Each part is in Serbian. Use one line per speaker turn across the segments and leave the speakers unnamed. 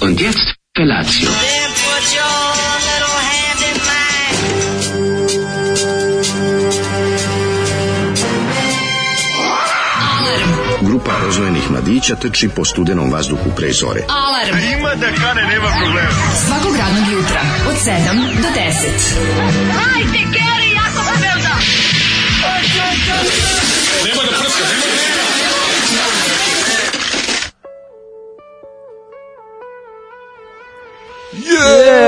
Und jetzt Felatio.
Then put your little hand in mine.
Grupa rozvojenih mladića teči po studenom vazduhu pre zore.
Alarm. A ima da kane, nema problema. Svakog radnog jutra, od 7 do 10.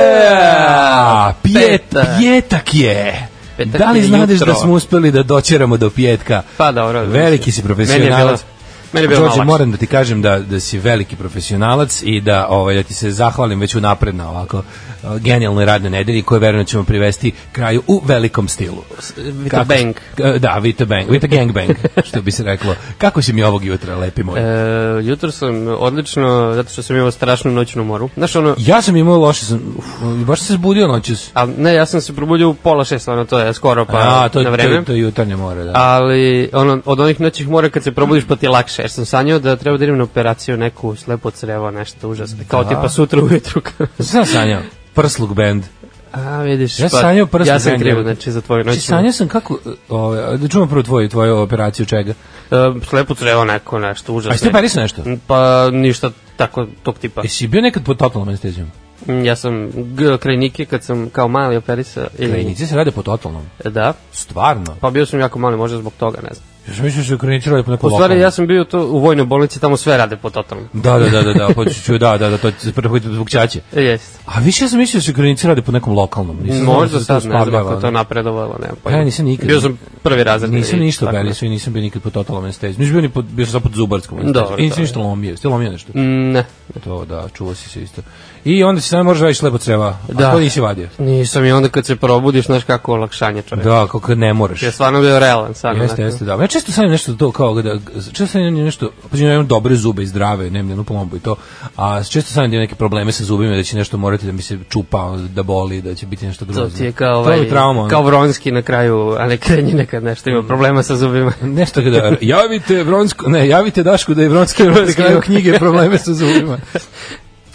Yeah!
Petak.
Pjetak je!
Petak
da li
je
znadeš
jutro.
da smo uspeli da doćeramo do petka?
Pa dobro.
Veliki si
Meni je bilo,
profesionalac.
meni je bilo
Đorđe,
malo
moram da ti kažem da, da si veliki profesionalac i da, ovaj, da ti se zahvalim već unapred na ovako uh, genijalnoj radnoj nedelji koje verujem da ćemo privesti kraju u velikom stilu.
With a
Kako-
bang.
K- Da, with a bang, with a gangbang, što bi se reklo. Kako si mi ovog jutra, lepi moj?
E, jutro sam odlično, zato što sam imao strašnu noćnu moru. Znaš ono,
Ja sam imao loše, sam, uf, baš sam se zbudio noćas.
ali ne, ja sam se probudio u pola šest, ono, to je skoro, pa
A, to,
na vreme.
to, to jutarnje more, da.
Ali, ono, od onih noćih mora kad se probudiš pa ti je lakše, jer sam sanjao da treba da idem na operaciju neku slepo crevo, nešto užasno. Kao tipa sutra ujutru.
Sam sanjao. Prsluk band.
A, vidiš,
Ja
pa,
sanjao prst
ja
u
sam
zemlju.
kriv, znači, za tvoju
Znači,
noćnu
sanjao sam kako... Ove, da čuvam prvo tvoju, tvoju operaciju čega.
E, slepo crevo neko, nešto užasno.
A jeste operisao nešto?
Pa, ništa tako, tog tipa.
Jesi bio nekad pod totalnom anestezijom?
Mm, Ja sam g- krajnike kad sam kao mali operisao. i-
Krajnici se rade pod totalnom.
Da,
Stvarno?
pa bio sam jako mali, možda zbog toga, ne znam.
Još misliš da krajnici rade pod nekom
U stvari,
lokalnom?
ja sam bio to u vojnoj bolnici, tamo sve rade po totalno.
Da, da, da, da, da, pa ću, da, da, da, to će prvo zbog čače.
E, Jeste.
A više ja sam mislio da se krajnici rade pod nekom lokalnom. Nisam znao
Možda
da se to
sad, ne znam
uspavljava,
ako je to
ono.
napredovalo, nema
Pa ja nisam nikad.
Bio sam prvi razred.
Nisam
i
ništa
tako
operisao i nisam bio nikad pod totalnom anestezijom. Nisam bio ni pod, bio sam samo pod zubarskom
Dobro,
anestezijom. I nisam
da.
ništa lomio. Jesi ti lomio nešto?
nešto. Mm, Ne,
To da, čuo si se isto. I onda si samo možeš vadiš lepo creva. Da.
Da.
A to nisi vadio.
nisam i onda kad se probudiš, znaš kako olakšanje čovjek.
Da, kako kad ne moraš.
Ja stvarno bio realan, stvarno.
Jeste,
onako.
jeste, da. Ja često sanjam nešto to kao da često sanjam nešto, pa ja imam dobre zube i zdrave, nemam jednu plombu i to. A često sanjam da imam neke probleme sa zubima, da će nešto morati da mi se čupa, da boli, da će biti nešto grozno.
To ti je kao,
To
ovaj,
je trauma. ono. Mm.
kao
Kao...
Vronski na kraju, a ne krenji nekad nešto, ima problema sa zubima.
Nešto kada javite Vronsko, ne, javite Dašku da je Vronski na kraju knjige probleme sa zubima.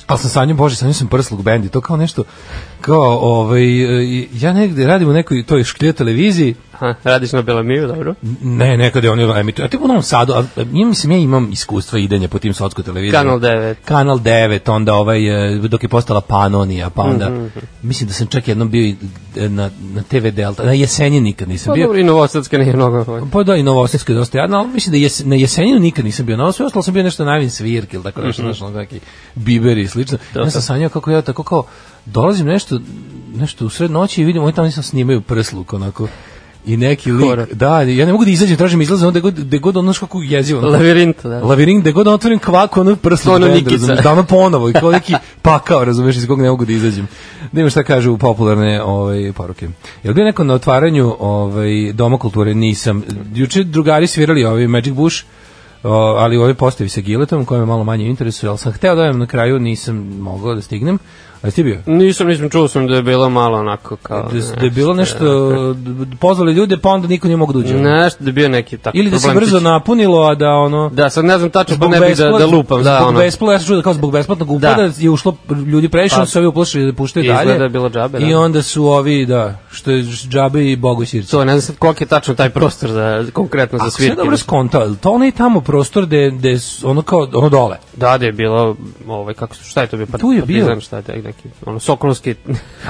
Ali sam sanjao, bože, sanjao sam prsluk bendi, to kao nešto, kao, ovaj, e, ja negde radim u nekoj toj šklje televiziji,
Aha, radiš na Belamiju, dobro.
Ne, nekad je oni emituju. A ti u Novom Sadu, a, a, ja mislim, ja imam iskustva idenja po tim sotskoj televiziji.
Kanal 9.
Kanal 9, onda ovaj, e, dok je postala Panonija, pa onda,
Mhm.
mislim da sam čak jednom bio i, e, na, na TV Delta, na Jesenji nikad nisam
Pa
bio.
dobro, i Novosadska nije mnogo.
Pa da, i Novosadska je dosta jadna, ali mislim da jes, na Jesenju nikad nisam bio. Na sve ostalo sam bio nešto na Avin Svirki ili tako nešto, znaš, ono neki biberi i slično. Ja sam sanjao kako ja tako kao dolazim nešto, nešto u sred noći i vidim, oni tamo nisam snimaju prsluk, onako. I neki lik,
Horor.
da, ja ne mogu da izađem, tražim izlaz, onda gde god, gde god ono kako jezivo. ono,
Lavirint, da.
Lavirint, gde god otvorim kvaku, ono prsluk
Ono
bend,
Nikica.
razumeš, da ono ponovo, i kao neki pakao, razumeš, iz kog ne mogu da izađem. Da imam šta kažu u popularne ovaj, poruke. Jel bio neko na otvaranju ovaj, Doma kulture? Nisam. Juče drugari svirali ovaj Magic Bush, o, ali u ovoj postavi sa Giletom, koja me malo manje interesuje, ali sam hteo da odem na kraju, nisam mogao da stignem. A jesi ti bio?
Nisam, nisam, čuo sam da je bilo malo onako kao...
Da, da je bilo nešto, d- pozvali ljude, pa onda niko nije mogu da uđe.
Nešto, da je bio neki tako
Ili da se
problemčić.
brzo napunilo, a da ono...
Da, sad ne znam tačno, pa ne bih da, da lupam. Da,
zbog
ono,
besplatno, ja sam čuo da kao zbog besplatnog upada
Da.
je ušlo ljudi previše,
Pa.
onda su ovi uplašili da puštaju
I
dalje.
izgleda je bilo džabe, da.
I onda su ovi, da, što je džabe i bogosirci.
To, ne znam sad koliko je tačno taj prostor za, konkretno za
Ako sam ja
svirke.
dobro skontao, je li to onaj tamo prostor gde, gde s- ono kao, ono dole.
Da, da je bilo, ovaj, kako, su- šta je to bio? Pa,
Tu je bio.
Šta je taj neki, ono, sokolski,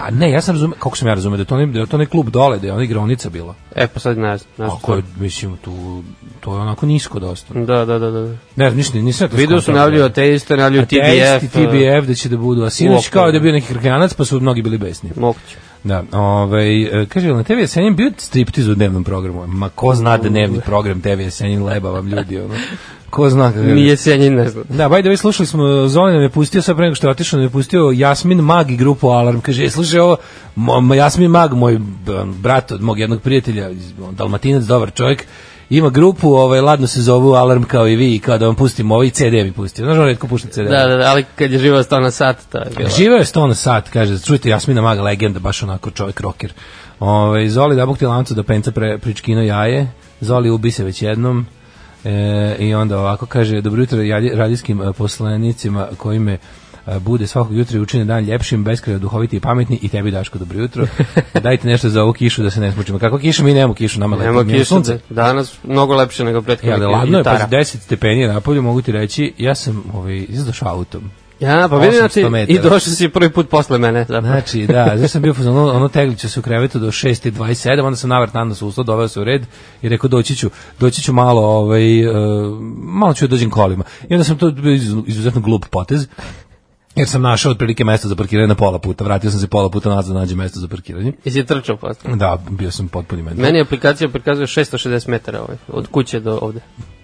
A ne, ja sam razumeo, kako sam ja razumeo, da je to onaj, da je to onaj klub dole, da je ona igronica bila.
e, pa sad ne znam. Ne znam
Ako je, mislim, tu, to je onako nisko dosta.
Da, da, da, da.
Ne znam, ništa, nisam ja to
Video su
skontao.
najavljuju ateiste, najavljuju TBF.
Ateisti, TBF, da će da budu, a sinoć
Uopšte.
kao da je bio neki krkanac, pa su mnogi bili besni.
Moguće.
Da, ovaj, e, kaže, jel na TV Jesenjen bio striptiz u dnevnom programu? Ma ko zna da dnevni program TV Jesenjen leba vam ljudi, ono. Ko zna kako
Nije sjenjen, ne znam.
Da, by the way, slušali smo, Zoli nam je pustio, sad pre nego što je otišao, nam je pustio Jasmin Mag i grupu Alarm. Kaže, "E, slušaj ovo, mo- mo- Jasmin Mag, moj b- brat od mog jednog prijatelja, iz- on dalmatinac, dobar čovjek, ima grupu, ovaj, ladno se zovu Alarm kao i vi, i kao da vam pustim ovaj CD bi pustio. Znaš, on redko pušta CD.
Da, da, da, ali kad je živa 100 na sat, to
Pa
je bilo.
Živeo je 100 na sat, kaže, čujte, Jasmina Maga legenda, baš onako čovjek roker. Ove, Zoli da bog ti lancu do penca pre, pričkino jaje, Zoli ubi se već jednom, E, I onda ovako kaže, dobro jutro jadi- radijskim e, poslanicima koji me e, bude svakog jutra i učine dan ljepšim, beskrajno duhoviti i pametni i tebi Daško dobro jutro. E, Dajte nešto za ovu kišu da se ne smučimo. Kako kiša? Mi nemamo kišu, nama lepo.
Nema
Nema
kiša,
sunce.
da- danas mnogo lepše nego prethodnih
Ja, da ladno je,
jutara.
pa 10 stepeni je napolju, mogu ti reći, ja sam ovaj, izdošao autom.
Ja, pa vidim,
800
znači, i
metara.
došao si prvi put posle mene. Zapravo.
Znači, da, znači sam bio fazon, ono, ono tegliće se u krevetu do 6.27, onda sam navrat nanda se ustao, doveo se u red i rekao doći ću, doći ću malo, ovaj, e, malo ću da dođem kolima. I onda sam to bio izu- izuzetno glup potez, jer sam našao otprilike mesto za parkiranje na pola puta, vratio sam se pola puta nazad da nađem mesto za parkiranje.
I si trčao posle.
Da, bio sam potpuni mental.
Meni je aplikacija prikazuje 660 metara ovaj, od kuće do ovde.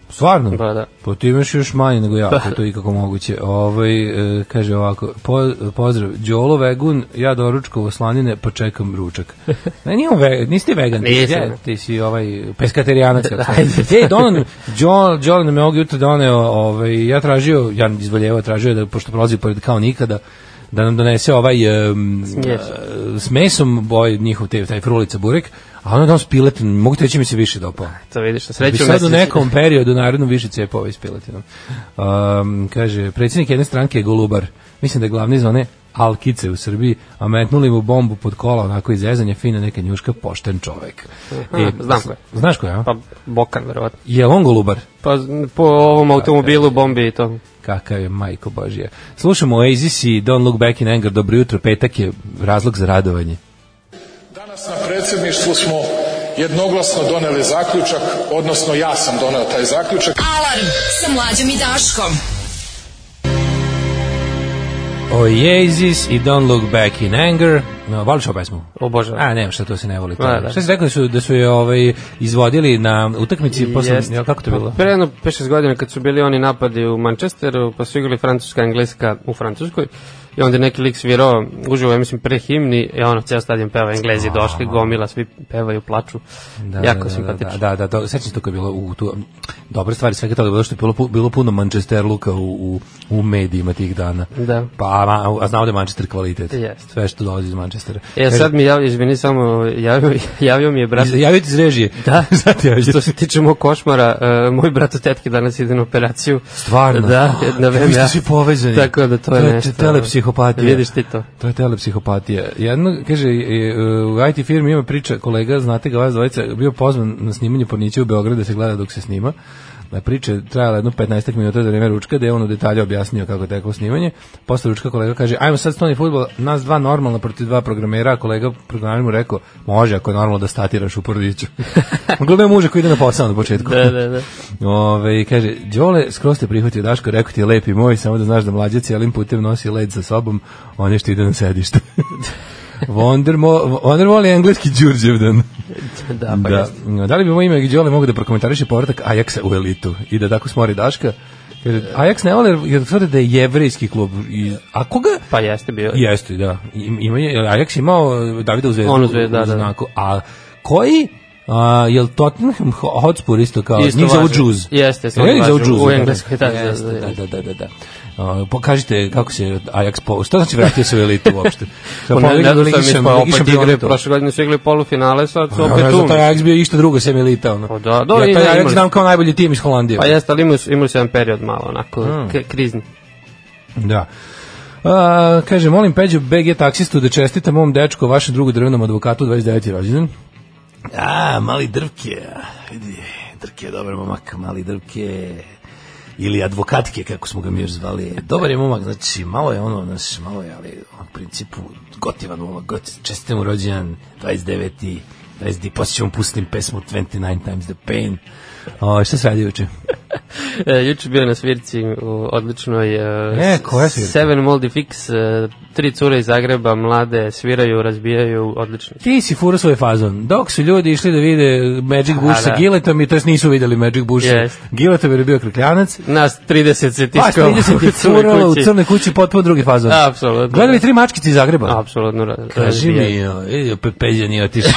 Stvarno?
Pa da. Pa
Pa ti imaš još manje nego ja, ako je to ikako moguće. Ovaj, e, kaže ovako, po, pozdrav, Đolo vegun, ja doručkovo slanine, pa čekam ručak. Ne, nije on ve, nisi ti vegan, ti,
Nisam.
ja, ti si ovaj peskaterijanac. kako se zove. E, donan, Đolo, Đolo nam je ovog jutra doneo, ovaj, ja tražio, ja iz Valjeva tražio je da, pošto prolazi pored kao nikada, da nam donese ovaj um,
Smjes.
s mesom boj njihov te, taj frulica burek, a ono je dao s piletin, mogu ti reći mi se više dopao.
To vidiš, na
Bi
sreću.
sad u
mesec-
nekom periodu naredno više cepova iz piletinom. Um, kaže, predsjednik jedne stranke je Golubar. Mislim da je glavni zvane Alkice u Srbiji, a metnuli mu bombu pod kola, onako iz zezanja, fina neka njuška, pošten čovek. E,
Aha, znam ko je.
Znaš ko je, a?
Pa Bokan, verovatno.
Je on Golubar?
Pa z- po ovom automobilu, bombi i to.
Kakav je, majko Božija. Slušamo Oasis i Don't Look Back in Anger, dobro jutro, petak je razlog za radovanje.
Danas na predsjedništvu smo jednoglasno doneli zaključak, odnosno ja sam doneo taj zaključak.
Alarm sa mlađom i Daškom.
Oasis i Don't Look Back in Anger. No, voliš ovu pesmu?
Obožavam.
A, nema šta, to se ne voli.
Pa. Da, da.
Šta si rekao da su, da su je ovaj, izvodili na utakmici, posle,
Jeste.
jel, kako to je bilo?
Pa, Pre jedno 5-6 godina kad su bili oni napadi u Manchesteru, pa su igrali Francuska, Engleska u Francuskoj, i onda je neki lik svirao, uživo, ja mislim, pre himni, i ono, ceo stadion peva, Englezi došli, gomila, svi pevaju, plaču. Da, jako simpatično.
Da, da, da, da, sećam se to kad je bilo u tu, dobre stvari svega toga, bilo što je bilo, pu- bilo puno Manchester luka u, u, u medijima tih dana.
Da.
Pa, a, a znamo da je Manchester kvalitet.
Jeste.
Sve što dolazi iz Manchestera.
E,
Kaže,
sad mi javio, izvini, samo javio, javio mi je brat.
iz- Javio ti iz režije.
Da.
Sad ti javio.
Što se tiče mog košmara, uh, moj brat od tetke danas ide na operaciju.
Stvarno?
Da,
Oh,
na vreme.
vi ste svi povezani.
Tako da to je
To je
nešto. ono.
telepsihopatija.
Vidiš ti to.
To je telepsihopatija. Jedno, kaže, e, u IT firmi ima priča, kolega, znate ga vas dvojica, bio pozvan na snimanje pornića u Beogradu da se gleda dok se snima. Na priče trajala jedno 15 minuta za vreme ručka, da je on u detalje objasnio kako je teklo snimanje. Posle ručka kolega kaže, ajmo sad stoni futbol, nas dva normalno protiv dva programera, a kolega programer mu rekao, može ako je normalno da statiraš u porniću. Uglavnom je muža koji ide na posao na početku.
Da, da, da.
Ove, i kaže, Đole, skroz te prihvatio Daško, rekao ti je lepi moj, samo da znaš da mlađa cijelim putem nosi led sa sobom, on je što ide na sedište. Wondermo, Wonderwall je engleski Đurđevdan.
Da, pa
da.
jeste.
da li bi moje ime Đole mogu da prokomentariše povratak Ajaksa u elitu i da tako smori Daška? Kaže, Ajaks ne vole jer tvrde da je jevrejski klub. I, a koga?
Pa jeste bio.
Jeste, da. Im- Ima je, Ajax je imao e, Davida u zvezdu.
On u Zvezdu, da, da.
znaku. A koji A, jel Tottenham Ho- Hotspur isto kao,
Isto
njih zovu
važi.
Jews.
Jeste, jeste,
Jel
oni
njih zovu
važi u
Jews? da?
Engleskoj, da, da, da,
Jeste,
da.
da, da, da, da. A, pokažite kako se Ajax po... Šta znači vratio se u elitu uopšte? Šta,
Pa ne, ne
pobegli
znam
ligi
šta
šam-
mi pa
ligi
opet
šampiona
igre,
to?
prošle godine su igrali polufinale, sad su
Pa, ne
opet
znam,
tu.
taj Ajax bio išta drugo sem elita. Ono.
Pa da, dobro,
ja taj
ima,
Ajax
ima.
znam kao najbolji tim iz Holandije.
Pa jeste, ali imaju, su- imaju se jedan period malo, onako, k- krizni.
Da. A, kaže, molim Peđu BG taksistu da čestita mom dečku, vašem drugu drvenom advokatu 29. rođendan. A, mali drvke, vidi, drke je dobar momak, mali drvke, ili advokatke, kako smo ga mi još zvali. Dobar je momak, znači, malo je ono, znaš, malo je, ali u principu, gotivan momak, gotivan, čestitam mu rođendan, 29. 20. Poslije ću vam pustim pesmu 29 times the pain. O, šta se radi uče?
E, juče bio na svirci u odličnoj
E,
e,
koja svirka?
Seven Moldy Fix, e, tri cure iz Zagreba, mlade, sviraju, razbijaju, odlično.
Ti si furao svoj fazon. Dok su ljudi išli da vide Magic Bush
A,
sa
da.
Giletom i to jest nisu videli Magic Bush.
Jest.
Giletom jer je bio krkljanac.
Nas 30 se
Vas
tiskao
30 je furalo u crnoj kući potpuno drugi fazon.
Apsolutno.
Gledali tri mačkice iz Zagreba.
Apsolutno. ra-
Kaži
razbijaju.
mi, o, vidi, opet Peđa nije otišao.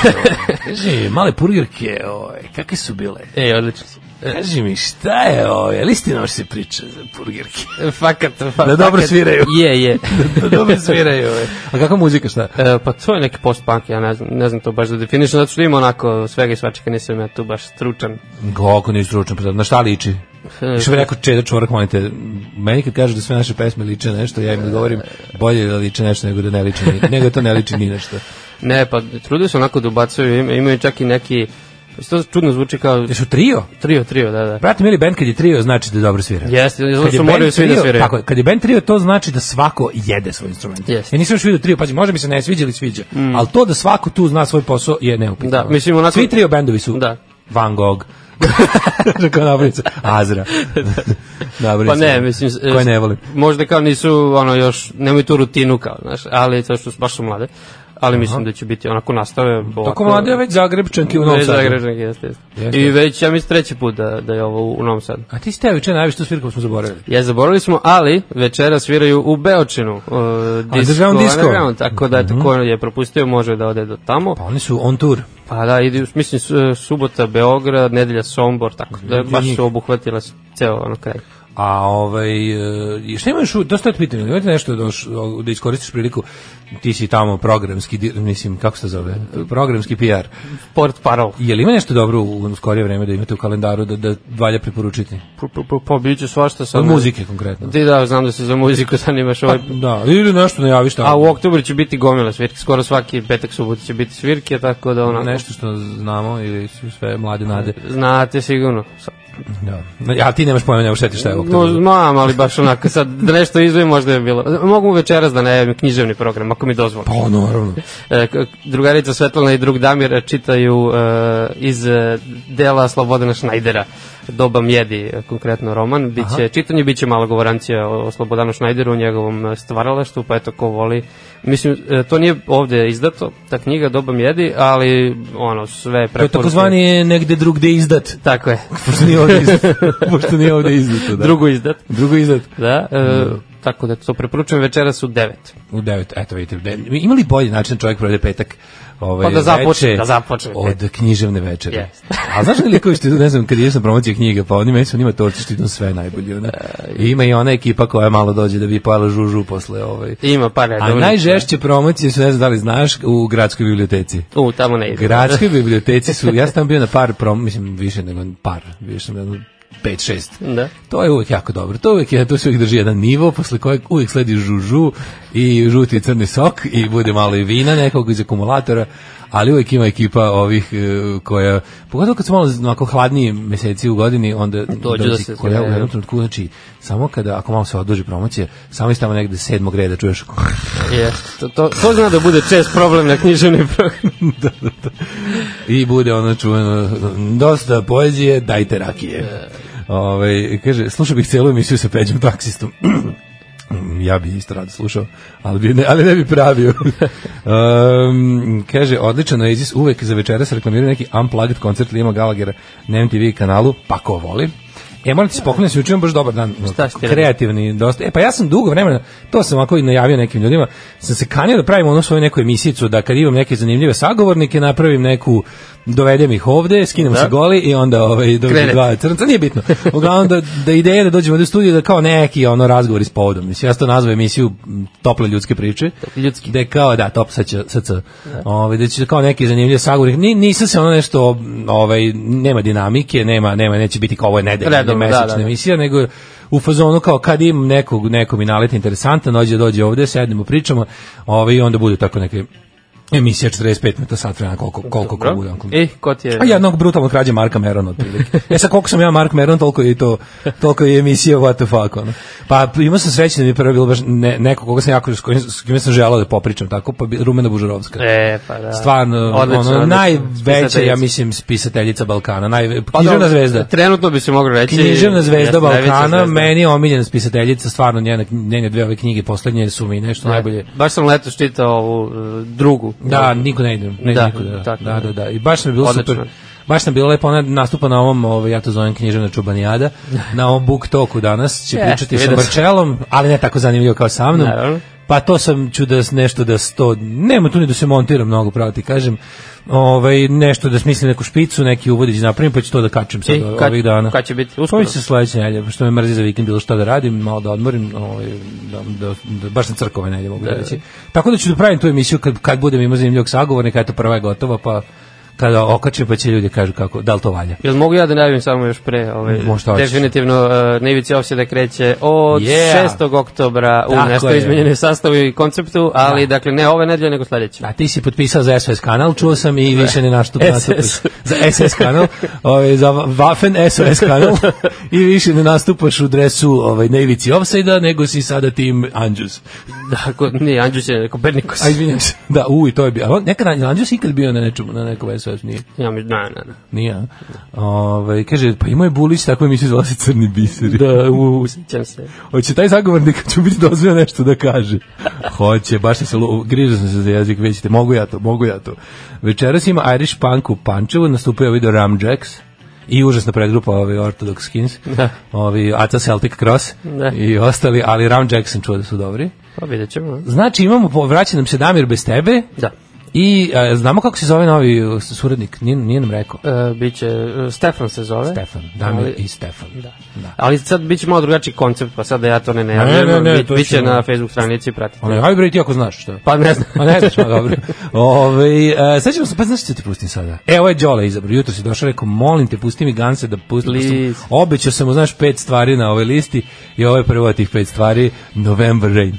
Kaži, male purgirke, oj, kakve su bile?
Ej, E, odlično. si.
Kaži mi, šta je ovo? Je li istina ovo što se priča za purgirke?
E, Fakat, fa- fakat.
Da dobro sviraju.
Je, je.
Da dobro sviraju. ovaj. e. oj. A kakva muzika, šta?
E, pa to je neki post-punk, ja ne znam, ne znam to baš da definišem, zato što ima onako svega i svačega, nisam ja tu baš stručan.
Kako nije stručno, pa na šta liči? Što bi rekao Čeda Čorak, molite, meni kad kaže da sve naše pesme liče na nešto, ja im odgovorim bolje je da liče nešto nego da ne liče, ni- nego da to ne liči ni na što.
Ne, pa trudio se onako da ubacuju, ima- imaju čak i neki, to čudno zvuči kao
Jesu trio?
trio, trio, da, da.
Brate, mili, band kad je trio, znači da dobro svira.
Jeste, zato
Kad je
što
band
moraju svi da
trio-
sviraju.
Tako, je, kad je band trio, to znači da svako jede svoj instrument.
Jeste. Mm.
Ja nisam još vidio trio, pazi, može mi se ne sviđa ili sviđa, ali to da svako tu zna svoj posao je neupitno.
Da, mislim, onako-
Svi trio bendovi su
Da.
Van Gogh, Rekao Nabrica, Azra. Nabrica.
Pa ne, mislim... s-
Koje ne volim.
Možda kao nisu, ono, još, nemaju tu rutinu kao, znaš, ali to što su, baš su mlade. Ali mislim da će biti onako nastave. ovako-
Toko mlade je već Zagrebčanki u Novom
Već
Sadu.
Zagrežnjak, jeste, jeste.
Jeste.
I već, ja mislim, treći put da, da je ovo u, u Novom Sadu.
A ti ste juče najviše tu svirku smo zaboravili.
Ja zaboravili smo, ali večera sviraju u Beočinu. Uh,
Underground disco. Mhm.
tako da, eto, ko je propustio, može da ode do tamo.
Pa oni su on tour.
Pa da, idi, mislim, su- subota Beograd, nedelja Sombor, tako da baš
njih.
su obuhvatila s- ceo ono kraj.
A ovaj e, i šta imaš u dosta te pitam, imate nešto doš, o, da iskoristiš priliku. Ti si tamo programski, di- mislim kako se to zove, programski PR.
Port Parol.
Je li ima nešto dobro u, u skorije vreme da imate u kalendaru da da valja preporučiti?
Pa bit će svašta sad.
Od muzike konkretno.
Ti da, znam da se za muziku zanimaš ovaj...
Da, ili nešto najaviš tamo.
A u oktobru će biti gomila svirke, skoro svaki petak subota će biti svirke, tako da ono...
nešto što znamo ili su sve mlade nade.
Znate sigurno. Sa-
Da. A ti nemaš pojma, nemaš setiš šta je u
No,
oktobru.
znam, ali baš onako sad, da nešto izvim možda je bilo. Mogu večeras da najavim književni program, ako mi dozvoli.
Pa naravno.
E, k- drugarica Svetlana i drug Damir čitaju e, iz e, dela Slobodana Šnajdera Doba mjedi, e, konkretno roman biće, čitanje biće malo govorancija o o Slobodanu Šnajderu, o njegovom e, stvaralaštu pa eto ko voli mislim, e, to nije ovde izdato, ta knjiga Doba mjedi, ali ono, sve
To je
preporuke
takozvani negde drugde izdat.
tako je,
Pošto nije ovde izdat. Pošto nije ovde izdato, da.
drugo izdat
drugo izdat.
da, e, tako da to preporučujem večeras u 9
U 9, eto vidite, de- ima li bolji način da čovjek provede petak? Ovaj,
Pa da započne,
veče
da započne
Od književne večere.
Jeste.
A znaš li likovi što, idu, ne znam, kad idem na promocije knjiga, pa oni meni su njima torci što idu sve najbolje. Ona. I ima i ona ekipa koja malo dođe da bi pojela žužu posle. Ovaj.
ima par
A
redovnih
najžešće promocije su, ne znam da li znaš, u gradskoj biblioteci.
u, tamo ne ide
Gradskoj biblioteci su, ja sam tamo bio na par prom, mislim više nego par, bio sam jedno 5 6.
Da.
To je uvek jako dobro. To uvek je, tu se uvek drži jedan nivo, posle kojeg uvek sledi žužu i žuti i crni sok i bude malo i vina nekog iz akumulatora, ali uvek ima ekipa ovih e, koja, pogotovo kad su malo onako hladniji meseci u godini, onda
Dođu da se
koja u
zgrejaju.
jednom trenutku, znači, samo kada, ako malo se odloži promocija, samo iz tamo negde sedmog reda čuješ
Jeste, to, to, to zna da bude čest problem na književni program.
I bude ono čuveno, dosta poezije, dajte rakije. Ove, kaže, slušao bih celu emisiju sa Peđom taksistom. ja bi isto rado slušao, ali, bi ne, ali ne bi pravio. um, kaže, odličan Oasis, uvek za večeras reklamiraju neki unplugged koncert Lima Gallaghera na MTV kanalu, pa ko voli. E, moram ti se pokloniti, se učinio baš dobar dan.
Šta ste rekli?
kreativni, dosta. E, pa ja sam dugo vremena, to sam ovako i najavio nekim ljudima, sam se kanio da pravim ono svoju neku emisijicu, da kad imam neke zanimljive sagovornike, napravim neku, dovedem ih ovde, skinem se goli i onda ovaj, dovedem
Krenete.
dva crnca, nije bitno. Uglavnom da, da ideja je da dođemo do studija da kao neki ono razgovori s povodom. Mislim, ja sam to nazvao emisiju m, tople ljudske priče.
Tople ljudske.
Da je kao, da, top sad će, sad će, ovaj, da će kao neki zanimljiv sagovornik. Ni, nisam se ono nešto, ovaj, nema dinamike, nema, nema, neće biti kao ovo je nedelja,
Redom,
Redom,
da,
mesečna
da, da.
emisija, nego u fazonu kao kad im nekog, neko mi naleta interesantan, dođe, dođe ovde, sednemo, pričamo, ovaj, i onda bude tako neke emisija 45 minuta, sat vremena, koliko, koliko, koliko bude. onako.
E, ko ti je?
A jednog brutalno krađe Marka Merona otprilike. E sad koliko sam ja Mark Meron, toliko je i to, toliko je i emisija What the fuck. Ono. Pa imao sam sreće da mi je prvo bilo baš ne, neko koga sam jako, s kojim, s kime sam želao da popričam tako, pa bi- Rumena Bužarovska.
E, pa da.
Stvarno,
Odlično,
ono,
odlično.
najveća, ja
Spisateljica.
mislim, spisateljica Balkana, naj,
Pa
književna
dobro,
zvezda.
Trenutno bi se moglo reći.
Književna zvezda
jeste, najveća
Balkana,
Znači, zvezda.
meni je omiljena spisateljica, stvarno njene, njene dve ove knjige poslednje su mi nešto najbolje.
Baš sam letos čitao ovu e, drugu.
Da, niko ne ide, ne
Da,
da, niko da.
tako.
da, da, da. I baš nam je bilo
Odlično.
super. Baš nam je bilo lepo, ona nastupa na ovom, ovaj, ja to zovem književna čubanijada, na ovom book toku danas će
Jeste,
pričati sa
vidio sam.
Marčelom, ali ne tako zanimljivo kao sa mnom.
Naravno.
Pa to sam ću da s- nešto da sto, nema tu ni da se montira mnogo, pravo ti kažem. Ovaj nešto da smislim neku špicu, neki uvodić napravim, pa ću to da kačem sad
I
o-
kad-
ovih dana.
kad će biti?
Uskoro?
Uskoro?
To će se sledeće nedelje, pošto me mrzi za vikend bilo šta da radim, malo da odmorim, ovaj da, da, da baš na crkove nedelje mogu da. reći. Tako da ću da pravim tu emisiju kad kad budem imao zanimljivog sagovornika, eto prva je gotova, pa kada okače pa će ljudi kažu kako, da li to valja.
Jel mogu ja da najavim samo još pre? Ovaj,
Mm, Možda hoćeš.
Definitivno, uh, na ivici ofsida kreće od
Yeah.
6. oktobra u
Tako
nešto
je.
izmenjene sastavu i konceptu, ali dakle ne ove nedelje nego sledeće.
Da, ti si potpisao za SOS kanal, čuo sam i više ne naštup nastupaš.
SS.
Za SS kanal, ovaj, za Waffen SOS kanal i više ne nastupaš u dresu ovaj, na ivici offside nego si sada tim Anđus.
Tako, nije, Andžuć je Kopernikus.
A izvinjam se. Da, u, i to je bio. Ali nekad Anđ- Anđus ikad bio na nečemu, na nekom SOS, nije.
Ja mi, na, na, na.
Nije. a? Ovaj kaže, pa imao je Bulić, tako mi se zvala se crni biseri.
Da, u, usjećam se.
Hoće taj zagovornik će mu biti dozveo nešto da kaže. Hoće, baš sam se lu- grižao sam se za jezik, vidite, mogu ja to, mogu ja to. Večeras ima Irish Punk u Pančevu, nastupaju video Ram Jacks i užasna predgrupa ovi Orthodox Skins,
Da.
ovi Aca Celtic Cross
Da.
i ostali, ali Ram Jacks sam čuo da su dobri.
Pa vidjet ćemo.
Znači imamo, po- vraća nam se Damir bez tebe
Da.
i a, znamo kako se zove novi uh, suradnik, nije, nije nam rekao.
E, biće, e, Stefan se zove.
Stefan, Damir
Ali-
i Stefan.
Da. Ali sad biće malo drugačiji koncept, pa sad da ja to ne
Ne, ne,
najavljam,
ne,
bi-
to
biće
ćemo-
na Facebook stranici pratiti.
Ono, aj bre, ti ako znaš što.
Pa ne znam.
Ma ne znaš, ma dobro. Ove, e, sad ćemo se, pa znaš što ti pustim sada? E, ovo je Đole izabro, jutro si došao, rekao, molim te, pusti mi Ganse da pustim. pustim.
Please.
Obećao sam mu, znaš, pet stvari na ovoj listi i ovo je prvo od tih pet stvari, November Rain.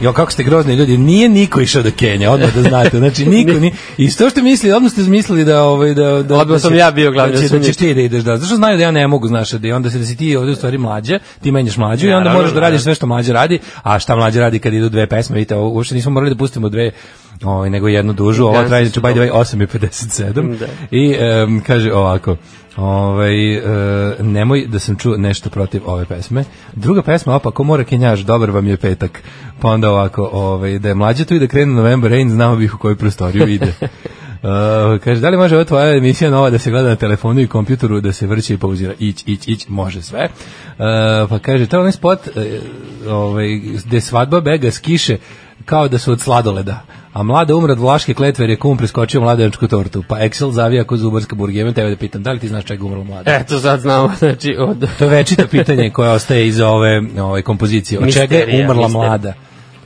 Jo, kako ste grozni ljudi, nije niko išao do Kenja, odmah da znate. Znači, niko ni I to što misli, odmah ste mislili da... Ovaj, da, da
Odmah
da
sam
će-
ja bio glavni
da, će- da ćeš
osumnjičen.
ti da ideš da. Zašto znaju da ja ne mogu, znaš, da i onda se da si ti ovde u stvari mlađa, ti menjaš mlađu i onda
Naravno,
moraš da radiš
naravno.
sve što mlađa radi, a šta mlađa radi kad idu dve pesme, vidite, ovo uopšte nismo morali da pustimo dve ovaj, nego jednu dužu, ova
Gansi
traje,
su
znači, by the way, 8.57
Da.
i em, kaže ovako, ovaj, e, nemoj da sam čuo nešto protiv ove pesme. Druga pesma, opa, ko mora kenjaš, dobar vam je petak. Pa onda ovako, ovaj, da je mlađa tu i da krene November Rain, znamo bih u koju prostoriju ide. Uh, kaže, da li može ova tvoja emisija nova da se gleda na telefonu i kompjutoru, da se vrće i pauzira, ić, ić, ić, može sve. Uh, pa kaže, to je onaj spot e, ovaj, gde svadba bega s kiše kao da su od sladoleda. A mlada umra od vlaške kletve jer je kum preskočio mladenčku tortu. Pa Excel zavija kod zubarska burgija. Imam tebe da pitam, da li ti znaš čega umrla mlada?
Eto, sad znamo, znači, od...
To je večito pitanje koje ostaje iza ove, ove kompozicije. Od čega je
Misterija,
umrla
misterija.
mlada?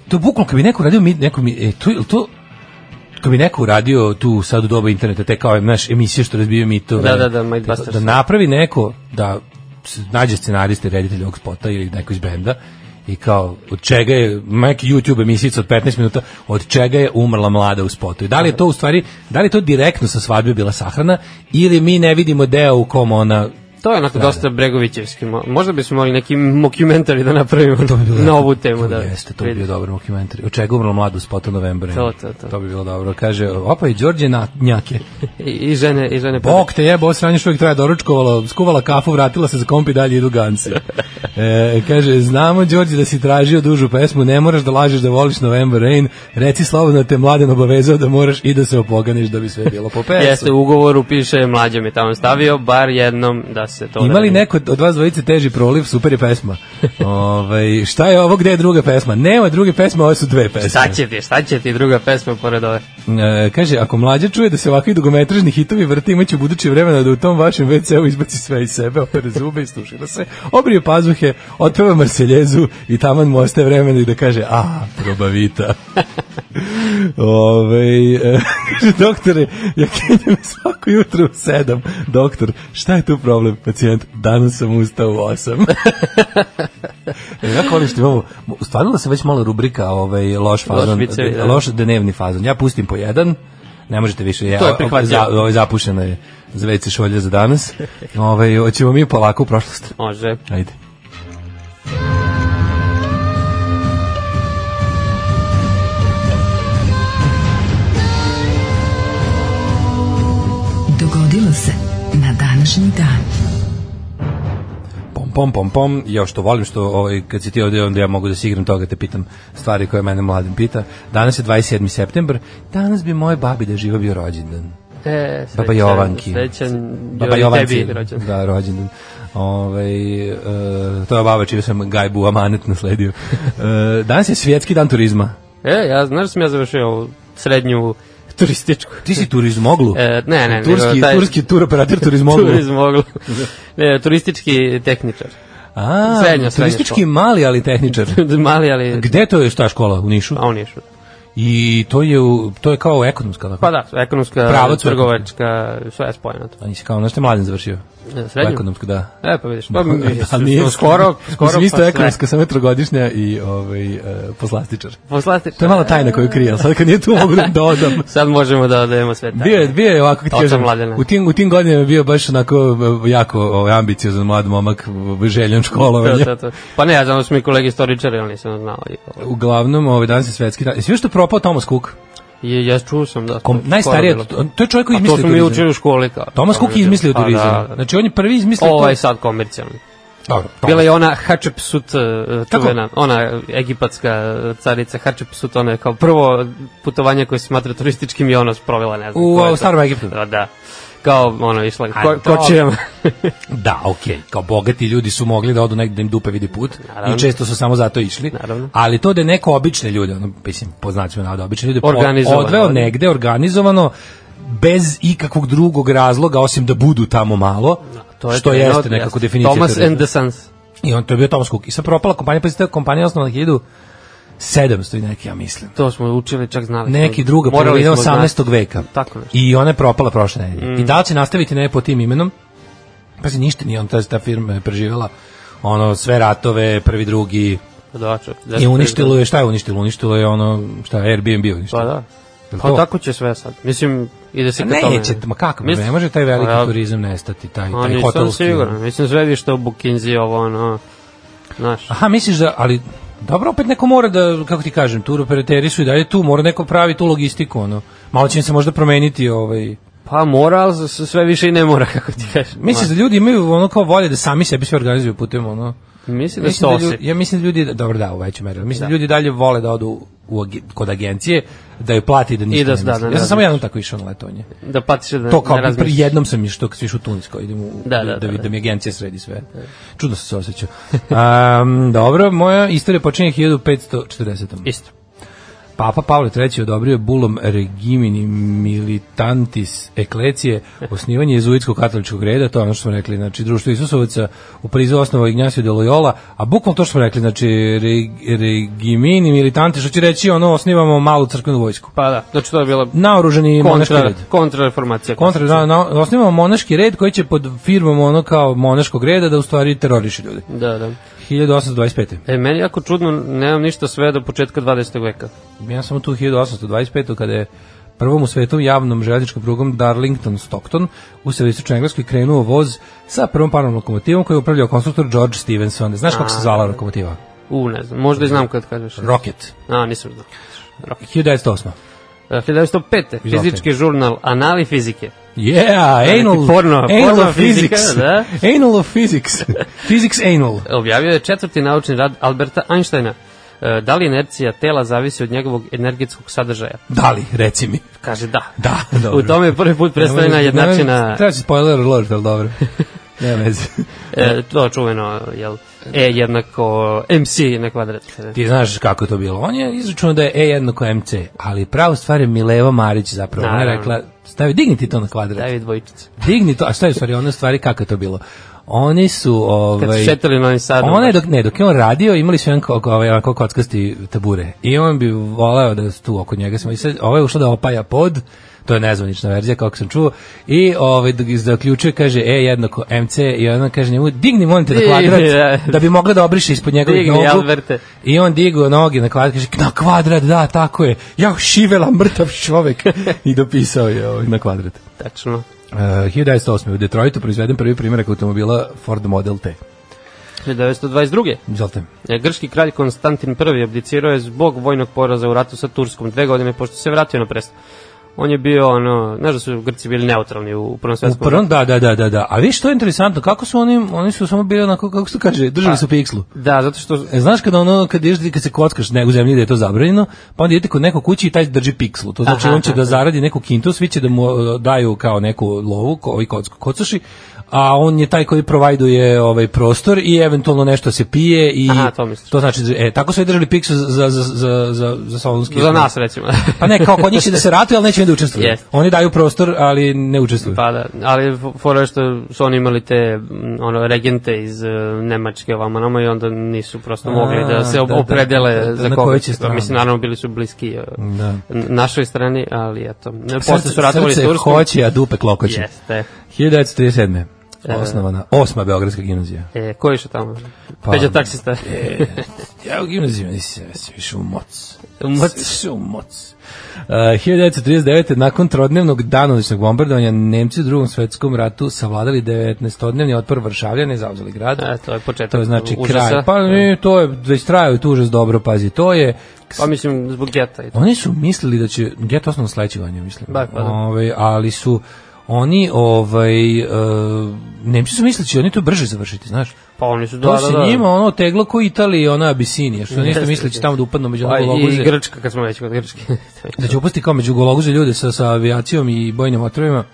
To je bukvalno, kad bi neko uradio, mi, neko mi, e, to, je- jel to, kad bi neko uradio tu sad u doba interneta, te kao, znaš, emisije što razbijaju mitove.
Da, da, da, Mythbusters.
Da napravi neko, da s- nađe scenariste, reditelj ovog spota ili neko iz benda, i kao, od čega je, neki YouTube emisijica od 15 minuta, od čega je umrla mlada u spotu. I da li je to u stvari, da li je to direktno sa svadbe bila sahrana, ili mi ne vidimo deo u kom ona
To je onako dosta Bregovićevski. mo- Možda bismo mogli neki mockumentary da napravimo
To bi bilo
na
jako-
ovu temu.
to
da,
Jeste, to bi bio dobar dokumentari. Od čega umrlo mlado spota novembra.
To, to, to.
To bi bilo dobro. Kaže, opa i Đorđe na, njake.
I, I žene, i žene.
Bog te jebo, sranje što uvijek traje doručkovala, skuvala kafu, vratila se za komp i dalje idu ganci. E, kaže, znamo Đorđe da si tražio dužu pesmu, ne moraš da lažeš da voliš November Rain, reci slobodno da te mladen obavezao da moraš i da se opoganiš da bi sve bilo po pesmu.
Jeste, u ugovoru piše, mlađe mi je tamo stavio, bar jednom da se to...
Ima li
odradi.
neko od vas dvojice teži proliv, super je pesma. Ove, šta je ovo, gde je druga pesma? Nema druge pesme, ove su dve pesme.
Šta će ti, šta će ti druga pesma pored ove?
E, kaže, ako mlađa čuje da se ovakvi dugometražni hitovi vrti, imaće u buduće vremena da u tom vašem WC-u izbaci sve iz sebe, opere zube i stušira se, obrije pazuhe, otpeva Marseljezu i taman mu ostaje vremena i da kaže, a, probavita. Ove, e, kaže, doktore, ja kenjam svako jutro u sedam. Doktor, šta je tu problem? Pacijent, danas sam ustao u osam. E, ja volim što imamo, stvarila se već malo rubrika ovaj, loš fazon, loš,
vicevi, da.
loš dnevni fazon. Ja pustim po jedan, ne možete više, ja,
To je prihvatljivo.
Za, ovaj, zapušeno je za WC šolje za danas. Ovaj, hoćemo mi polako u prošlost.
Može.
Ajde.
Dogodilo se na današnji dan.
Pom, pom, pom, pom. Ja što volim što ovaj, kad si ti ovde, onda ja mogu da si igram toga, te pitam stvari koje mene mladen pita. Danas je 27. september. Danas bi moje babi da je živa bio rođendan.
E, srećan,
Baba Jovanki.
Srećan,
Baba
Jovanki.
Jovanci.
Tebi rođen.
Da, rođendan. Ove, e, to je baba čiju sam gajbu amanet nasledio. E, danas je svjetski dan turizma.
E, ja, znaš da sam ja završio ovu srednju turističku.
Ti si turizmoglu?
E, ne, ne,
turski,
nego taj-
turski tur operator turizmoglu.
Turizmoglu. ne, turistički tehničar.
A,
Srednja, srednja
turistički
škola.
mali, ali tehničar.
Mali, ali...
Gde to je šta škola u Nišu?
A on je išao.
I to je, u, to je kao ekonomska. Tako?
Pa da, ekonomska,
Pravac-
trgovačka, sve je spojeno to.
A nisi Znači, kao, nešto mladen završio?
E, Srednju?
Ekonomsku, da.
E, pa vidiš, pa,
A
mi,
nije-
skoro, skoro
Mislim, isto
pa sve.
ekonomska, samo je trogodišnja i ovaj, e, poslastičar.
Poslati.
To je mala tajna koju krije, ali sad kad nije tu mogu da dodam.
Sad možemo da odajemo sve tajne.
Bio je, bio je ovako, kako ti
Oca
kažem,
Mladena.
u tim, u tim godinama je bio baš onako e, jako ovaj, ambiciozan mlad momak, v- željen školovanja.
To, to, to. Pa ne, ja znam da su mi kolege istoričari, ali nisam znao. I, ovo.
Uglavnom, ovaj danas je svetski dan. Svi što je propao Thomas Cook,
I, ja čuo sam da...
kom,
skoro
najstariji,
bilo.
od- to je čovjek koji
A to
izmislio
smo mi
turizam.
učili u školi. Kao,
Thomas Cook je izmislio
Pa,
turizam.
da, Ovaj da.
Znači, on je prvi izmislio
Ovo je
to.
sad komercijalni.
Dobro, Thomas
Bila je ona Hatshepsut eh, čuvena, ona egipatska eh, carica Hatshepsut, ona je kao prvo putovanje koje se smatra turističkim i ona sprovela, ne znam.
U,
ko je
a, u
to.
starom Egiptu?
Da, da. Kao ono išla ko,
Ajde, to-
kočijama.
Da, okej, kao bogati ljudi su mogli da odu negde da im dupe vidi put
Naravno.
i često su samo zato išli.
Naravno.
Ali to da je neko obične ljude, ono, mislim, poznaćemo navode, obične ljude, po-
Organizovano.
odveo negde organizovano, bez ikakvog drugog razloga osim da budu tamo malo,
To je
što
jedna
jeste
od-
nekako
jeste.
definicija.
Thomas
terorizma.
and the Sons.
I on to je bio Thomas Cook. I sad propala kompanija, pa ta kompanija je osnovana 1700 i neki, ja mislim.
To smo učili, čak znali.
Neki druga
Morali
polovina
smo znati.
18. veka.
Tako Mm. nešto.
I ona je propala prošle nedelje. I da li će nastaviti ne po tim imenom? Pa se ništa nije, on ta, ta firma je preživjela ono sve ratove, prvi, drugi
Da, čak,
i uništilo je, šta je uništilo? Uništilo je ono, šta je Airbnb je uništilo.
Pa da.
Jel
Pa
to?
tako će sve sad. Mislim, ide se
A
ka tome.
Neće, ma kako,
Mislim-
ne može taj veliki
Pa ja-
turizam nestati, taj,
Pa
taj
nisam
hotelski. ono.
siguran. Mislim, sve više to Bukinzi, ovo, ono, znaš.
Aha, misliš da, ali dobro, opet neko mora da, kako ti kažem, tur operateri su i dalje tu, mora neko pravi tu logistiku, ono. Malo će im se možda promeniti, ovaj.
Pa mora, ali s- sve više i ne mora, kako ti kažeš.
Misliš da ljudi imaju ono kao volje da sami sebi sve organizuju putem, ono.
Ma, mislim da se
Mislim da ljudi,
osjeti.
ja mislim da ljudi, dobro da, u većoj meri, ali mislim da. ljudi dalje vole da odu u, ag- kod agencije, da ju plati i da ništa
I da-
ne
da,
misle.
da,
ja
da,
sam samo
da.
jednom tako išao na letovanje.
Da patiš da
To kao
ne
pri
razmišljaš.
jednom sam išao kad sam išao u Tunisko, idem u,
Da,
da,
da,
da,
da,
da,
da.
da mi agencija sredi sve. Čudno sam se osjećao. Um, dobro, moja istorija počinje 1540.
Isto.
Papa Pavle III. odobrio je bulom regimini militantis eklecije osnivanje jezuitskog katoličkog reda, to je ono što smo rekli, znači društvo Isusovaca u Parizu osnovao Ignacio de Loyola, a bukvalno to što smo rekli, znači reg, regimini militanti, što će reći, ono, osnivamo malu crkvenu vojsku.
Pa da, znači to je bila
Naoruženi monaški
kontra,
red.
kontrareformacija.
Kontra, da, na, osnivamo monaški red koji će pod firmom ono kao monaškog reda da u stvari teroriše ljude.
Da, da.
1825.
E, meni je jako čudno, nemam ništa sve do početka 20. veka.
Ja sam tu 1825. kada je prvom u svetom javnom železničkom prugom Darlington Stockton u severoistočnoj Engleskoj krenuo voz sa prvom parnom lokomotivom koju je upravljao konstruktor George Stevenson. Znaš kako se zvala lokomotiva?
U, ne znam, možda i znam kad kažeš.
Rocket.
A, nisam znao. E, Rocket.
1908.
E, 1905. Fizički žurnal Anali fizike.
Yeah, anal,
Porno-
anal
porno
of
fizika,
physics.
da.
Anal of physics. physics anal.
Objavio je četvrti naučni rad Alberta Einsteina. E, da li inercija tela zavisi od njegovog energetskog sadržaja?
Da li, reci mi.
Kaže da.
Da, dobro.
U tome je prvi put predstavljena
Nemoj- nemoj-
jednačina
Treba se spoiler alert, ali dobro. Nema veze.
E, to čuveno, jel, E jednako MC na kvadrat.
Ti znaš kako je to bilo. On je izračunao da je E jednako MC, ali pravu stvar je Mileva Marić zapravo. Ona je
Naravno.
rekla, stavi, digni ti to na kvadrat.
Davi dvojčicu.
Digni to, a šta je u stvari, one stvari kako je to bilo? Oni su,
Kad su
ovaj,
šetali na ovim sadom.
ona je dok, ne, dok je on radio, imali su jedan ko, ko- ovaj, onako kockasti tabure i on bi voleo da su tu oko njega smo i sad, ovaj je ušao da opaja pod, to je nezvanična verzija kako sam čuo i ovaj dok- zaključuje kaže E jednako MC i ona kaže njemu digni molim te na
Digni,
kvadrat
da.
da bi mogla da obriše ispod njegovih
Digni,
nogu
Alberte.
I on digao noge na kvadrat, kaže, na kvadrat, da, tako je. Ja šivela mrtav čovek. I dopisao je ovaj, na kvadrat.
Tačno.
Uh, 1908. u Detroitu proizveden prvi primjerak automobila Ford Model T.
1922.
Izvolite.
E, Grčki kralj Konstantin I abdicirao je zbog vojnog poraza u ratu sa Turskom dve godine pošto se vratio na presto. On je bio, ono, znaš da su Grci bili neutralni u prvom
U
svetskom
prvom, da, da, da, da, da. A vidiš što je interesantno, kako su oni, oni su samo bili onako, kako se to kaže, držali su pikslu.
Da, zato što
E, znaš kada ono, kad ideš, kad se kockaš ne, u zemlji da je to zabranjeno, pa onda idete kod nekog kući i taj drži pikslu. To znači
Aha,
on će
aha.
da zaradi neku kintu, svi će da mu e, daju kao neku lovu, ko, ovi kocku kocoši, a on je taj koji provajduje ovaj prostor i eventualno nešto se pije i
Aha, to misliš.
to znači e tako su i držali Pixu za za za za za salonski
Za nas, recimo.
pa ne kao kod njih će da se ratuje ali neće da učestvuju
Jeste.
oni daju prostor ali ne učestvuju
Pa da, ali f- fora je što su oni imali te mm, ono, regente iz e, Nemačke ovamo nama i onda nisu prosto
A,
mogli da se ob-
da, da,
opredele
da, da,
za
na
koga
koju
će
će
to.
stranu.
Mislim, naravno bili su bliski e,
Da.
n- našoj strani, ali eto. Posle
Srce,
su ratovali s
srce
Turskom.
hoće, a dupe klokoće.
Jeste.
1937. Osnovana, osma Beogradska gimnazija.
E, ko je išao tamo?
Pa,
Peđa taksista.
E, ja u gimnaziju nisam se više u moc.
U moc.
Više u moc. Uh, 1939. nakon trodnevnog danovičnog bombardovanja Nemci u drugom svetskom ratu savladali 19-odnevni otpor Varšavljane i zauzeli grad.
E, to je početak
To je znači
užasa.
kraj. Pa ne, to je već trajao je tu užas dobro, pazi, to je
Pa mislim, zbog geta i to.
Oni su mislili da će Get osnovno sledeće godine, mislim.
Da, pa da.
Ovaj, ali su oni ovaj uh, Nemci su mislili da će oni to brže završiti, znaš.
Pa oni su
To da, se da, da. njima ono teglo ko Italija i ona Abisinija, što ništa
Jeste,
mislili da će
jeste.
tamo da upadnu među
Pa
pa,
i
gologuze.
Grčka, kad smo već kod Grčke.
Da će upasti kao među gologuze ljude sa, sa avijacijom i bojnim otrovima.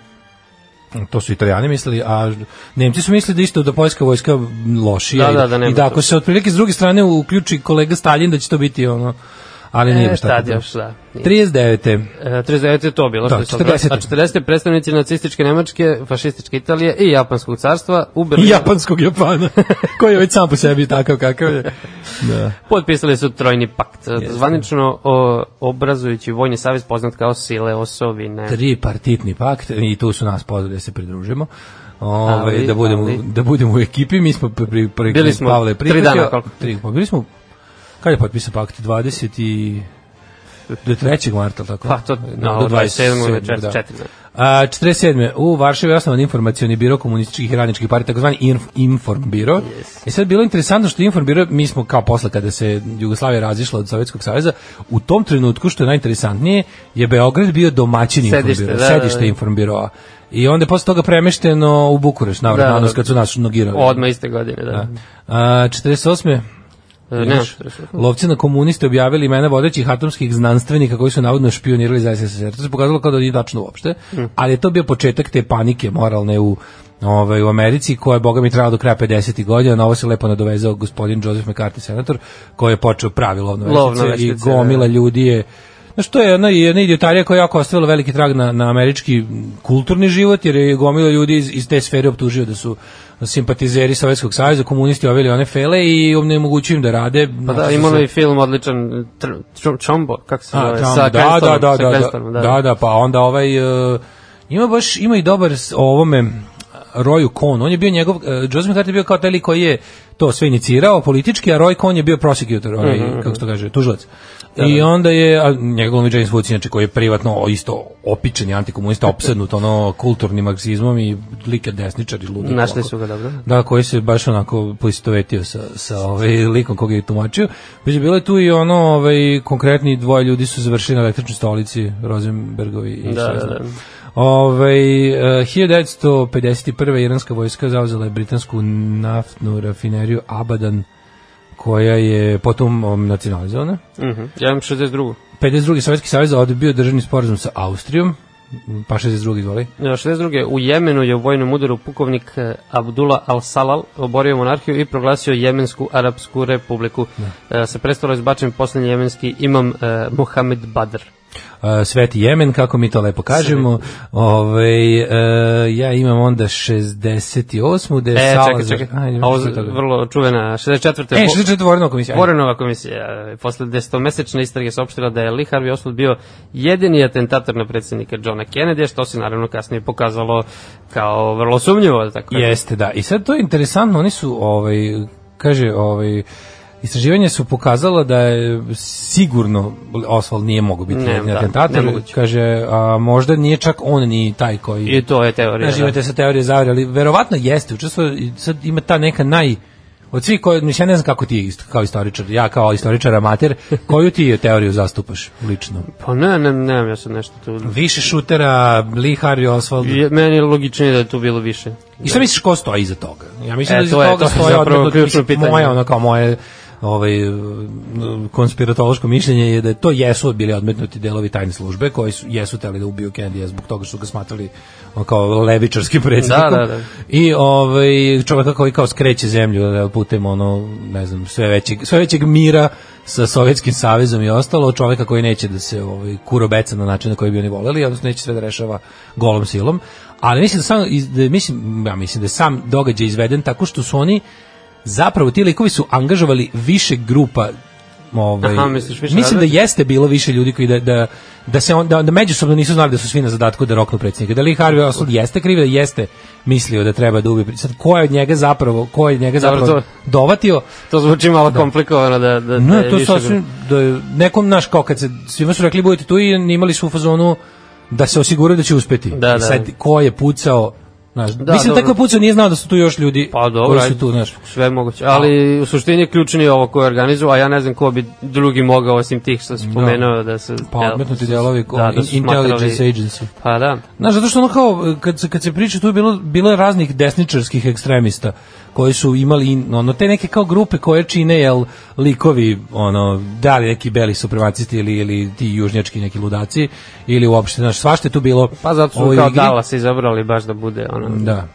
To su italijani mislili, a Nemci su mislili da isto da poljska vojska lošija
Da,
i
da, da nema
i da
to.
ako se otprilike s druge strane uključi kolega Stalin da će to biti ono, ali nije
E,
baš tako.
tad još, da. Nije.
39.
E, 39 je to bilo.
Da,
što je sad-
40.
A 40. predstavnici nacističke Nemačke, fašističke Italije i Japanskog carstva u Berlinu
I japanskog Japana, koji je već sam po sebi takav kakav je. Da.
potpisali su trojni pakt. Zvanično o, obrazujući vojni savez poznat kao sile osovine.
Tri partitni pakt i tu su nas pozvali da se pridružimo. Ove,
Ali,
da, budemo,
ali.
da budemo u ekipi, mi smo pri, pri, pri,
Bili smo
Pavle
tri
prihvatio.
dana, koliko?
Tri, pa bili smo, kad je potpisan pakt? 20 i... Do 3. marta, tako?
Pa to, no,
do
27.
27.,
večer, da. 4.
A, 47. U Varšavi je osnovan informacioni biro komunističkih i radničkih partija, takozvani Inf Inform biro. Yes. I sad bilo je interesantno što Inform biro, mi smo kao posle kada se Jugoslavija razišla od Sovjetskog saveza, u tom trenutku, što je najinteresantnije, je Beograd bio domaćin
Sedište,
Inform biro,
da, da, da.
sedište Inform biroa. I onda je posle toga premešteno u Bukurešt, navrat,
Da,
da,
da.
nanos, kad su nas nogirali.
Odma iste godine, da.
Da. A, 48.
E, ne, 48.
Lovci na komuniste objavili imena vodećih atomskih znanstvenika koji su navodno špionirali za SSSR. To se pokazalo kao da nije tačno uopšte,
Hm.
ali je to bio početak te panike moralne u ovaj, u Americi, koja je, boga mi, trajala do kraja 50. godina, na ovo se lepo nadovezao gospodin Joseph McCarthy, senator, koji je počeo pravi lovno
Lovno
veštice i
veštice,
gomila ljudi je Znaš, to je jedna, jedna idiotarija koja je jako ostavila veliki trag na, na američki kulturni život, jer je gomila ljudi iz, iz te sfere optužio da su simpatizeri Sovjetskog saveza, komunisti oveli one fele i onemogućuju im da rade.
Pa da,
Znači,
imalo
se-
je i film odličan tr- Tr- Chombo, kako se
A,
zove,
tamo, da,
sa
da,
Cranstonom,
da,
sa
da,
Cranstonom,
da, da, da, pa onda ovaj, uh, ima baš, ima i dobar s- o ovome Roju Kohn, on je bio njegov, uh, Joseph McCarthy je bio kao taj lik koji je to sve inicirao politički, a Roy Kohn je bio prosecutor, ovaj,
Mhm,
mm -hmm. kako se to kaže, tužilac. Da, I onda je, a njega glumi James Woods, inače koji je privatno o, isto opičen i antikomunista, opsednut ono kulturnim marksizmom i lika desničar i ludi.
Našli
ovako.
su ga, dobro.
Da, koji se baš onako poistovetio sa, sa ovaj likom koga je tumačio. Među bilo je tu i ono, ovaj, konkretni dvoje ljudi su završili na električnoj stolici, Rosenbergovi i
Da,
šta ja
da,
znam.
da.
Ovaj, eh, 1951. iranska vojska zauzela je britansku naftnu rafineriju Abadan, koja je potom um, nacionalizovana.
Mhm. Ja imam 62.
52. Sovjetski savez odbio državni sporazum sa Austrijom, pa 62. izvoli.
E, 62. U Jemenu je u vojnom udaru pukovnik e, Abdullah al-Salal oborio monarhiju i proglasio Jemensku arapsku republiku. Da. Sa prestola je izbačen poslednji jemenski imam e, Mohamed Badr.
Uh, Sveti Jemen, kako mi to lepo kažemo. Ove, uh, ja imam onda 68. Gde
E,
je Salazar.
čekaj, čekaj.
Ajde,
A ovo
što je toga?
vrlo čuvena 64.
E,
Bo-
64. Vorenova komisija. Ajde.
Vorenova komisija e, posle desetomesečne istrage saopštila da je Lee Harvey Oswald bio jedini atentator na predsednika Johna Kennedy, što se naravno kasnije pokazalo kao vrlo sumnjivo. da Tako kažem.
Jeste, da. I sad to je interesantno, oni su, ovaj, kaže, ovaj, istraživanje su pokazala da je sigurno Oswald nije mogao biti
Ne,
ne,
da,
atentator.
nemoguće.
kaže, a možda nije čak on ni taj koji...
I to je teorija.
Znaš, imate sa teorije zavere, ali verovatno jeste, učestvo, sad ima ta neka naj, od svih koji, mislim, ja ne znam kako ti ist- kao istoričar, ja kao istoričar amater, koju ti teoriju zastupaš lično?
Pa ne, ne, nemam ja sad nešto tu.
Više šutera, Lee Harvey Oswald,
Je, meni je logičnije da je tu bilo više.
I šta misliš ko stoji iza toga? Ja mislim
E,
da iza
to je-
toga
to je
stoje
zapravo
odmetno
ključno
mislim,
pitanje.
Moje, ono kao moje ovaj, konspiratološko mišljenje je da je to jesu bili odmetnuti delovi tajne službe koji su, jesu teli da ubiju Kennedy zbog toga što su ga smatrali ono, kao levičarskim predsjednikom.
Da, da, da.
I ovaj, čovjeka koji kao skreće zemlju da, putem ono, ne znam, sve većeg, sve većeg mira sa Sovjetskim savezom i ostalo, čovjeka koji neće da se ovaj, kurobeca na način na koji bi oni voleli, odnosno neće sve da rešava golom silom. Ali mislim da, sam, iz- da, je- mislim, ja mislim da je sam događaj izveden tako što su oni zapravo ti likovi su angažovali više grupa ovaj
Aha, misliš, više
mislim da
različitih?
jeste bilo više ljudi koji da da da se on, da, da međusobno nisu znali da su svi na zadatku da roknu predsjednika. Da li Harvey Oswald jeste kriv, da jeste mislio da treba da ubije predsjednika. Sad ko je od njega zapravo, ko je od njega
Dobro,
zapravo dovatio?
To zvuči malo komplikovano da, da, da
No,
je
to
E, više
sasvim, da je nekom, naš kao kad se, svima su rekli budite tu i imali su u fazonu da se osiguraju da će uspeti.
Da,
I
da.
sad, ko je pucao, znaš, mislim da
dobro.
tako je pucao, nije znao da su tu još ljudi
Pa dobro,
koji su
ajde,
tu, znaš.
sve je moguće. Ali u suštini je ključni ovo ko je organizuo, a ja ne znam ko bi drugi mogao osim tih što si spomenuo da, se...
Pa
jel,
odmetnuti
su-
delovi da,
su
intelligence
smatrali-
agency.
Pa da.
Znaš, zato što ono kao, kad, se- kad se priča, tu je bilo, bilo je raznih desničarskih ekstremista koji su imali in- ono, te neke kao grupe koje čine jel, likovi, ono, da li neki beli supremacisti ili, ili ti južnjački neki ludaci ili uopšte, znaš, svašta je tu bilo.
Pa zato su
ovoj
kao
igri.
Dallas izabrali baš da bude ono...
Da.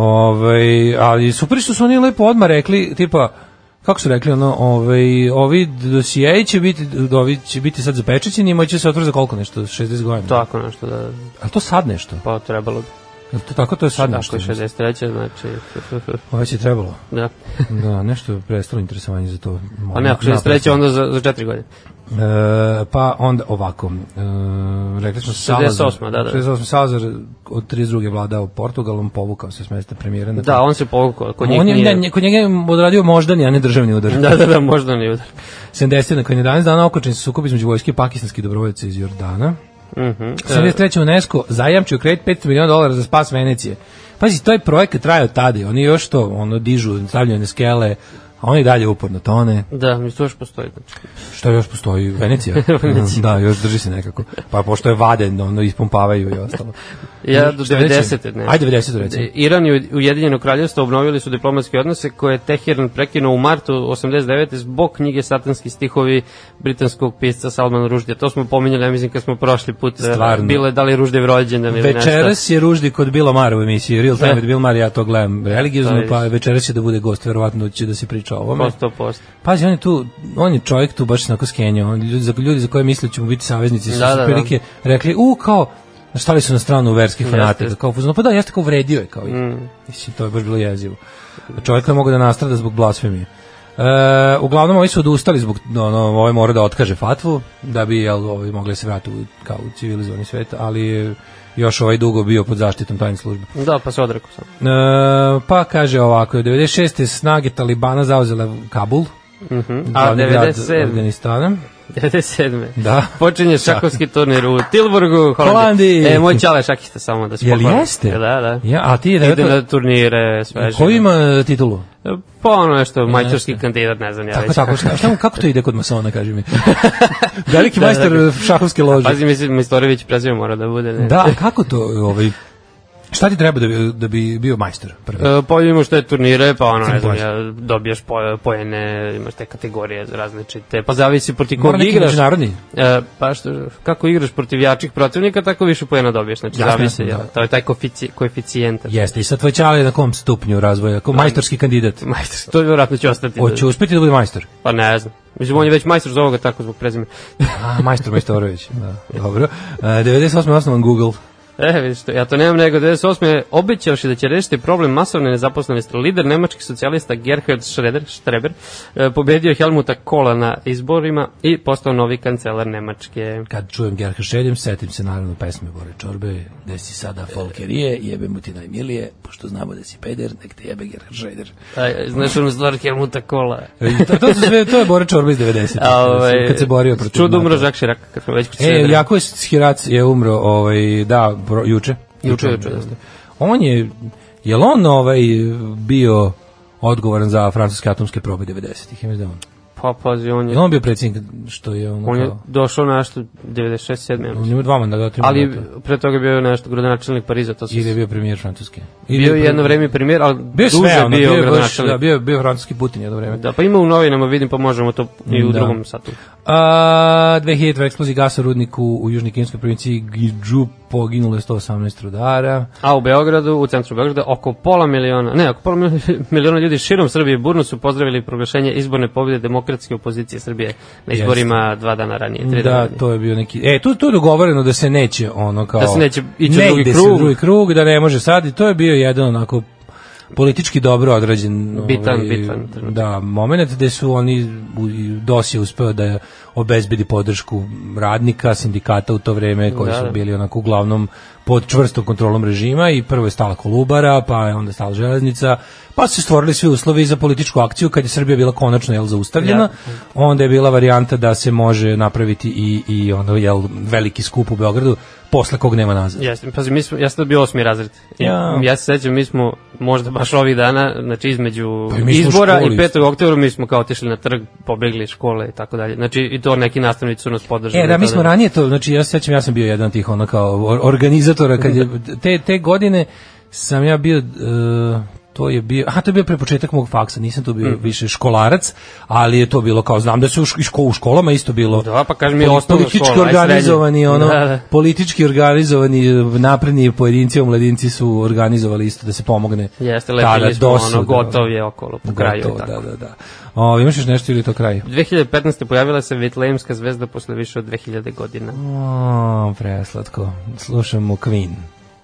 Ovaj, ali super što su oni lepo odmah rekli, tipa, kako su rekli, ono, ovaj, ovi dosijeji će biti, ovi će biti sad zapečećeni i moći se otvori za koliko nešto, 60 godina.
Tako nešto da
Ali to sad nešto?
pa trebalo bi.
Jel to tako to je sad
Tako
nešto?
Pa je 63. znači...
Ovo već je trebalo.
da.
Da, nešto je prestalo interesovanje za to.
Pa ne, ako 63. onda za, za 4 godine.
E, pa onda ovako, e, rekli smo
68.,
Salazar-
da, da.
68. Salazar od 32. vladao Portugalom, povukao se s mesta premijera. na-
Da, on se povukao, kod njih
on je,
nije...
ne, kod njega je odradio moždani, a ne državni udar.
Da, da, da, možda ni udar.
70. na koji je danas dana okočen se sukob između vojske i pakistanskih dobrovoljaca iz Jordana.
Mhm. E,
73. UNESCO zajamčio kredit 500 miliona dolara za spas Venecije. Pazi, to je projekat trajao tada. i Oni još to, ono, dižu, stavljaju na skele, a oni dalje uporno tone.
Da, mi to još postoji. Znači.
Šta još postoji? Venecija?
Venecija.
da, još drži se nekako. Pa pošto je vaden, ono, ispumpavaju i ostalo.
Ja do
Šta reći?
90. ne. E,
Ajde, 90. recimo.
Iran i Ujedinjeno kraljevstvo obnovili su diplomatske odnose koje je Teheran prekinuo u martu 89. zbog knjige Satanski stihovi britanskog pisca Salman Ruždija. To smo pominjali, ja mislim, kad smo prošli put. e,
Stvarno.
Bilo je da li Ruždijev rođendan ili nešto.
Večeras je ruždi kod Bila Mara u emisiji Real Time
Da.
with Bill Mara, ja to gledam religiozno,
Da,
pa večeras će da bude gost, verovatno će da se priča o ovome.
Posto, posto.
Pazi, on je tu, on je čovjek tu baš onako skenjao. On, ljudi, za, ljudi za koje misle ćemo biti saveznici su
Da,
da,
da,
prilike rekli, u, kao, stali su na stranu verskih fanata.
jeste.
Kao, fuzon, pa da, jeste kao vredio je. Kao, mm. Mislim, to je baš bilo jezivo. Čovjek koji je mogao da nastrada zbog blasfemije. E, uglavnom, ovi su odustali zbog, ono, ovaj mora da otkaže fatvu, da bi, jel, ovi mogli da se vratiti u, kao u civilizovani svet, ali je još ovaj dugo bio pod zaštitom tajne službe.
Da, pa se odrekao sam.
E, pa kaže ovako, 96. snage Talibana zauzele Kabul,
Mhm. A
glavni grad
97.
Afganistana.
97.
Da.
Počinje šakovski turnir u Tilburgu, Holandiji.
Holandiji.
E, moj čale šakista samo da se
Jel
pohvalim.
jeste?
Da, da.
Ja, a ti
Pa. Ide
da
na turnire, sve
Ko
živo.
ima e, titulu?
Pa ono nešto, majčarski kandidat, ne znam ja
Tako,
već.
tako, šta, šta, mu- kako to ide kod masona, kaži mi? Veliki majster
da.
e, šahovske lože.
Pazi, mislim, Mistorović prezime mora da bude. Ne?
Da, a kako to, e, ovaj, šta ti treba da bi, da bi bio majster prvi?
E, pa vidimo što je turnire, pa ono, ne znam,
Bože.
ja, dobiješ po, pojene, imaš te kategorije različite, pa zavisi protiv
Mora
kog
neki
igraš.
međunarodni?
E, pa što, kako igraš protiv jačih protivnika, tako više pojena dobiješ, znači
Jasno,
zavisi,
jasno,
ja,
da.
to je taj koefici- koeficijent.
Jeste, i sad tvoj čale je na kom stupnju razvoja, kao majstorski kandidat.
Majstor, to vjerojatno će ostati.
Hoće uspjeti da bude majstor?
Pa ne znam. Mislim, on je već majstor za ovoga tako zbog prezime.
A, majstor Majstorović, da, dobro. E, 98. je osnovan Google.
E, vidiš to, ja to nemam nego 98. je obećavši da će rešiti problem masovne nezaposlenosti. Lider nemačkih socijalista Gerhard Schroeder, Streber, e, pobedio Helmuta Kola na izborima i postao novi kancelar Nemačke.
Kad čujem Gerha Šeljem, setim se naravno pesme Bore Čorbe, gde si sada folkerije, jebe mu ti najmilije, pošto znamo da si peder, nek te jebe Gerha Šeljem.
E, znaš onu stvar Helmuta Kola?
E, to, to, su sve, to je Bore Čorba iz 90.
Ovaj,
kad se borio protiv
Čudo umro
NATO.
Žak Širak, kad smo već kod
E,
Šredera.
Jako Hirac je umro, ovaj, da, bro, juče.
Juče,
on-
juče, jeste.
On je, je li on ovaj, bio odgovoran za francuske atomske probe 90-ih? Ja mislim da je on.
Pa, pazi, on
I
je,
on bio predsjednik što je ono
on je
kao...
došao na nešto 96 7 ja
On
mislim.
ima dva mandata, tri
Ali
mandata.
pre toga je bio nešto gradonačelnik Pariza, to se
Ili je bio premijer Francuske. Ili
bio je
pre-
jedno vreme premijer, ali
Bio sve,
duže
ono,
bio,
bio, je baš,
gradonačelnik.
da, bio, je- bio je francuski Putin jedno vreme.
Da, pa ima u novinama, vidim, pa možemo to i u
Da.
drugom satu.
A, 2000 eksplozija gasa u rudniku u južnoj kineskoj provinciji Gidžu poginulo je 118 rudara.
A u Beogradu, u centru Beograda, oko pola miliona, ne, oko pola mil- miliona ljudi širom Srbije burno su pozdravili proglašenje izborne pobjede demokratske opozicije Srbije na izborima dva dana ranije, tri dana
Da,
ranije.
to je bio neki... E, tu, tu je dogovoreno da se neće ono kao...
Da se neće ići u
ne
drugi
ide se
krug.
drugi krug, da ne može sad i to je bio jedan onako politički dobro odrađen ovaj,
Bitan, bitan trenutak.
da, moment gde su oni u- i DOS je uspeo da obezbedi podršku radnika, sindikata u to vreme koji
Da, da.
su bili onako uglavnom pod čvrstom kontrolom režima i prvo je stala Kolubara, pa je onda stala železnica, pa su se stvorili svi uslovi za političku akciju kad je Srbija bila konačno jel, zaustavljena,
Ja.
onda je bila varijanta da se može napraviti i, i ono, jel, veliki skup u Beogradu, posle kog nema nazad.
Jeste, pazi, mi smo, ja sam bio osmi razred. I
Ja.
Ja se sećam, mi smo možda baš ovih dana, znači između
Pa i mi smo u
izbora i
školi
5. oktobra mi smo kao otišli na trg, pobegli iz škole i tako dalje. Znači i to neki nastavnici su nas podržali.
E, da, mi
tada.
smo ranije to, znači ja se sećam, ja sam bio jedan od tih ono kao or- organizatora, kad je, te, te godine sam ja bio, e, to je bio, aha, to je bio pre početak mog faksa, nisam tu
Mm.
bio više školarac, ali je to bilo kao, znam da se u, ško- i ško- u školama isto bilo
Da, pa kažem, je osnovna
politički
škola, aj, srednje.
organizovani, ono,
Da, da.
politički organizovani e, napredni pojedinci, omladinci su organizovali isto da se pomogne.
Jeste, lepili smo,
DOS-u,
ono,
da,
gotov je okolo, po kraju i
Gotovo,
tako.
Da, da, da. O, imaš još nešto ili je to kraj?
2015. pojavila se Vitlejemska zvezda posle više od 2000 godina.
O, preslatko. Slušamo Queen.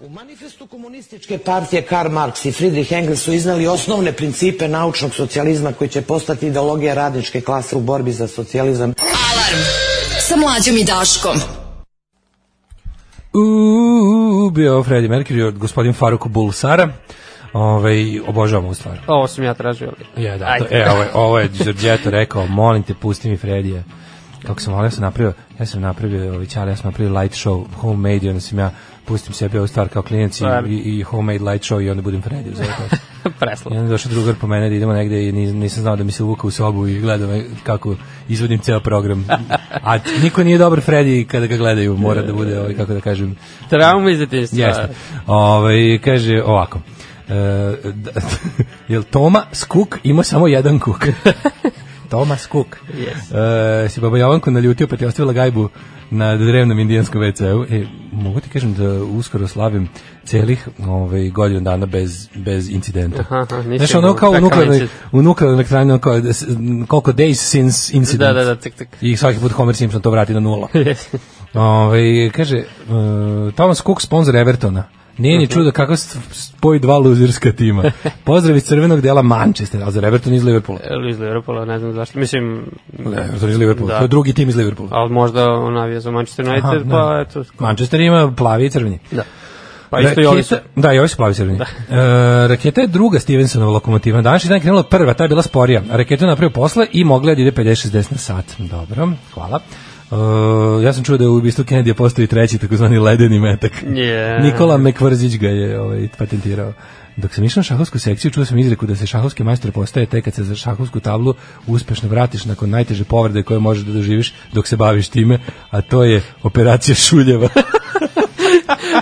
U manifestu komunističke partije Karl Marx i Friedrich Engels su iznali osnovne principe naučnog socijalizma koji će postati ideologija radničke klase u borbi za socijalizam.
Alarm sa mlađom i Daškom.
Uuu, bio Freddie Mercury od gospodin Faruk Bulsara. Ove, obožavam ovu stvar.
Ovo sam ja tražio.
Ja, da,
Ajde.
to, e, ovo, je- ovo je Giorgetto rekao, molim te, pusti mi Fredija. Kako sam, ali ja sam napravio, ja sam napravio, ovi čale, ja sam napravio light show, homemade, i onda sam ja, pustim sebi ovu stvar kao klinac i,
Stvarno.
i, i homemade light show i onda budem Freddy u zavratu. I
Preslo.
onda je došao drugar po mene da idemo negde i nis- nisam znao da mi se uvuka u sobu i gleda me kako izvodim ceo program. A niko nije dobar Freddy kada ga gledaju, mora da bude, ovaj, kako da kažem,
Trauma iz detinjstva.
Jeste. Ovaj kaže ovako. E, d- jel Toma Skuk ima samo jedan kuk? Toma Skuk. Yes. E, si baba Jovanku naljutio pa ti je ostavila gajbu na drevnom indijanskom WC-u. E, mogu ti kažem da uskoro slavim celih ovaj, godinu dana bez, bez incidenta.
Aha, aha, nisi
Znaš, ono
imao
kao u
takav
nuklearnoj,
incident.
u nuklearnoj elektrani, ono kao, da s- koliko days since incident.
Da, da, da, tak, tak.
I svaki put Homer Simpson to vrati na nula. Ove, kaže, uh, Thomas Cook sponsor Evertona. Nije ni čudo kako s- spoji dva luzirska tima. Pozdrav iz crvenog dela Manchester, a za Everton iz Liverpoola.
Ili iz Liverpoola, ne znam zašto. Mislim,
Ne, Everton iz Liverpoola.
Da.
To je drugi tim iz Liverpoola.
ali možda on navija za Manchester
Aha,
United,
da.
pa eto.
Manchester ima plavi i crveni.
Da. Pa isto i ovi su.
Raketa- Da, i ovi su plavi i crveni. E, raketa je druga Stevensonova lokomotiva. Danas je dan krenula prva, ta je bila sporija. A Raketu je napravio posle i mogla je da ide 50-60 na sat. Dobro, hvala. E, ja sam čuo da u ubistvu Kennedy postoji treći takozvani ledeni metak.
Je.
Nikola Mekvarzić ga je ovaj, patentirao. Dok sam išao na šahovsku sekciju, čuo sam izreku da se šahovski majstor postaje tek kad se za šahovsku tablu uspešno vratiš nakon najteže povrede koje možeš da doživiš dok se baviš time, a to je operacija šuljeva.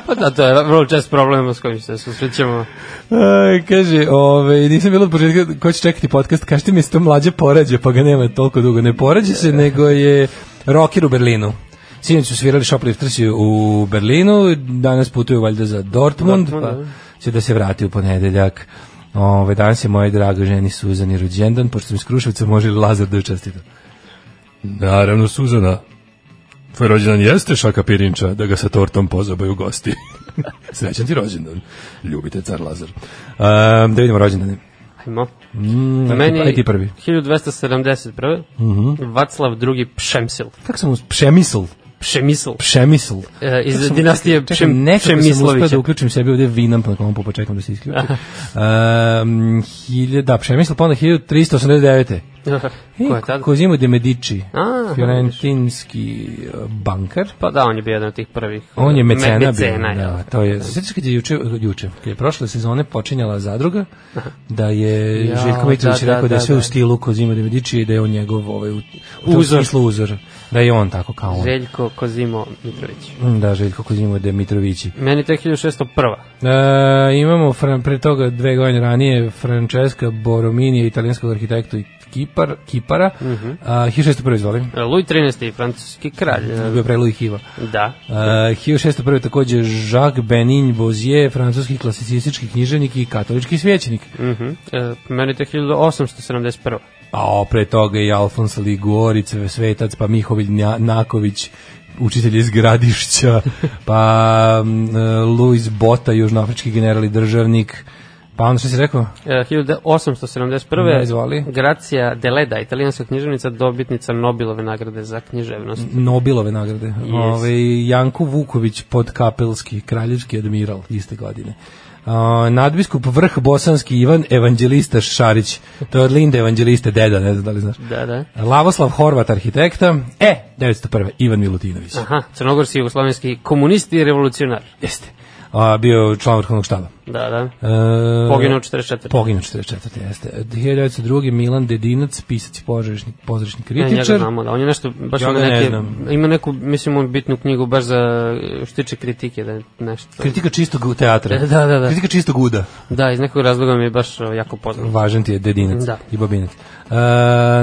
Pa da, to je vrlo čest problem s kojim se susrećemo.
Aj, kaže, ove, nisam bilo od početka ko će čekati podcast, kažete mi se to mlađe porađe, pa ga nema toliko dugo. Ne porađe se, nego je rocker u Berlinu. Sinoć su svirali Shoplifters u Berlinu, danas putuju valjda za Dortmund,
Dortmund,
pa će da se vrati u ponedeljak. Ove, danas je moje drago ženi Suzani rođendan, pošto sam iz Kruševca, može li Lazar da joj čestita?
Naravno, Suzana. Tvoj rođendan jeste šaka pirinča, da ga sa tortom pozabaju gosti. Srećan ti rođendan. Ljubite car Lazar.
Um, da vidimo rođendane.
Ajmo.
Mm, aj ti prvi. Mhm.
1271. Vaclav II. Pšemsil.
Kako sam us... Pšemisl.
Pšemisl.
Pšemisl.
E, iz dinastije
Čekaj,
Pšem,
nekako sam uspio
Pšemislovića.
da uključim sebi ovde vinam, pa kompu, pa čekam da se isključi. Um, hilje, da, Pšemisl, pa onda 1389.
Ko je tad?
Kozimo de Medici,
A,
fiorentinski eh,
e,
bankar.
Pa da, on je bio jedan od tih prvih.
On je
Me-
mecena,
mecena
bio.
je.
Da, to je. Sećaš kad je juče juče, kad je prošle sezone počinjala zadruga, da je
Ja,
Željko Mitrović
da, da,
rekao da, je
da,
sve
da.
u stilu Kozima de Medici i da je on njegov ovaj u, u
Uzor.
uzor. smislu uzor. Da je on tako kao on.
Željko Kozimo Mitrović.
Mm, Da, Željko Kozimo de Mitrovići.
Meni to je 1601.
E, imamo fran, pre toga dve godine ranije Francesca Borominija, italijanskog arhitekta i kipar, kipara. Mm -hmm. A, 1601, izvolim.
E, Louis XIII, francuski Mhm. kralj.
Bio je pre Louis Hiva.
Da.
Uh, 1601. takođe Jacques Benin Bozier, francuski klasicistički književnik i katolički svećenik.
Mhm. E, Meni to je 1871.
A o, pre toga i Alfons Ligoric, svetac, pa Mihovilj Nja- Naković, učitelj iz Gradišća, pa um, Louis Bota, južnoafrički general i državnik, pa onda što si rekao?
E, 1871.
Da, izvoli.
Gracija Deleda, italijanska književnica, dobitnica Nobelove nagrade za književnost.
Nobelove nagrade.
Yes.
Yes. Ove, Janko Vuković, podkapelski, kraljevski admiral iste godine. Uh, nadbiskup vrh bosanski Ivan Evanđelista Šarić. To je od Linde Evanđeliste deda, ne znam da li znaš.
Da, da.
Lavoslav Horvat arhitekta. E, 901. Ivan Milutinović.
Aha, crnogorski jugoslovenski komunist i revolucionar.
Jeste. A, bio je član vrhovnog štaba.
Da, da.
E,
Poginuo 44.
Poginuo 44. jeste. 1902. Milan Dedinac, pisac i pozorišni, pozorišni
Ne, E, njega
kritičar.
znamo, da. On je nešto, baš
Ja
ima,
ga ne
neke,
znam.
ima neku, mislim, on bitnu knjigu baš za e, što tiče kritike, da je nešto.
Kritika čistog teatra.
E, da, da, da.
Kritika čistog uda.
Da, iz nekog razloga mi je baš e, jako poznat.
Važan ti je dedinac
Da.
da. i babinac. E,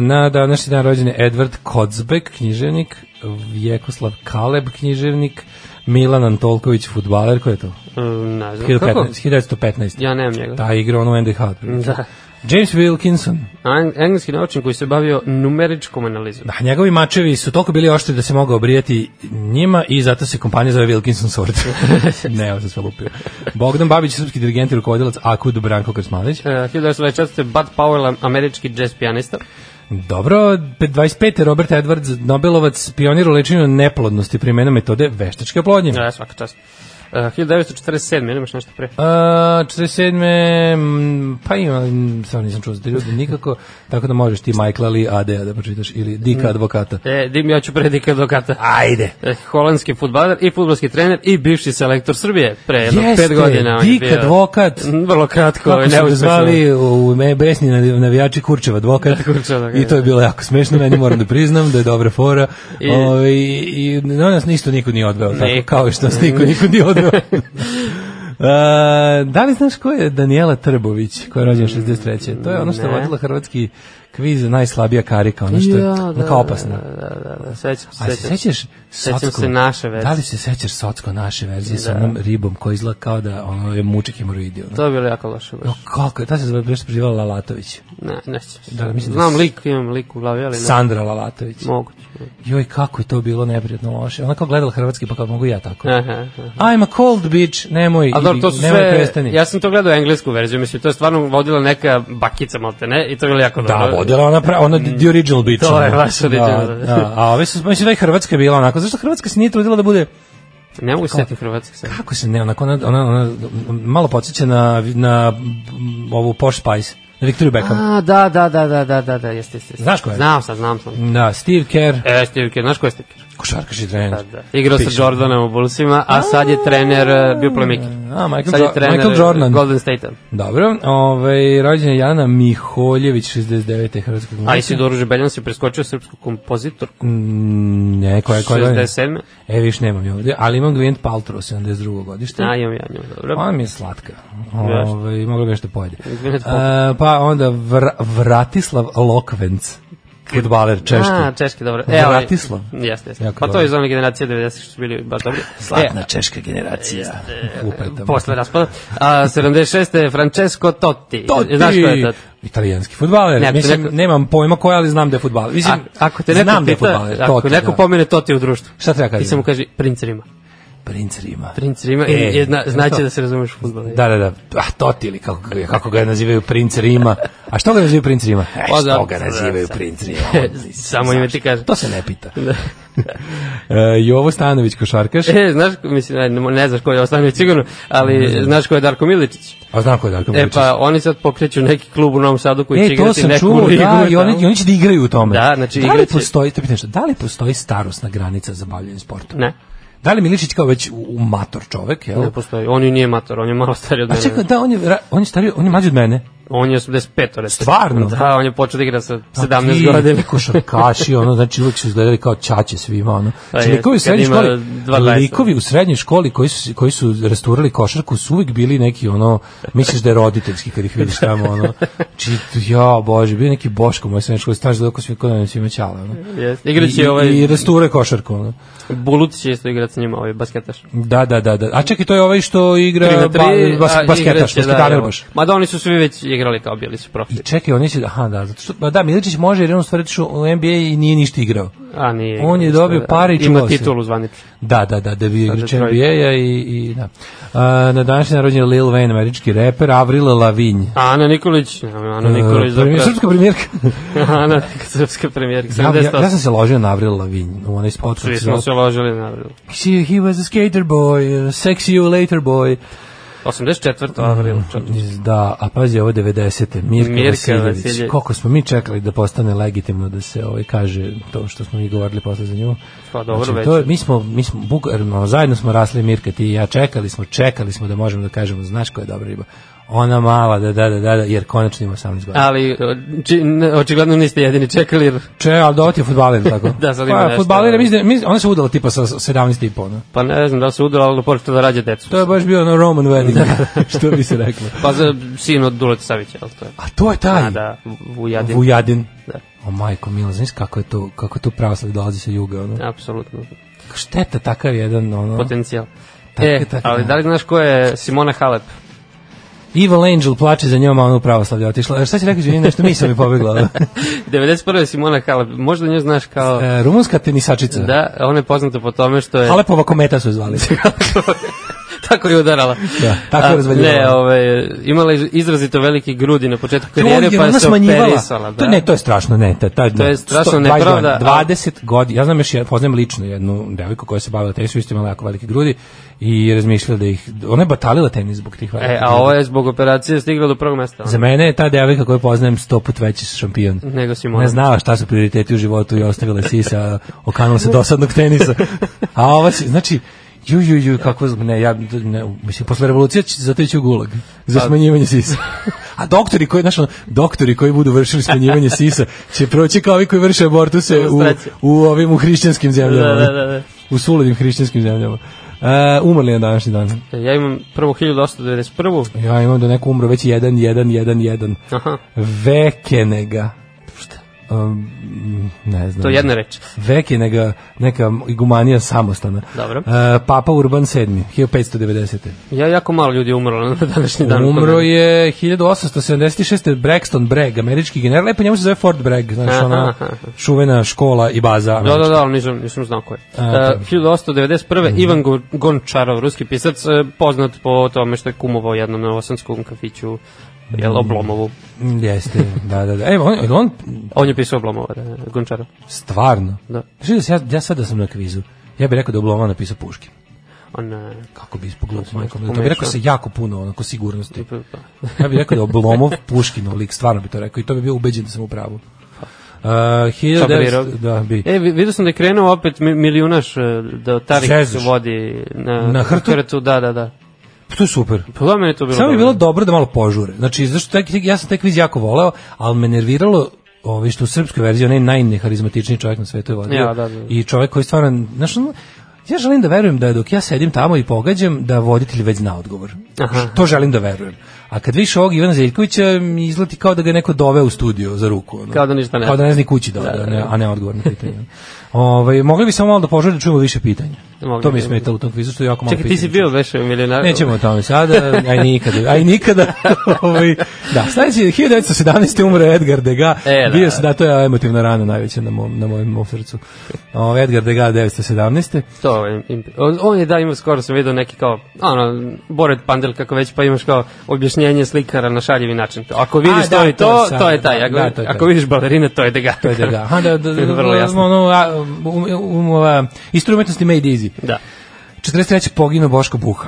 na današnji dan rođen je Edward Kocbek, književnik, Vjekoslav Kaleb, književnik, Milan Antolković, futbaler, ko je to?
E, Ne znam. Kako?
1915. 1915.
Ja nemam njega.
Ta igra ono u NDH. otprilike.
Da.
James Wilkinson.
Ang- Engleski naučnik koji se bavio numeričkom analizom. E,
Da, njegovi mačevi su toliko bili oštri da se mogao obrijati njima i zato se kompanija zove Wilkinson Sword. ne, ovo sam sve lupio. Bogdan Babić, srpski dirigent i rukovodilac Akud Branko Krsmanić.
E, 1924. Bud Powell, američki jazz pijanista.
Dobro, 25. Robert Edwards, Nobelovac, pionir u lečenju neplodnosti primjena metode veštačke oplodnje.
Da, svaka čast. E, 1947. ili imaš nešto pre.
Uh, 47. mm, Pa ima, mm, stvarno nisam čuo za te ljudi nikako, tako da možeš ti Michaela Lee AD-a da pročitaš ili Dika advokata.
E, dim, ja ću predika advokata. Ajde. E, holandski futbaler i futbolski trener i bivši selektor Srbije pre jedno
Jeste,
pet godina. on je
Dik
bio.
advokat.
Mm, Vrlo kratko,
Kako su ga
neuspešno.
zvali u me besni navi- navijači Kurčev advokat.
Kurčev advokat,
I to je bilo jako smešno, meni moram da priznam da je dobra fora.
I-
I, Ove, i, i no, nas nisto niko nije odveo, tako,
Niko.
kao što nas niko niko nije odveo. Uh, da li znaš ko je Daniela Trbović koja je rođena 63. To je ono što je
Ne.
vodila hrvatski kviz najslabija karika, ono što je ja, kao opasna.
Da, da, da, da, sećam se.
A se
sećam se.
sećaš
Sećam
Socko?
se naše verzije.
Da li se sećaš Socko naše verzije da. sa
Da.
onom ribom koja izgleda kao da ono je mučik hemoroidio?
To je bilo jako loše. Baš.
No kako, je, ta se zove nešto prezivala Lalatović.
Ne, ne sećam se.
Da, mislim da
Znam
s-
lik, imam lik u glavi, ali ne.
Sandra Lalatović.
Moguće.
Joj, kako je to bilo neprijatno loše. Ona kao gledala hrvatski, pa kao mogu i ja tako.
Aha, aha.
I'm a cold bitch, nemoj,
A dobro, to su
nemoj
sve,
prestani.
ja sam to gledao englesku verziju, mislim, to je stvarno vodila neka bakica, malte ne, i to je bilo jako dobro.
Da, vodila ona, pra, ona the original bitch.
Mm. To je
ono.
baš original.
Da, da. A ove su, mislim da je Hrvatska bila onako. Zašto Hrvatska se nije trudila da bude,
Ne mogu se setiti hrvatski sad.
kako se ne, onako, ona, ona, ona malo podsjeća na, na m, ovu Posh Spice, na Victoria Beckham.
A, da, da, da, da, da, da, da, jeste, jeste. jeste.
Znaš ko je?
Znam sad, znam sad.
Da, Steve Kerr,
E, Steve Kerr, znaš ko je Steve Kerr?
košarkaš i trener.
Da, da. Igrao sa
Piše.
Jordanom u Bullsima, a sad je trener, e, bio playmaker.
A, Mm, Michael,
Sad je
jo
trener e,
Michael Jordan.
Golden State-a.
Dobro, ovaj, rođena je Jana Miholjević, 69. hrvatskog
A
glumica.
Isidoru Žebeljan se preskočio srpsku kompozitorku.
Mm, Ne, koja, koja godine?
67.
E, viš nemam je ovde, ali imam Gwyneth Paltrow, 72. godište.
A, imam ja nju, dobro.
Ona mi je slatka.
Jasno.
Ove, mogla bi nešto pojede.
Gwyneth
E, pa onda Vr Vratislav Lokvenc, futbaler češki.
A, češki, dobro. E, ali-
Vratislav.
Jeste, jeste.
Jako
Pa to
dobro.
je iz one generacije 90 što su bili baš dobri.
Slatna češka generacija.
E,
Lupetam.
posle raspada. A, 76. Francesco Totti.
Totti!
Znaš ko je Totti?
Italijanski futbaler.
Ne, ako te
Mislim,
neko-
nemam pojma koja, ali znam da je futbaler. Mislim,
A, ako te neko
znam da je
pita,
futbaler.
ako
Totti,
neko
da.
pomene Totti u društvu,
Šta treba
ti
kažem?
samo kaži princer ima.
Princ Rima.
Princ Rima, e, jedna, znači da se razumeš u fudbal.
Da, da, da. Ah, Toti ili kako, ga- kako ga nazivaju princ Rima. A što ga nazivaju princ Rima? E,
Pa da,
što ga
da,
nazivaju
da.
princ Rima? On-
Samo ime ti kažem.
To se ne pita. E, Jovo Stanović košarkaš.
E, znaš, mislim, ne, ne znaš ko je Ostanović sigurno, ali znaš ko je Darko Miličić?
A znam ko je Darko
E
Miličić.
pa oni sad pokreću neki klub u Novom Sadu koji će
E, to
igrati
sam
neku
čuo,
ligu.
da, i
tamo.
oni, i oni će da igraju u tome.
Da, znači
da li
igraće-
postoji, to je pitanje, što, da li postoji starosna granica za bavljanje sportom?
Ne,
Da li Miličić kao već u- u mator čovek, jel?
ne postoji. On i nije mator, on je malo stariji od
A
mene.
čekaj, da, on je, ra- on je stariji, on je mlađi od mene.
On je 85, recimo.
Stvarno?
Da, on je počeo da igra sa
A
17
Pa ti,
godina.
Košarkaši, ono, znači uvek su izgledali kao čače svima, ono. Znači,
jest,
likovi u
Pa kad
srednjoj
ima
školi,
12.
likovi u srednjoj školi koji su, koji su rasturali košarku su uvek bili neki, ono, misliš da je roditeljski kad ih vidiš tamo, ono. Či, ja, bože, bio je neki Boško u mojoj srednjoj školi, staš da oko svi kod nam svima ćala, ono.
Jest.
I,
Igraće ovaj
i rasture košarku, ono.
Bulut će isto igrati s njima, ovaj basketaš.
Da, da, da, da. A čekaj, to je ovaj što igra
Tri na
ba,
tri,
bas,
a
basketaš,
igraće,
basketaner
evo.
baš.
Ma da, oni su svi već igrali kao bili su profi.
I čekaj, on neće, aha, da, zato što, ma da, Miličić može jer je on u stvari išao u NBA i nije ništa igrao.
A nije.
On je
ništa,
dobio
da.
pare i
Ima
čuvao se.
titulu zvaničnu.
Da, da, da, da bi igrač
Detroit.
NBA-a i, i da. A, na današnji narodin je Lil Wayne, američki reper, Avril Lavigne.
Ana Nikolić, ne, Ana Nikolić,
Uh, premijer, srpska premijerka.
Ana, srpska premijerka,
ja, ja, ja,
78.
sam se ložio na Avril Lavigne u onaj spot.
Svi
kad se
smo
zove-
se ložili na
He, he was a skater boy, uh, sexy you later boy.
84. avril. čovječe.
Da, a pazi ovo 90. Mirka,
Mirka
Vasiljević.
Vasiljević.
Koliko smo mi čekali da postane legitimno da se ovaj kaže to što smo mi govorili posle za nju.
Pa dobro
znači,
već.
to je, mi smo, mi smo bugarno, zajedno smo rasli Mirka ti i ja, čekali smo, čekali smo da možemo da kažemo znaš koja je dobra riba. Ona mala, da, da, da, da, da jer konačno ima 18 godina.
Ali, či, ne, očigledno niste jedini čekali, jer,
Če, ali da je fudbaler tako? Pa,
Da, sad ima nešto,
Fudbaler,
da.
mislim, mislim, ona se udala tipa sa 17 i po, no.
pa ne znam da se udala, ali počela da rađa decu.
To je baš bio ono Roman wedding, što bi se reklo.
Pa za sin od Duleta Savića, ali to je.
A to je taj.
A da, Vujadin.
Vujadin.
Da.
O majko mila, znaš kako je to, kako to pravoslav dolazi sa juga, ono.
Apsolutno.
Šteta takav jedan, ono.
Potencijal.
Tako
e,
je, tako je.
ali da li znaš ko je Simona Halep?
Evil Angel plače za njom, a ono u pravoslavlje otišla. E, Šta si rekao, živim nešto, mi ono? sam mi pobegla.
91. Simona Halep, možda nju znaš kao...
e, rumunska tenisačica.
Da, ona je poznata po tome što je...
Halepova kometa su je zvali.
tako je udarala.
Da, tako je
A,
razvaljivala.
Ne, ovaj, imala je izrazito velike grudi na početku karijere,
Joj, jer
pa je
ona
se
smanjivala.
operisala. Da.
To, ne, to je strašno, ne. Ta, ta,
To je strašno nepravda, ali-
20 godina, ja znam još, ja poznajem lično jednu devojku koja se bavila tenisom, isto imala jako velike grudi i razmišljala da ih, ona je batalila tenis zbog tih velikih
E, a ovo je zbog operacije stigla do prvog mesta. ono,
Za mene je ta devojka koju poznajem sto put veći šampion.
Nego Simona.
Ne znala šta su prioriteti u životu i ostavila je sisa, okanula se dosadnog tenisa. A ova se, znači, ju, ju, ju, kako, z- ne, ja, ne, mislim, posle revolucije će, zato ići u gulag,
Pa-
za smanjivanje sisa. A doktori koji, znaš, ono, doktori koji budu vršili smanjivanje sisa će proći kao ovi koji vrše abortuse u,
Ilustracija.
u ovim u hrišćanskim zemljama.
Da, da, da, da.
U suludim hrišćanskim zemljama. E, umrli je na današnji dan.
E, Ja imam prvo 1891.
Ja imam da neko umro već 1 1 1 1.
Aha,
Vekenega. Šta? Um, ne znam.
to je jedna reč.
Vekenega, neka igumanija samostana.
Dobro.
E, Papa Urban VII, 1590.
Ja jako malo ljudi je umrlo na današnji dan.
Umro je 1876. Braxton Bragg, američki general. Lepo njemu se zove Fort Bragg, znaš,
Aha,
ona
aha.
čuvena škola i baza.
Da,
američka.
da, da, ali nisam, nisam znao ko je. Uh,
A, Mhm.
1891. Ivan Go- Gončarov, ruski pisac, e, poznat po tome što je kumovao jednom na osanskom kafiću, jel, Oblomovu.
Mm, Jeste, da, da, da. Evo, on, jel on
On je pisao Oblomova, da, Gončarov.
stvarno.
Da.
Znaš da se ja, ja sad da sam na kvizu, ja bih rekao da je Oblomov napisao Puškin.
On, e,
Kako bi ispogledao,
sam
majko, mila,
pomešao.
to bi rekao sa jako puno, onako, sigurnosti.
tipa, da.
Ja bih rekao da je Oblomov Puškinov lik, stvarno bi to rekao i to bi bio ubeđen da sam u pravu. Uh, 1900,
Sabirov.
da, bi.
E, vi- vidio sam da je krenuo opet mi- milijunaš e, da Tarik
Zezuš.
se vodi na,
Na hrtu?
da, da, da.
Pa To je super.
Pa da, meni je to bilo
Samo bi bilo
dobro.
dobro da malo požure. Znači, zašto taj, ja sam taj kviz jako voleo, ali me nerviralo ovaj što u srpskoj verziji onaj najneharizmatičniji čovjek na svetu je vodio.
Ja, da, da.
I čovjek koji stvarno, znaš, ono, ja želim da verujem da dok ja sedim tamo i pogađam, da voditelj već zna odgovor.
Aha.
To želim da verujem. A kad viš ovog Ivana Zeljkovića, mi izleti kao da ga je neko doveo u studio za ruku. Ono.
Kao da ništa ne
Kao da
zna.
ne zna ni kući da, da, da, ne, a ne odgovor na pitanje. Ove, mogli bi samo malo da poželi da čujemo više pitanja.
Mogli
to mi
bi.
je smetalo u tom kvizu, što je jako malo
Čekaj, ti si
pitanja.
bio već milionar.
Nećemo o tome sada, aj nikada, aj nikada. ovaj, da, sledeći, 1917. umro Edgar Degas,
E, da.
bio se, da, to je emotivna rana najveća na mom, na mojem mom srcu. O, Edgar Degas, 917.
To je imp- on, on je da ima skoro sam video neki kao ono Bored Pandel kako već pa imaš kao objašnjenje slikara na šaljivi način. Ako vidiš
da,
to i
to je
to,
sad,
to je taj.
da,
Ako,
da, to je
ako
taj.
vidiš balerine to je Degas.
To je Degas. Aha, da, da, da, da,
Vrlo jasno.
Ono, a, um, um, ova, istorija umetnosti made easy.
Da.
43. poginuo Boško Buha.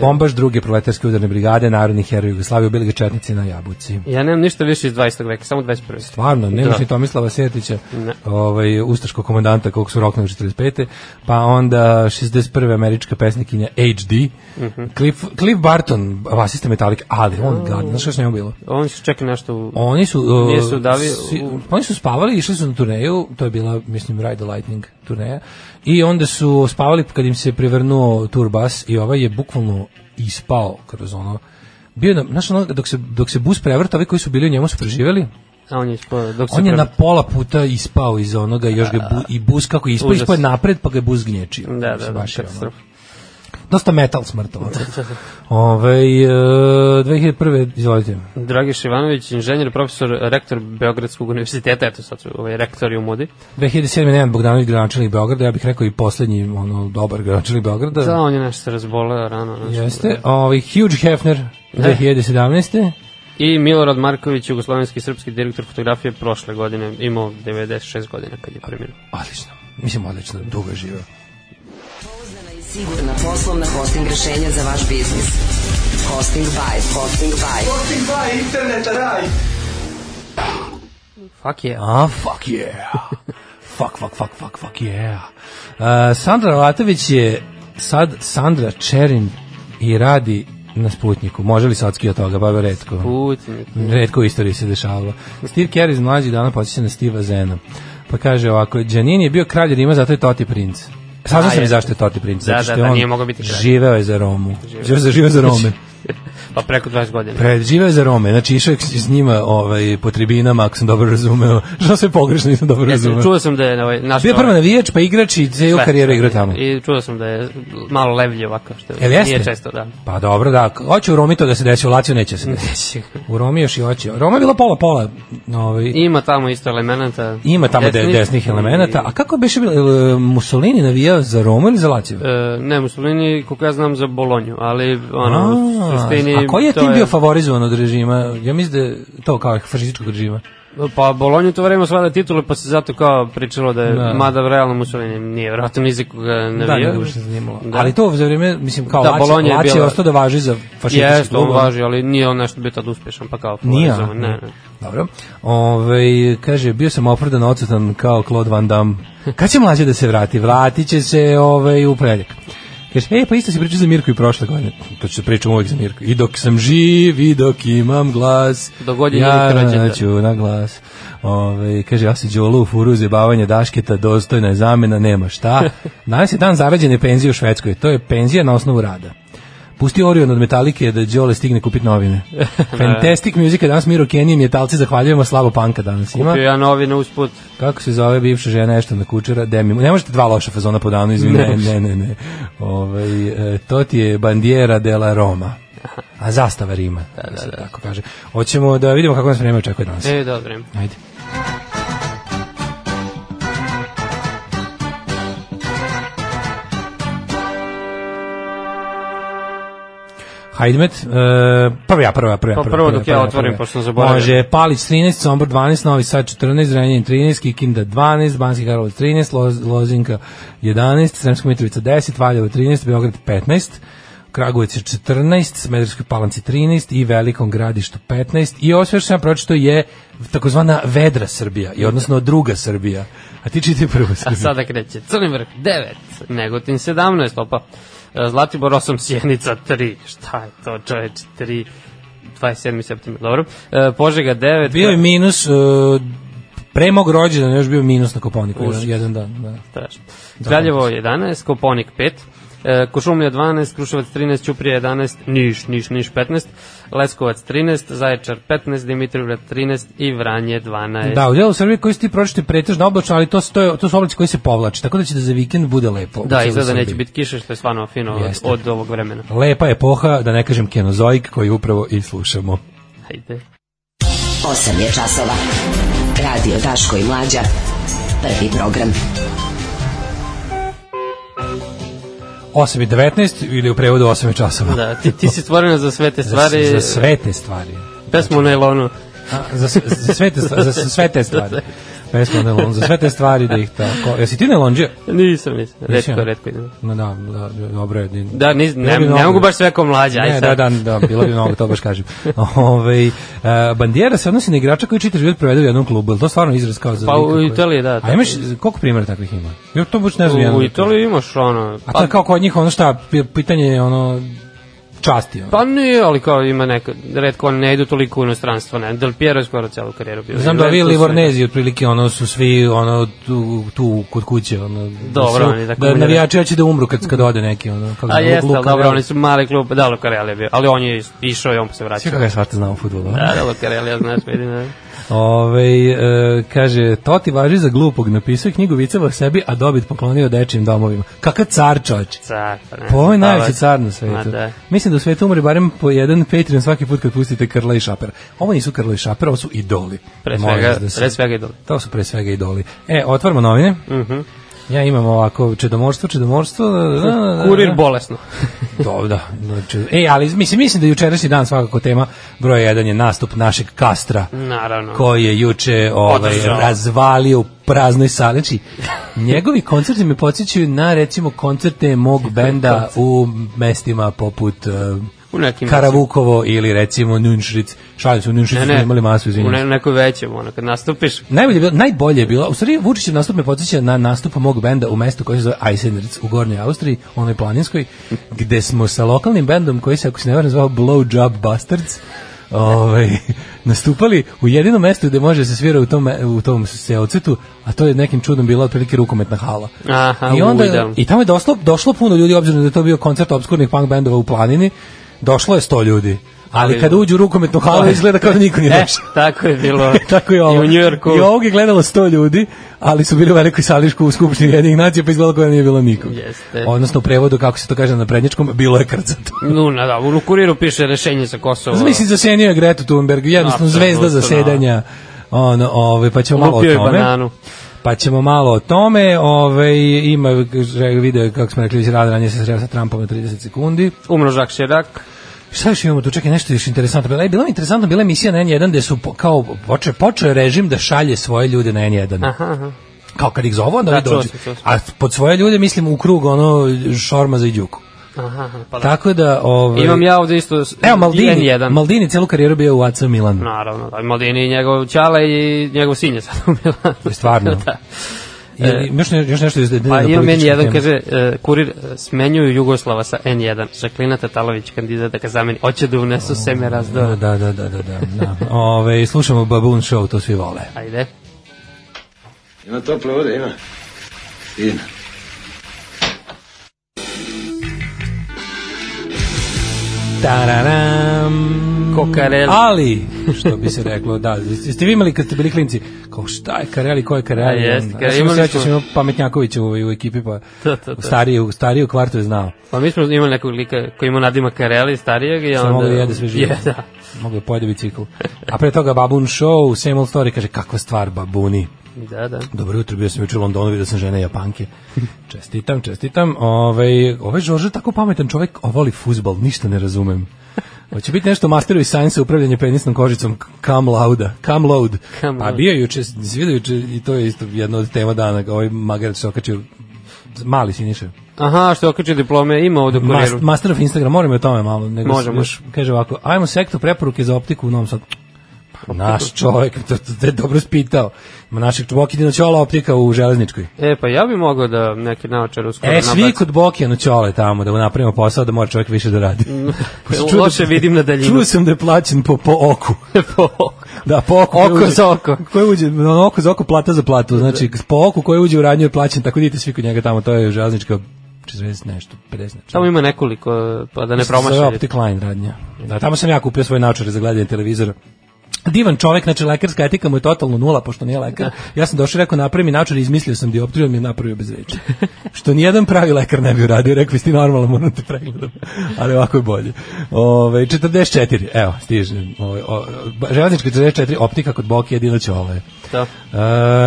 Bombaš druge proletarske udarne brigade, narodni heroj Jugoslavije, ubili ga četnici na Jabuci.
Ja nemam ništa više iz 20. veka, samo 21.
Stvarno, nemaš
Da.
ni Tomislava Sjetića,
Ne.
ovaj, ustaškog komandanta kog su roknuli 45. Pa onda 61. američka pesnikinja HD,
Mhm.
Cliff, Cliff Barton, basista Metallica, ali
Mm.
on gadno, znaš šta s njemu bilo?
On se čeka nešto u...
Oni su, uh,
Nisu davi-
si-
u-
oni su spavali, išli su na turneju, to je bila, mislim, Ride the Lightning turneja, i onda su spavali kad im se prevrnuo turbas i ovaj je bukvalno ispao kroz ono, bio je na, znaš, ono, dok se, dok se bus prevrta, ovi koji su bili u njemu su preživjeli,
A on je ispod, dok se
on je na
prevrti.
pola puta ispao iz onoga, još ga je bu, i bus kako je ispao,
Užas.
ispao je napred, pa ga je bus gnječio.
Da, da,
Mislim,
da,
baš je ono-
katastrofa.
Dosta metal smrtovaca. Ove, e, 2001. izvolite.
Dragiš Ivanović, inženjer, profesor, rektor Beogradskog univerziteta, eto sad su ovaj, rektori u modi.
2007. Nenad Bogdanović, gradonačelnik Beograda, ja bih rekao i poslednji ono, dobar gradonačelnik Beograda.
Da, on je nešto se razboleo rano. Nešto.
Jeste. Ovaj, Huge Hefner, 2017.
I Milorad Marković, jugoslovenski i srpski direktor fotografije prošle godine, imao 96 godina kad je preminuo.
Odlično. Mislim, odlično, dugo je živeo.
i sigurna poslovna hosting rešenja za vaš biznis. Hosting by, hosting by.
Fuck je. Yeah.
Ah, fuck yeah. fuck, fuck, fuck, fuck, fuck yeah. Uh, Sandra Latović je sad Sandra Čerin i radi na Sputniku. Može li socki od toga? Baba redko.
Putnik.
Redko u istoriji se dešavalo. Steve Kerr iz mlađih dana podsjeća na Steve'a Zena. Pa kaže ovako, Giannini je bio kralj Rima, zato je Toti princ. Saznao
A,
sam i
jeste.
zašto je Toti princ.
Da,
zato
da,
što je
da,
on
nije mogao biti kralj.
Živeo je za Romu. Živeo, živeo za Rome.
Pa preko 20 godina.
Pred žive za Rome, znači išao je s njima ovaj, po tribinama, ako sam dobro razumeo. Što sve pogrešno nisam dobro
Jeste,
razumeo.
čuo sam da je ovaj, naš...
Bio je prvo navijač, pa igrač i ceo
Sve,
karijeru
sve.
igrao tamo.
I čuo sam da je malo levlje ovako, što
Jel jeste?
nije često, da.
Pa dobro, da. Hoće u Romi to da se desi, u Laciju neće da se desi. U Romi još i hoće. Roma je bila pola-pola. Ovaj,
Ima tamo isto elemenata.
ima tamo desnih, desnih elemenata. A kako biše bilo? jel, e, Mussolini navijao za Romu ili za Laciju?
E, ne, Mussolini, koliko ja znam, za Bolonju, ali ono, u
A,
suštini...
a koji je
to
tim bio favorizovan od režima? Ja mislim da je to kao fašističkog režima.
Pa Bolonju to vreme osvada titule, pa se zato kao pričalo da je,
Da.
mada realno Mussolini nije vratno ni za koga ne
Da, nije
vio.
uopšte zanimalo.
Da.
Ali to za vrijeme, mislim, kao
Da,
da, Lacija,
Bolonja je
Lacija
bila-
je ostao da važi za fašistički
Jeste, on važi, ali nije on nešto bio tad uspešan, pa kao
Nije,
favorizovan,
a?
ne, ne.
Dobro. Ove, kaže, bio sam opravdan odsutan kao Claude Van Damme. Kad će mlađe da se vrati? Vratit će se ovaj, u preljak. Kaže, e, pa isto si pričao za Mirku i prošle godine. To ću se pričam uvek za Mirku. I dok sam živ, i dok imam glas,
Dok god je
ja
Mirka rođena.
naću na glas. Ove, kaže, ja se u furu zjebavanje dašketa, dostojna je zamena, nema šta. Danas je dan zarađene penzije u Švedskoj. To je penzija na osnovu rada. Pusti Orion od Metalike da Đole stigne kupiti novine. Fantastic Music je danas Miro Kenji i Metalci zahvaljujemo slabo panka danas ima.
Bio ja novine usput.
Kako se zove bivša žena nešto na kučera? Demi. Ne možete dva loša fazona po danu, izvini. Ne, ne, ne. ne. Ovaj, e, to ti je bandiera della Roma. A zastava Rima. Da, da, da. Tako kaže. Hoćemo da vidimo kako nas vreme očekuje danas.
E, da, vreme.
Ajde. Hajdmet, e, prva ja, prva, prva, prva.
Pa prvo
prva,
dok ja
prva,
otvorim,
prva.
pošto sam zaboravio.
Može, E, Palić 13, Sombor 12, Novi Sad 14, Renjanin 13, Kikinda 12, Banski Karlovac 13, Loz, Lozinka 11, Sremska Mitrovica 10, Valjevo 13, Beograd 15, Kragujevac je 14, Smederskoj Palanci 13 i Velikom Gradištu 15 i ovo sve što sam ja pročito je takozvana vedra Srbija, i odnosno druga Srbija. A ti čiti prvo
A
Srbija.
sada kreće. Crni vrh 9, Negotin 17, opa. E, Zlatibor 8, Sjenica 3. Šta je to, čoveč, 3. 27. septembar, dobro. E, Požega 9.
Bio je minus, e, pre mog rođena još bio minus na Koponiku, jedan, jedan dan. Da.
Strašno. Kraljevo 11, Koponik 5, E, Košumlija 12, Kruševac 13, Ćuprija 11, Niš, Niš, Niš 15, Leskovac 13, Zaječar 15, Dimitrovgrad 13 i Vranje 12.
Da, u delu Srbije koji su ti pročiti pretežno oblačno, ali to, su- to, je- to su oblaci koji se povlače, tako da će da za vikend bude lepo. u
Da,
celoj
izgleda da neće
Srbiji.
biti kiše, što je stvarno fino od,
Jeste.
od ovog vremena.
Lepa epoha, da ne kažem kenozoik, koji upravo i slušamo.
Hajde.
8 je časova. Radio Daško i Mlađa. Prvi program.
8 i 19 ili u prevodu 8 časova.
Da, ti, ti si stvorena za sve te
Za-
stvari,
Za, sve te stvari. Znači,
pesmu ono, u nailonu.
A, za, s- za, sve te stvari, za, s- sve te stvari. Pesma Nelon, za sve te stvari da ih tako... Jesi ti Nelonđe?
Nisam, nisam,
Nisi,
redko,
ono?
redko idem.
No da, da, dobro je. ni-
Da, nis,
Bilo
ne,
bi
ne,
mnogo-
mogu baš sve kao mlađa, aj
Ne, da,
sad.
da, da, bilo bi mnogo, to baš kažem. Ove, e, bandijera se odnosi na igrača koji čitav život provede u jednom klubu, je li to stvarno izraz kao za...
Pa
lika
u
koji-
Italiji, da,
A
da.
imaš, koliko primjera takvih ima? Jo, to baš ne znam. jedan-
U Italiji imaš ono...
A to je kao kod njih, ono šta, pi- pitanje je ono časti. Ono.
Pa nije, ali kao ima neka, redko oni ne idu toliko u inostranstvo, ne. Del Piero je skoro celu karijeru bio.
Znam da vi
Juventus,
Livornezi otprilike ono su svi ono tu, tu kod kuće ono
Dobro,
da,
oni
su,
tako
da
mi je
navijači hoće da umru kad kad ode neki ono kako
A
zove,
jeste, ali
Luka
dobro,
Real.
oni su mali klub, da, Lucarelli je bio, ali on je išao i on se
Svi
vraćao.
kako je svašta znao u fudbalu.
Da, da, Lucarelli, ja znaš, vidim, da.
Ovaj e, kaže, to ti važi za glupog, napisao je knjigu viceva o sebi, a dobit poklonio dečijim domovima. Kakav car, čovječ.
Car, pa ne.
Po ovo je
spavac.
najveći car na
Ma
svetu.
da.
Mislim da u svetu umre barem po jedan Patreon svaki put kad pustite Krla i Šapera. Ovo nisu Krla i Šapera, ovo su idoli.
Pre
Molim
svega,
vas da se-
pre svega Mhm. idol.
To su pre svega idoli. E, otvaramo novine. Ja imam ovako čedomorstvo, čedomorstvo. Da, da, da, da,
Kurir bolesno.
Dobro, da. Znači, e, ali mislim, mislim da je jučerašnji dan svakako tema broj 1 je nastup našeg kastra
Mhm. Naravno.
koji je juče ovaj,
Ono. Održao.
razvalio u praznoj sali. Znači, njegovi koncerti me podsjećaju na, recimo, koncerte mog benda u mestima poput eh,
U nekim
Karavukovo ili, recimo, Nunšric. Šalim se, u Nunšricu
Ne,
smo
ne,
imali masu, izvinjam
u
se.
ne, nekoj većem, ono, kad nastupiš,
Najbolje je bilo, najbolje je bilo, u stvari Vučićev nastup me podsjeća na nastup mog benda u mestu koje se zove Eisenritz u Gornjoj Austriji, onoj planinskoj, gde smo sa lokalnim bendom koji se, ako se ne varam, zvao Blowjob Bastards, ovaj, nastupali u jedinom mestu gde može da se svira u tom, u tom seocetu, a to je nekim čudom bila otprilike rukometna hala.
Aha,
I, onda,
uj, da.
I tamo je došlo, došlo puno ljudi, obzirom da je to bio koncert obskurnih punk bendova u planini, došlo je 100 ljudi. Ali
Ali-
kada uđu u rukometnu halu izgleda kao da niko nije
e,
došao.
tako je bilo
Tako je ovo.
Pa, i u Njujorku.
I ovog je gledalo 100 ljudi, ali su bili u velikoj sališku u Skupštini jednih nacija, pa izgledalo kao da nije bilo nikog.
Jeste.
Odnosno, u prevodu, kako se to kaže na prednjičkom, bilo je krcato.
No, na, da, u kuriru piše rešenje za Kosovo.
Znači, Mislim, zasenio je Gretu Thunberg, jednostavno
Apsolutno,
zvezda zasedanja. Ono, ove, pa ćemo malo o
Lupio je
tome.
bananu.
Pa ćemo malo o tome, ovaj ima video je, kako smo rekli, već rad ranije se sreo sa Trumpom na 30 sekundi.
Umro Jacques Chirac.
Šta još imamo tu? Čekaj, nešto još interesantno. Bila, bila mi interesantna bila emisija na N1 gde su po, kao počeo, počeo je režim da šalje svoje ljude na N1.
Aha, aha.
Kao kad ih zovu, onda
Da,
da,
čuo
dođu.
sam, čuo sam.
A pod svoje ljude mislim u krug ono Šorma za Iđuku.
aha, aha, pa da.
Tako da... Ovaj,
Imam ja ovde isto s-
Evo Maldini,
N1.
Maldini celu karijeru bio u AC Milanu.
Naravno, da, Maldini i njegov ćale i njegov sin je sad u Milanu.
Stvarno.
da. E.
Je, još, ne, još nešto... iz- na
Pa imam
političku
N1,
temu.
kaže, e, kurir e, smenjuju Jugoslava sa N1. Žaklina Tatalović, kandidat da ga zameni. Oće da unesu seme
Da,
razdora.
da, da, da, da. da. Ove, slušamo Baboon Show, to svi vole.
Ajde.
Ima tople vode, ima. Ima.
Tararam.
Kokareli.
Ali, što bi se reklo, da, jeste vi imali kad ste bili klinci, kao šta je Kareli, ko je Kareli?
A, jeste, Kareli,
imali
imali
sećaš,
smo.
imao Pametnjakovića u, u ekipi, pa
To, to, to.
stariji, u- stariji u kvartu je znao.
Pa mi smo imali nekog lika koji ima nadima Kareli, starijeg. I
Što
onda,
mogu da jede sve živo.
Je, da.
Mogu da pojede bicikl. A pre toga Babun Show, Same Old Story, kaže, kakva stvar, babuni.
Da, da.
Dobro jutro, bio sam juče u Londonu, vidio sam žene Japanke. Čestitam, čestitam. Ovaj ovaj Žorž je tako pametan čovjek, a voli fudbal, ništa ne razumem. Hoće biti nešto masterovi science upravljanje penisnom kožicom Cam Lauda, Cam Load.
Cam
A
Loud.
bio je juče, si vidio juče i to je isto jedna od tema dana, ga ovaj magarac se okačio mali siniša.
Aha, što okače diplome, ima ovde u
Mas,
kuriru.
master of Instagram, moramo i o tome malo. Nego
Može,
s-
može.
još Kaže ovako, ajmo sektu preporuke za optiku u Novom Sadu. Pa, naš čovjek, to, to, to je dobro spitao. Ma našeg čvokidina ćola optika u železničkoj.
E, pa ja bi mogao da neki naočar uskoro
E, svi
nabacim.
kod Bokijanu ćole tamo, da mu napravimo posao, da mora čovjek više da radi. Pošto čuo da-
Mm. Loše vidim na daljinu.
Čuo sam da je plaćen po, po oku.
Po-
Da, po oku.
Oko
koje uđe-
za oko.
Koje uđe, ono, oko za oko, plata za platu. Znači, po oku koje uđe u radnju je plaćen, tako da idite svi kod njega tamo, to je železnička 40 nešto, znači. 50 nešto.
Tamo ima nekoliko, pa da ne
Zove
promašaju.
Optic Line radnja. Da, tamo sam ja kupio svoje naočare za gledanje televizora. Divan čovek, znači lekarska etika mu je totalno nula, pošto nije lekar. Ja sam došao i rekao, napravi mi naočare, izmislio sam dioptriju, on mi je napravio bez reči. Što nijedan pravi lekar ne bi uradio, rekao, vi ste normalno, moram te pregledam. Ali ovako je bolje. Ove, 44, evo, stižem. Ove, o, ba- železnička 44, optika kod Boki, jedino će ovo
Da.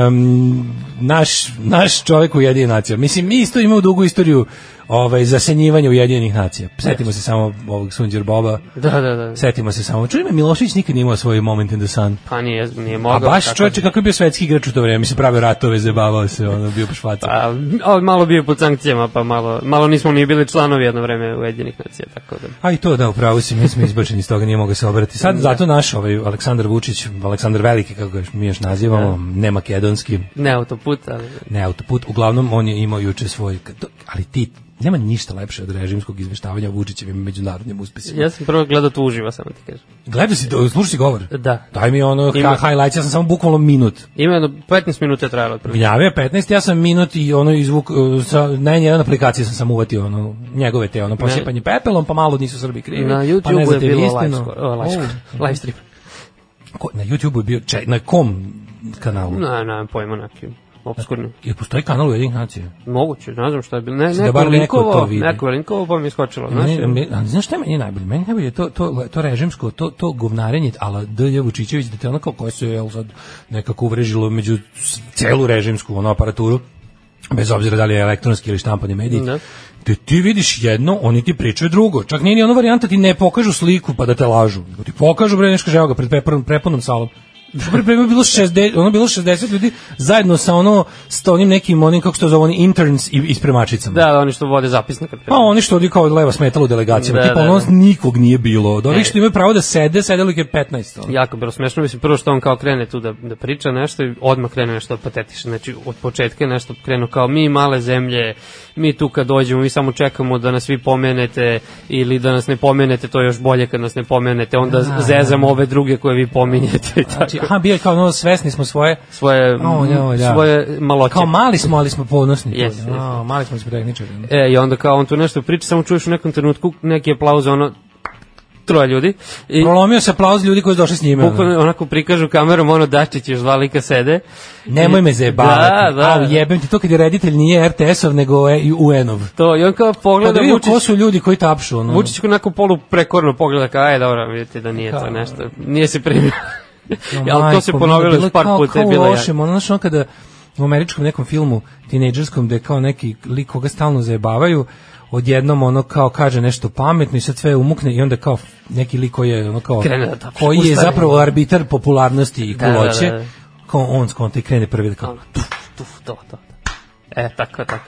Um, naš, naš čovek Ujedinjenih nacija. Mislim, mi isto imamo dugu istoriju ovaj, zasenjivanja Ujedinjenih nacija. Setimo se samo ovog Sunđer Boba.
Da, da, da.
Setimo se samo. Čuli me, Milošević nikad nije imao svoj moment in the sun.
Pa nije, nije
A
mogao.
baš
tako
čoveče,
da-
kako je bio svetski igrač u to vreme? Mislim, pravio ratove, zabavao se, ono, bio pošvaca.
Pa, ali malo bio pod sankcijama, pa malo, malo nismo ni bili članovi jedno vreme Ujedinjenih nacija, tako da.
A i to da, upravo si, mi smo izbačeni iz toga, nije mogao se obrati. Sad zato naš ovaj Aleksandar Vučić, Aleksandar Veliki, kako ga još- mi još nazivamo, ne makedonski,
Ne autoput, ali...
ne autoput, uglavnom on je imao juče svoj, to- ali ti, nema ništa lepše od režimskog izveštavanja o Vučićevim međunarodnim uspesima.
Ja sam prvo gledao to uživo, samo ti kažem.
Gledao si, do- slušaj si govor.
Da.
Daj mi ono
Ima-
ha- highlights, ja sam samo bukvalno minut.
Ima jedno 15 minuta je trajalo prvi.
Javio je 15, ja sam minut i ono izvuk, uh, sa, na jedan aplikaciji sam sam uvatio ono, njegove te, ono, posipanje pepelom, pa malo nisu Srbi krivi.
Na
pa ne
YouTube-u je
znate
bilo live,
istinu.
skoro, o, live, skoro,
O,
live stream.
ko, na YouTube-u je bio, če, na kom kanalu? Na.
Na, na, pojma neki obskurni.
Jer postoji kanal Ujedinih nacija.
Moguće, ne znam šta je bilo. Ne,
Da
neko,
bar
da
neko to
linkovo,
vidi.
neko je linkovo, pa mi je skočilo. Znaš,
Meni- me- ali Znaš šta je meni najbolje? Meni najbolje je to, to, to režimsko, to, to govnarenje, ali D.J. Vučićević, da te ono kao koje se jel, sad nekako uvrežilo među s- celu režimsku ono, aparaturu, bez obzira da li je elektronski ili štampani mediji,
Da.
te ti vidiš jedno, oni ti pričaju drugo. Čak nije ni ono varijanta ti ne pokažu sliku pa da te lažu. Nego ti pokažu bre nešto žao ga pred prepunom, prepunom salom. Pre pre bilo 60 ono bilo 60 ljudi zajedno sa ono sa onim nekim onim kako se to zove oni interns i ispremačicama.
Da, da, oni što vode zapisnik.
Pa oni što ovdje kao leva smetala u delegacijama,
Da,
tipa
da,
ono
da.
nikog nije bilo. Od ovih što imaju pravo da sede, sedelo ih je 15. ono.
Jako bilo smešno, mislim, prvo što on kao krene tu da, da priča nešto i odmah krene nešto da patetiše, znači od početka je nešto krenuo kao mi male zemlje, mi tu kad dođemo, mi samo čekamo da nas vi pomenete ili da nas ne pomenete, to je još bolje kad nas ne pomenete, onda zezamo ove druge koje vi pominjete i tako.
Znači, aha, bio je kao ono, svesni smo svoje,
svoje,
O, ja, ja.
svoje maloće.
kao mali smo, ali smo ponosni.
Jes, jes.
A, mali smo, ali smo tehničari. ono.
E, i onda kao on tu nešto priča, samo čuješ u nekom trenutku neki aplauz, ono, troje ljudi. I,
Prolomio se aplauz ljudi koji su došli s njime. ono.
Bukvalno onako prikažu kamerom, ono Dačić još dva lika sede.
Nemoj me zajebavati.
Da, da.
Au, jebem ti to kad je reditelj nije RTS-ov, nego e, i UN-ov.
To, i on kao
Pa
pogleda
da
da
vidim ko
Vučić,
su ljudi koji tapšu. Ono.
Vučić kao onako polu prekorno pogleda kao, aj dobro, vidite da nije
Kao-
to nešto, nije se primio.
Jo,
Ja, to se
majko,
ponovilo
bilo
još
je
par
kao-
puta,
kao
je
u
bilo jako.
lošem, ono, znaš, ono kada u američkom nekom filmu, tinejdžerskom, gde kao neki lik koga stalno zajebavaju, odjednom ono kao kaže nešto pametno i sad sve umukne i onda kao neki lik koji je ono kao
Krene da tapše.
koji je
Ustane.
zapravo arbitar popularnosti i
Da, da, da,
kuloće
da.
kao on skonta i krene prvi da kao
Ono, Tuf, tuf, to, to, to. E, tako, tako.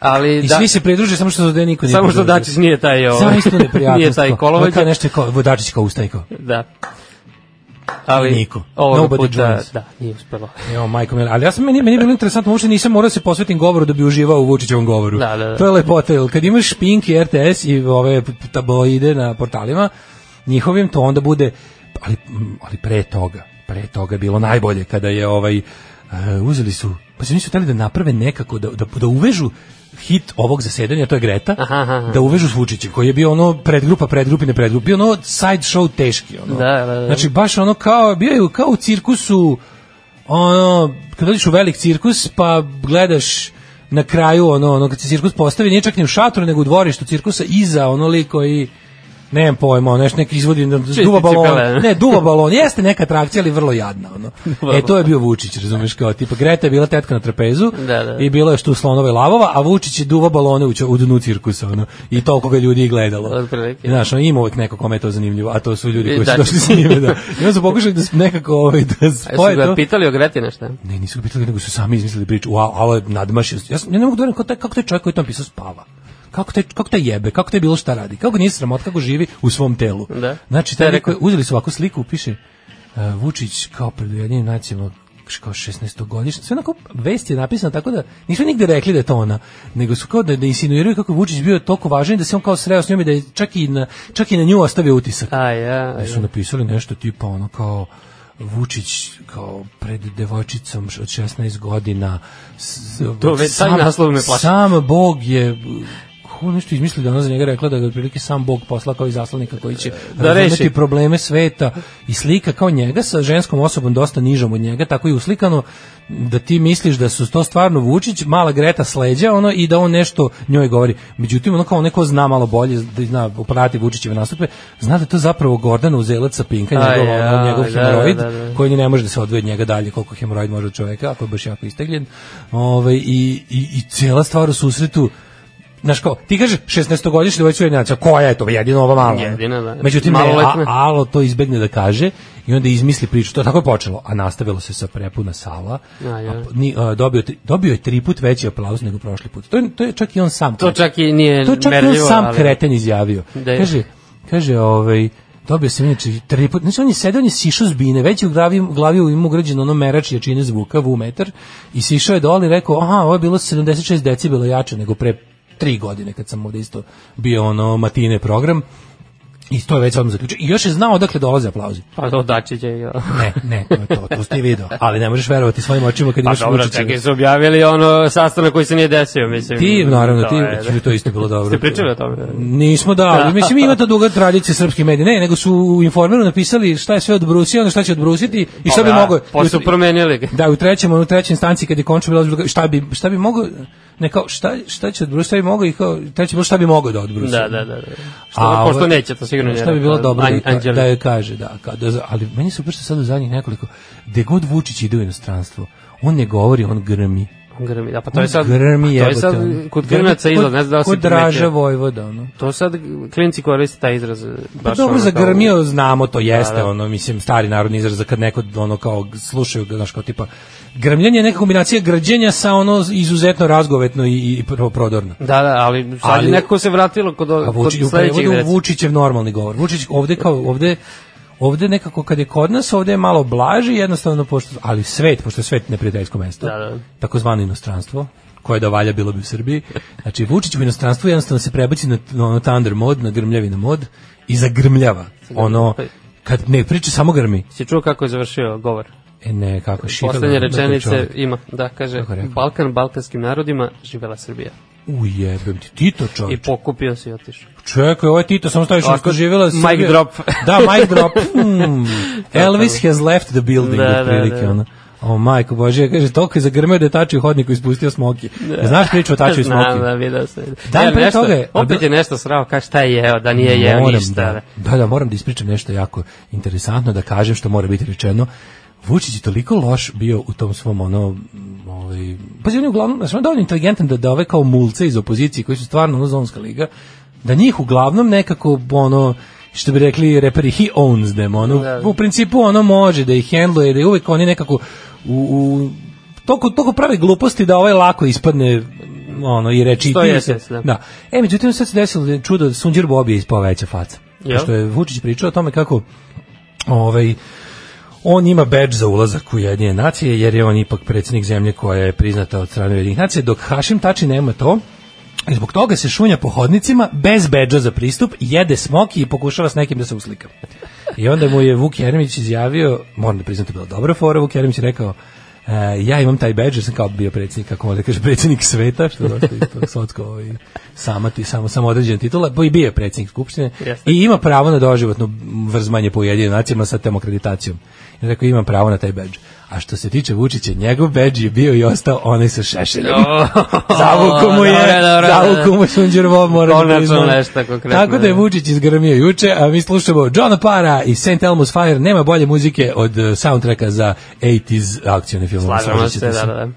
Ali,
i
da,
svi se pridruže samo što da niko nije
samo što
pridružio.
Dačić nije taj, ovo,
Samo isto neprijatnost.
nije taj
kao,
kolovođa.
Kao nešto je kao, Dačić kao ustaje kao.
Da. Ali
Niko.
Ovoga
Nobody
puta,
joins.
da, nije uspelo.
Jo, majko mila, ali ja sam meni meni je bilo interesantno, uopšte nisam morao da se posvetim govoru da bi uživao u Vučićevom govoru.
Da, da, da.
To je lepota, jer kad imaš Pink i RTS i ove tabloide na portalima njihovim, to onda bude ali mm, ali pre toga, pre toga je bilo najbolje kada je ovaj e, uzeli su, pa se nisu hteli da naprave nekako da da, da uvežu hit ovog zasedanja, to je Greta,
Aha, aha.
da uvežu s Vučićem, koji je bio ono predgrupa, predgrupine, predgrupi, bio ono side show teški. Ono.
Da, da, da.
Znači, baš ono kao, bio je kao u cirkusu, ono, kad dođeš u velik cirkus, pa gledaš na kraju, ono, ono, kad se cirkus postavi, nije čak ni u šatoru, nego u dvorištu cirkusa, iza, ono, lik koji, nemam pojma, ono, nešto neki izvodi, ono, duva
cipele.
balon, ne, duva balon, jeste neka atrakcija, ali vrlo jadna, ono. E, to je bio Vučić, razumeš, kao, tipa, Greta je bila tetka na trapezu
Da, da.
i bilo je što u slonove lavova, a Vučić je duva balone u, ć- u dnu cirkusa, ono, i toliko ga ljudi i gledalo.
Otprilike.
Znaš, ono, ima uvek neko kome je to zanimljivo, a to su ljudi koji su
Dačić.
došli s njime, da. I onda su pokušali da s- nekako ovaj, da
A jesu
spoje
ga
to.
pitali o Greti nešto?
Ne, nisu ga pitali, nego su sami izmislili priču. Wow, alo je nadmašio. Ja, sam, ja ne mogu da verujem kako taj, kako taj čovjek koji je to napisao spava. Kako taj, kako taj jebe, kako taj bilo šta radi, kako ga nije sramot, kako živi u svom telu.
Da.
Znači,
Šta je
taj rekao,
rekao?
uzeli su ovakvu sliku, piše uh, Vučić kao pred Ujedinjenim nacijama š- kao 16-godišnja, sve onako vest je napisana tako da nisu nigde rekli da je to ona, nego su kao da, da insinuiraju kako je Vučić bio toliko važan da se on kao sreo s njom i da je čak i na, čak i na nju ostavio utisak.
A ja,
Da su napisali nešto tipa ono kao Vučić kao pred devojčicom od 16 godina. S,
To već taj naslov me plaši.
Sam Bog je ko nešto izmislio da ona za njega rekla da ga otprilike sam Bog posla kao i zaslanika koji će da
reši.
probleme sveta i slika kao njega sa ženskom osobom dosta nižom od njega, tako i uslikano da ti misliš da su to stvarno Vučić, mala Greta sleđa ono i da on nešto njoj govori. Međutim, ono kao neko zna malo bolje, da zna prati Vučićeve nastupe, zna da je to zapravo Gordana Uzelac sa Pinka,
Aj,
njegov, ono,
aj,
njegov
da,
hemoroid,
da, da, da.
koji ni ne može da se odvoji od njega dalje koliko hemoroid može od čoveka, ako je baš jako istegljen. Ovaj i, i, I cijela stvar u susretu Znaš kao, ti kažeš 16-godišnji devojčica jedinaca, koja je to, jedino ova mala. je.
Jedina, da.
Međutim, ne,
Maloletna.
a, Alo to izbegne da kaže i onda izmisli priču. To tako je počelo, a nastavilo se sa prepuna sala.
A, ja.
A, ni, a, dobio, tri- dobio je tri put veći aplauz nego prošli put. To je, to je čak i on sam
To čak i nije
to je čak i on
merljivo,
sam
ali-
kreten izjavio.
Da je.
Kaže, kaže, ovaj, dobio sam inače tri put, znači on je sedeo, on je sišao s bine, već je u glavi, glavi u imu ugrađeno ono merač jačine zvuka, vu metar, i sišao je dole i rekao, aha, ovo je bilo 76 decibela jače nego pre tri godine kad sam ovde isto bio ono matine program, i to je već odmah zaključio. I još je znao odakle dolaze aplauzi.
Pa to Dačić je igrao.
Ne, ne, to je to, to ste i video. Ali ne možeš verovati svojim očima kad
Pa
imaš
dobro,
Vučića.
čekaj, su objavili ono sastanak koji se nije desio, mislim.
Ti, naravno,
To
ti,
je,
to, to isto bilo dobro.
Ste pričali o tome?
Nismo da, ali mislim ima ta duga tradicija srpskih medija. Ne, nego su u informeru napisali šta je sve odbrusio, ono šta će odbrusiti i šta bi
Pa Da,
mogao.
Posle su promenili ga.
Da, u trećem, ono, u trećoj instanci kad je končno bilo druga, šta bi šta bi mogao ne kao šta šta će odbrusiti, šta bi mogao i kao treći bilo šta bi mogao da odbrusi.
Da, da, da. da. Što,
A,
pošto
ovo-
neće, to sigurno ne.
Šta bi bilo dobro da, je-
Anđeli.
da je kaže, da, kao da, ali meni se upršte sad u zadnjih nekoliko, gde god Vučić ide u inostranstvo, on ne govori, on grmi.
Grmi, da, pa to je sad,
grmi
to je
jebote,
sad
ono.
kod
Grmi
grinaca
kod-
izlaz, ne znam da li si
Kod Draža
primetio.
Vojvoda, ono.
To sad klinci koriste taj izraz.
Pa
baš
dobro,
ono
za
kao-
grmio znamo, to jeste,
Da, da.
ono, mislim, stari narodni izraz za kad neko, ono, kao, slušaju ga, znaš, kao, tipa, grmljenje je neka kombinacija grđenja sa, ono, izuzetno razgovetno i, i pro- prodorno.
Da, da, ali sad
Ali-
je nekako se vratilo kod,
A
kod
Pa Vučić, u
sledećeg
prevodu
izraca.
Vučićev normalni govor. Vučić ovde kao, ovde, ovde nekako kad je kod nas, ovde je malo blaži, jednostavno, pošto, ali svet, pošto je svet neprijateljsko mesto,
Da, da.
takozvano inostranstvo, koje da valja bilo bi u Srbiji. Znači, Vučić u inostranstvu jednostavno se prebaci na, na ono Thunder mod, na grmljavina mod i zagrmljava. Ono, kad ne priča, samo grmi.
Si čuo kako je završio govor?
E ne, kako šito. da-
Poslednje
da
rečenice
čovjek.
ima, da, kaže,
Kako je rekao?
Balkan, balkanskim narodima, živela Srbija.
Ujebem ti, Tito
I
čovjek.
pokupio se i otišao.
Čekaj, ovo je Tito, samo staviš
Ovako,
ako živjela
mic
Srbija.
drop.
da, mic drop. Hmm. Elvis has left the building,
Da, da,
da, prilike,
da.
ono. O, majko Bože, kaže, toliko je zagrmeo da je tačio hodnik i ispustio smoki. Znaš priču o tačiju smoki?
Znam, da, video se.
Dan pre
nešto,
toga je-
Opet je nešto srao, kaže šta je jeo, da nije jeo
Moram
ništa. Da.
Da, da, da, moram da ispričam nešto jako interesantno, da kažem što mora biti rečeno. Vučić je toliko loš bio u tom svom ono m, ovaj pa on je uglavnom znači on je dovoljno inteligentan da da ove kao mulce iz opozicije koji su stvarno ono zonska liga da njih uglavnom nekako ono što bi rekli reperi he owns them ono
Da, da.
u principu ono može da ih hendluje da je uvek oni nekako u, u toliko, toliko prave gluposti da ovaj lako ispadne ono i reči
Što
i ti
jeste,
se-
da.
da. E, međutim, sad se desilo da je čudo da Sunđer Bob je ispao veća faca.
Jel?
Što je Vučić pričao o tome kako ovaj, on ima badge za ulazak u Jedinje nacije, jer je on ipak predsednik zemlje koja je priznata od strane Jedinih nacije, dok Hašim Tači nema to, I zbog toga se šunja po hodnicima bez bedža za pristup, jede smoki i pokušava s nekim da se uslika. I onda mu je Vuk Jeremić izjavio, moram da priznam to je bila dobra fora, Vuk Jeremić je rekao, e, ja imam taj badge, jer sam kao bio predsednik, kako može da kaže, predsednik sveta, što je dosta ipak sotko ovaj, samati, samo, samo određena titula, bo i bio je predsednik Skupštine
Jeste.
i ima pravo na doživotno vrzmanje po jedinim nacijama sa tem akreditacijom. I rekao, imam pravo na taj badge. A što se tiče Vučića, njegov badge je bio i ostao onaj sa šešeljom. Zavuku mu je,
Dobro, dobro,
zavuku mu je Sunđer Bob, moram da
Konačno
priznam.
nešto konkretno,
Tako da je
da.
Vučić izgrmio juče, a mi slušamo Johna Para i St. Elmo's Fire. Nema bolje muzike od eh, soundtracka za 80s akcijone filmove.
Slažemo
složit
se,
ćete
da, da, da.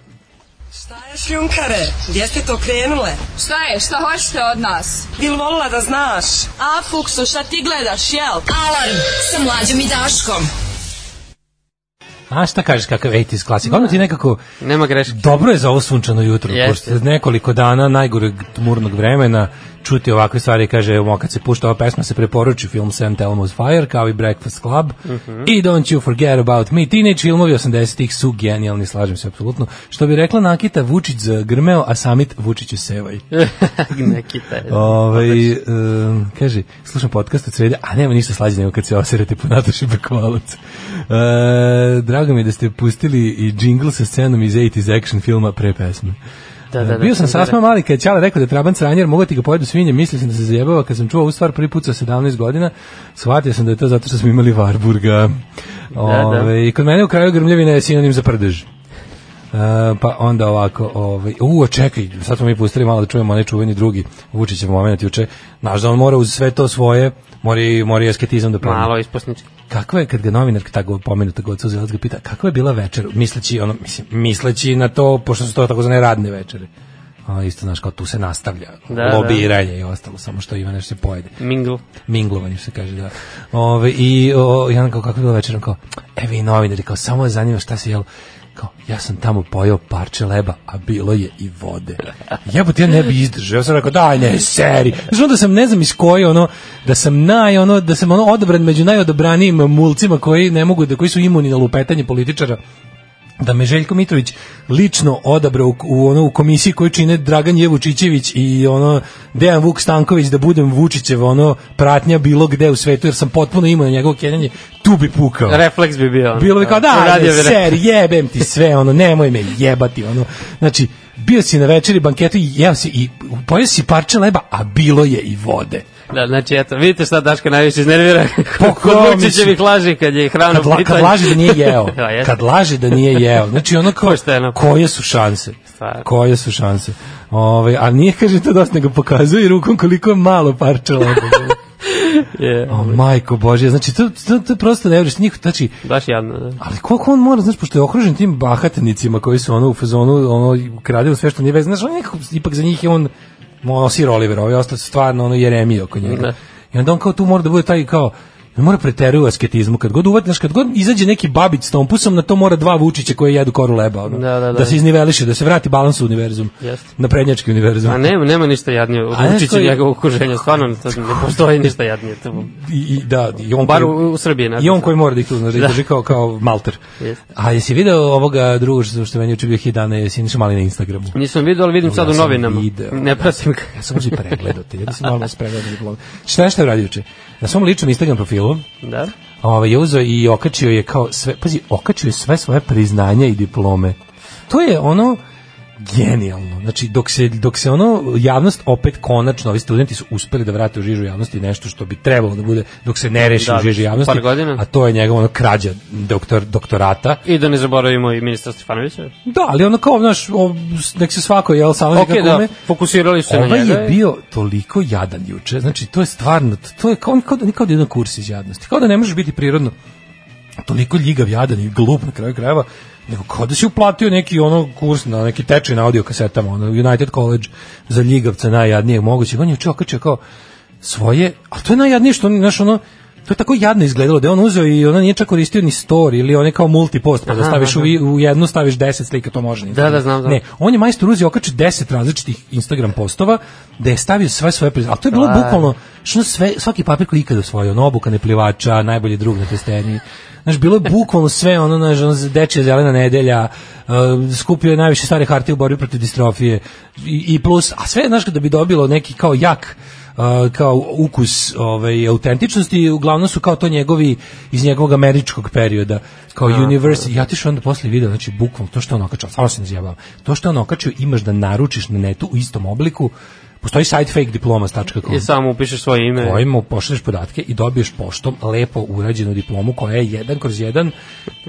Šta je šljunkare? Gdje ste to krenule?
Šta je, šta hoćete od nas?
Bil volila da znaš?
A, Fuksu, šta ti gledaš, jel?
Alarm sa mlađom i Daškom.
A šta kažeš kakav 80s klasik? Ono ti nekako...
Nema greške.
Dobro je za ovo sunčano jutro,
Jeste.
pošto je nekoliko dana najgoreg tmurnog vremena, čuti ovakve stvari, kaže, evo, kad se pušta ova pesma, se preporuči film Sam Elmo's Fire, kao i Breakfast Club, i Don't You Forget About Me, teenage filmovi 80-ih su genijalni, slažem se, apsolutno. Što bi rekla Nakita, Vučić zagrmeo, a samit Vučiću sevaj.
Nekita je.
Ovaj em, kaže, slušam podcast od srede, a nema ništa slađe nego kad se oserete po Nataši Bekvalac. E, drago mi je da ste pustili i džingl sa scenom iz 80s action filma pre pesme.
Da, da, da,
Bio sam
sam
sasma mali kad je Ćala rekao da je Trabanc ranjer, mogu ti ga pojedu svinje, mislio sam da se zajebava, kad sam čuo ovu stvar prvi put sa 17 godina, shvatio sam da je to zato što smo imali Varburga. Ove, I kod mene u kraju grmljavina je sinonim za prdež. E, pa onda ovako, ovaj, u, čekaj, sad smo mi pustili malo da čujemo onaj čuveni drugi Vučićev moment juče. Znaš da on mora uz sve to svoje, mora i, mora i esketizam da pomene.
Malo isposnički.
Kako je, kad ga novinar tako pomenuta god Suzelac ga pita, kako je bila večer, misleći, ono, mislim, misleći na to, pošto su to takozvane radne večere. A, isto, znaš, kao tu se nastavlja
Da,
lobiranje i ostalo, samo što ima nešto se pojede
Mingle.
minglovanje što se kaže da. Ove, i o, i onda kao kako je bilo večerom kao e vi novinari kao samo vas zanima šta se jelo kao ja sam tamo pojeo parče leba a bilo je i vode jebote ja ne bi izdržao ja sam rekao daj ne seri znači onda sam ne znam iz koje ono da sam naj ono da sam ono odabran među najodabranijim mulcima koji ne mogu da koji su imuni na lupetanje političara da me Željko Mitrović lično odabrao u, u ono u komisiji koju čine Dragan Jevu Čičević i ono Dejan Vuk Stanković da budem Vučićev ono pratnja bilo gde u svetu jer sam potpuno imao na njegovo kenjanje tu bi pukao
Refleks bi bio. ono.
bilo bi kao da
Radio
radio
bi
ser jebem ti sve ono nemoj me jebati ono znači bio si na večeri banketu i jeo si i pojeo si parče leba a bilo je i vode
Da, znači, eto, vidite šta Daška najviše iznervira.
Pa ko,
Kod Vučićevih
mislim.
laži kad je hrana
kad,
u
la,
pitanju.
kad laže da nije jeo
Da, jeste.
kad laže da nije jeo znači ono kao
Pošteno.
koje su šanse
Stvarno.
koje su šanse Ove, a nije kaže to dosta nego pokazuje rukom koliko je malo parče leba
Je,
o, majko božja znači to, to, to prosto ne vreš njih znači
baš jadno, da.
Ali koliko on mora, znaš, pošto je okružen tim bahatnicima koji su ono u fazonu, ono, krade u sve što nije vezano, znaš, on nekako, ipak za njih je on, ono, Sir Oliver, ovaj ostao stvarno, ono, Jeremija oko njega.
Da.
I onda on kao tu mora da bude taj kao, on mora preteruje u asketizmu, kad god uvati, znaš, kad god izađe neki babić s tom pusom, na to mora dva Vučića koji jedu koru leba, ono,
Da, da, da.
se izniveliše, da se vrati balans u univerzum,
Jeste.
na prednjački univerzum.
A nema, nema ništa jadnije.
znaš
Vučić i
koji-
njegovo okruženje, stvarno ne, to ne postoji ništa jadnije. To,
I, i, da, i on
bar
koji-
u, u Srbiji. ne
I
znam.
on koji mora da ih tu, znaš, da ih
Da.
drži kao, kao malter.
Jeste.
A jesi video ovoga drugog što, što je meni učin bio hidane, jesi ništa mali na Instagramu?
Nisam vidio, ali vidim sad u
sam
novinama.
video,
Ne prasim ga.
Ja sam uđi pregledao te, ja sam malo spregledao diplom. Šta je šta je uradio juče? Na svom ličnom Instagram profilu
Da?
ovaj, je uzeo i okačio je kao sve, pazi, okačio je sve svoje priznanja i diplome. To je ono genijalno. Znači, dok se, dok se ono javnost opet konačno, ovi studenti su uspeli da vrate u žižu javnosti nešto što bi trebalo da bude dok se ne reši
Da,
u žiži javnosti.
par godina.
A to je njegov ono krađa doktor, doktorata.
I da ne zaboravimo i ministra Stefanovića.
Da, ali ono kao, znaš, o, s- nek se svako, jel, samo
Ok, da, fokusirali su se na
Ovaj
njega.
je bio toliko jadan juče, znači to je stvarno, to je kao, on kao, da, kao da je jedan kurs iz jadnosti, kao da ne možeš biti prirodno toliko ljigav, jadan i glup na kraju krajeva, nego kao da si uplatio neki ono kurs na neki tečaj na audio kasetama, ono United College za ljigavca najjadnijeg mogućeg, on je juče okačio kao svoje, a to je najjadnije što on, znaš, ono, to je tako jadno izgledalo da je on uzeo i ona nije čak koristio ni story ili one kao multipost, pa da
Aha,
staviš u,
aha.
i- u jednu staviš 10 slika, to može. na
Da, da, znam,
Instagram.
znam.
Ne, on je majstor uzi okači 10 različitih Instagram postova da je stavio sve svoje priznanje. A to je bilo
Stvarno.
bukvalno što ono sve, svaki papir koji je ikada osvojio, ono obuka neplivača, najbolji drug na testeniji. Znaš, bilo je bukvalno sve, ono, znaš, ono, dečja zelena nedelja, uh, skupio je najviše stare hartije u borbi protiv distrofije i, i plus, a sve, znaš, da bi dobilo neki kao jak uh, kao ukus ovaj, autentičnosti, uglavnom su kao to njegovi iz njegovog američkog perioda, kao University, ja ti što onda posle video, znači bukvalno to što on okačio, stvarno se ne zjebam, to što on okačio imaš da naručiš na netu u istom obliku, postoji sajt fakediplomas.com
I samo upišeš svoje ime.
kojim mu pošalješ podatke i dobiješ poštom lepo urađenu diplomu koja je jedan kroz jedan.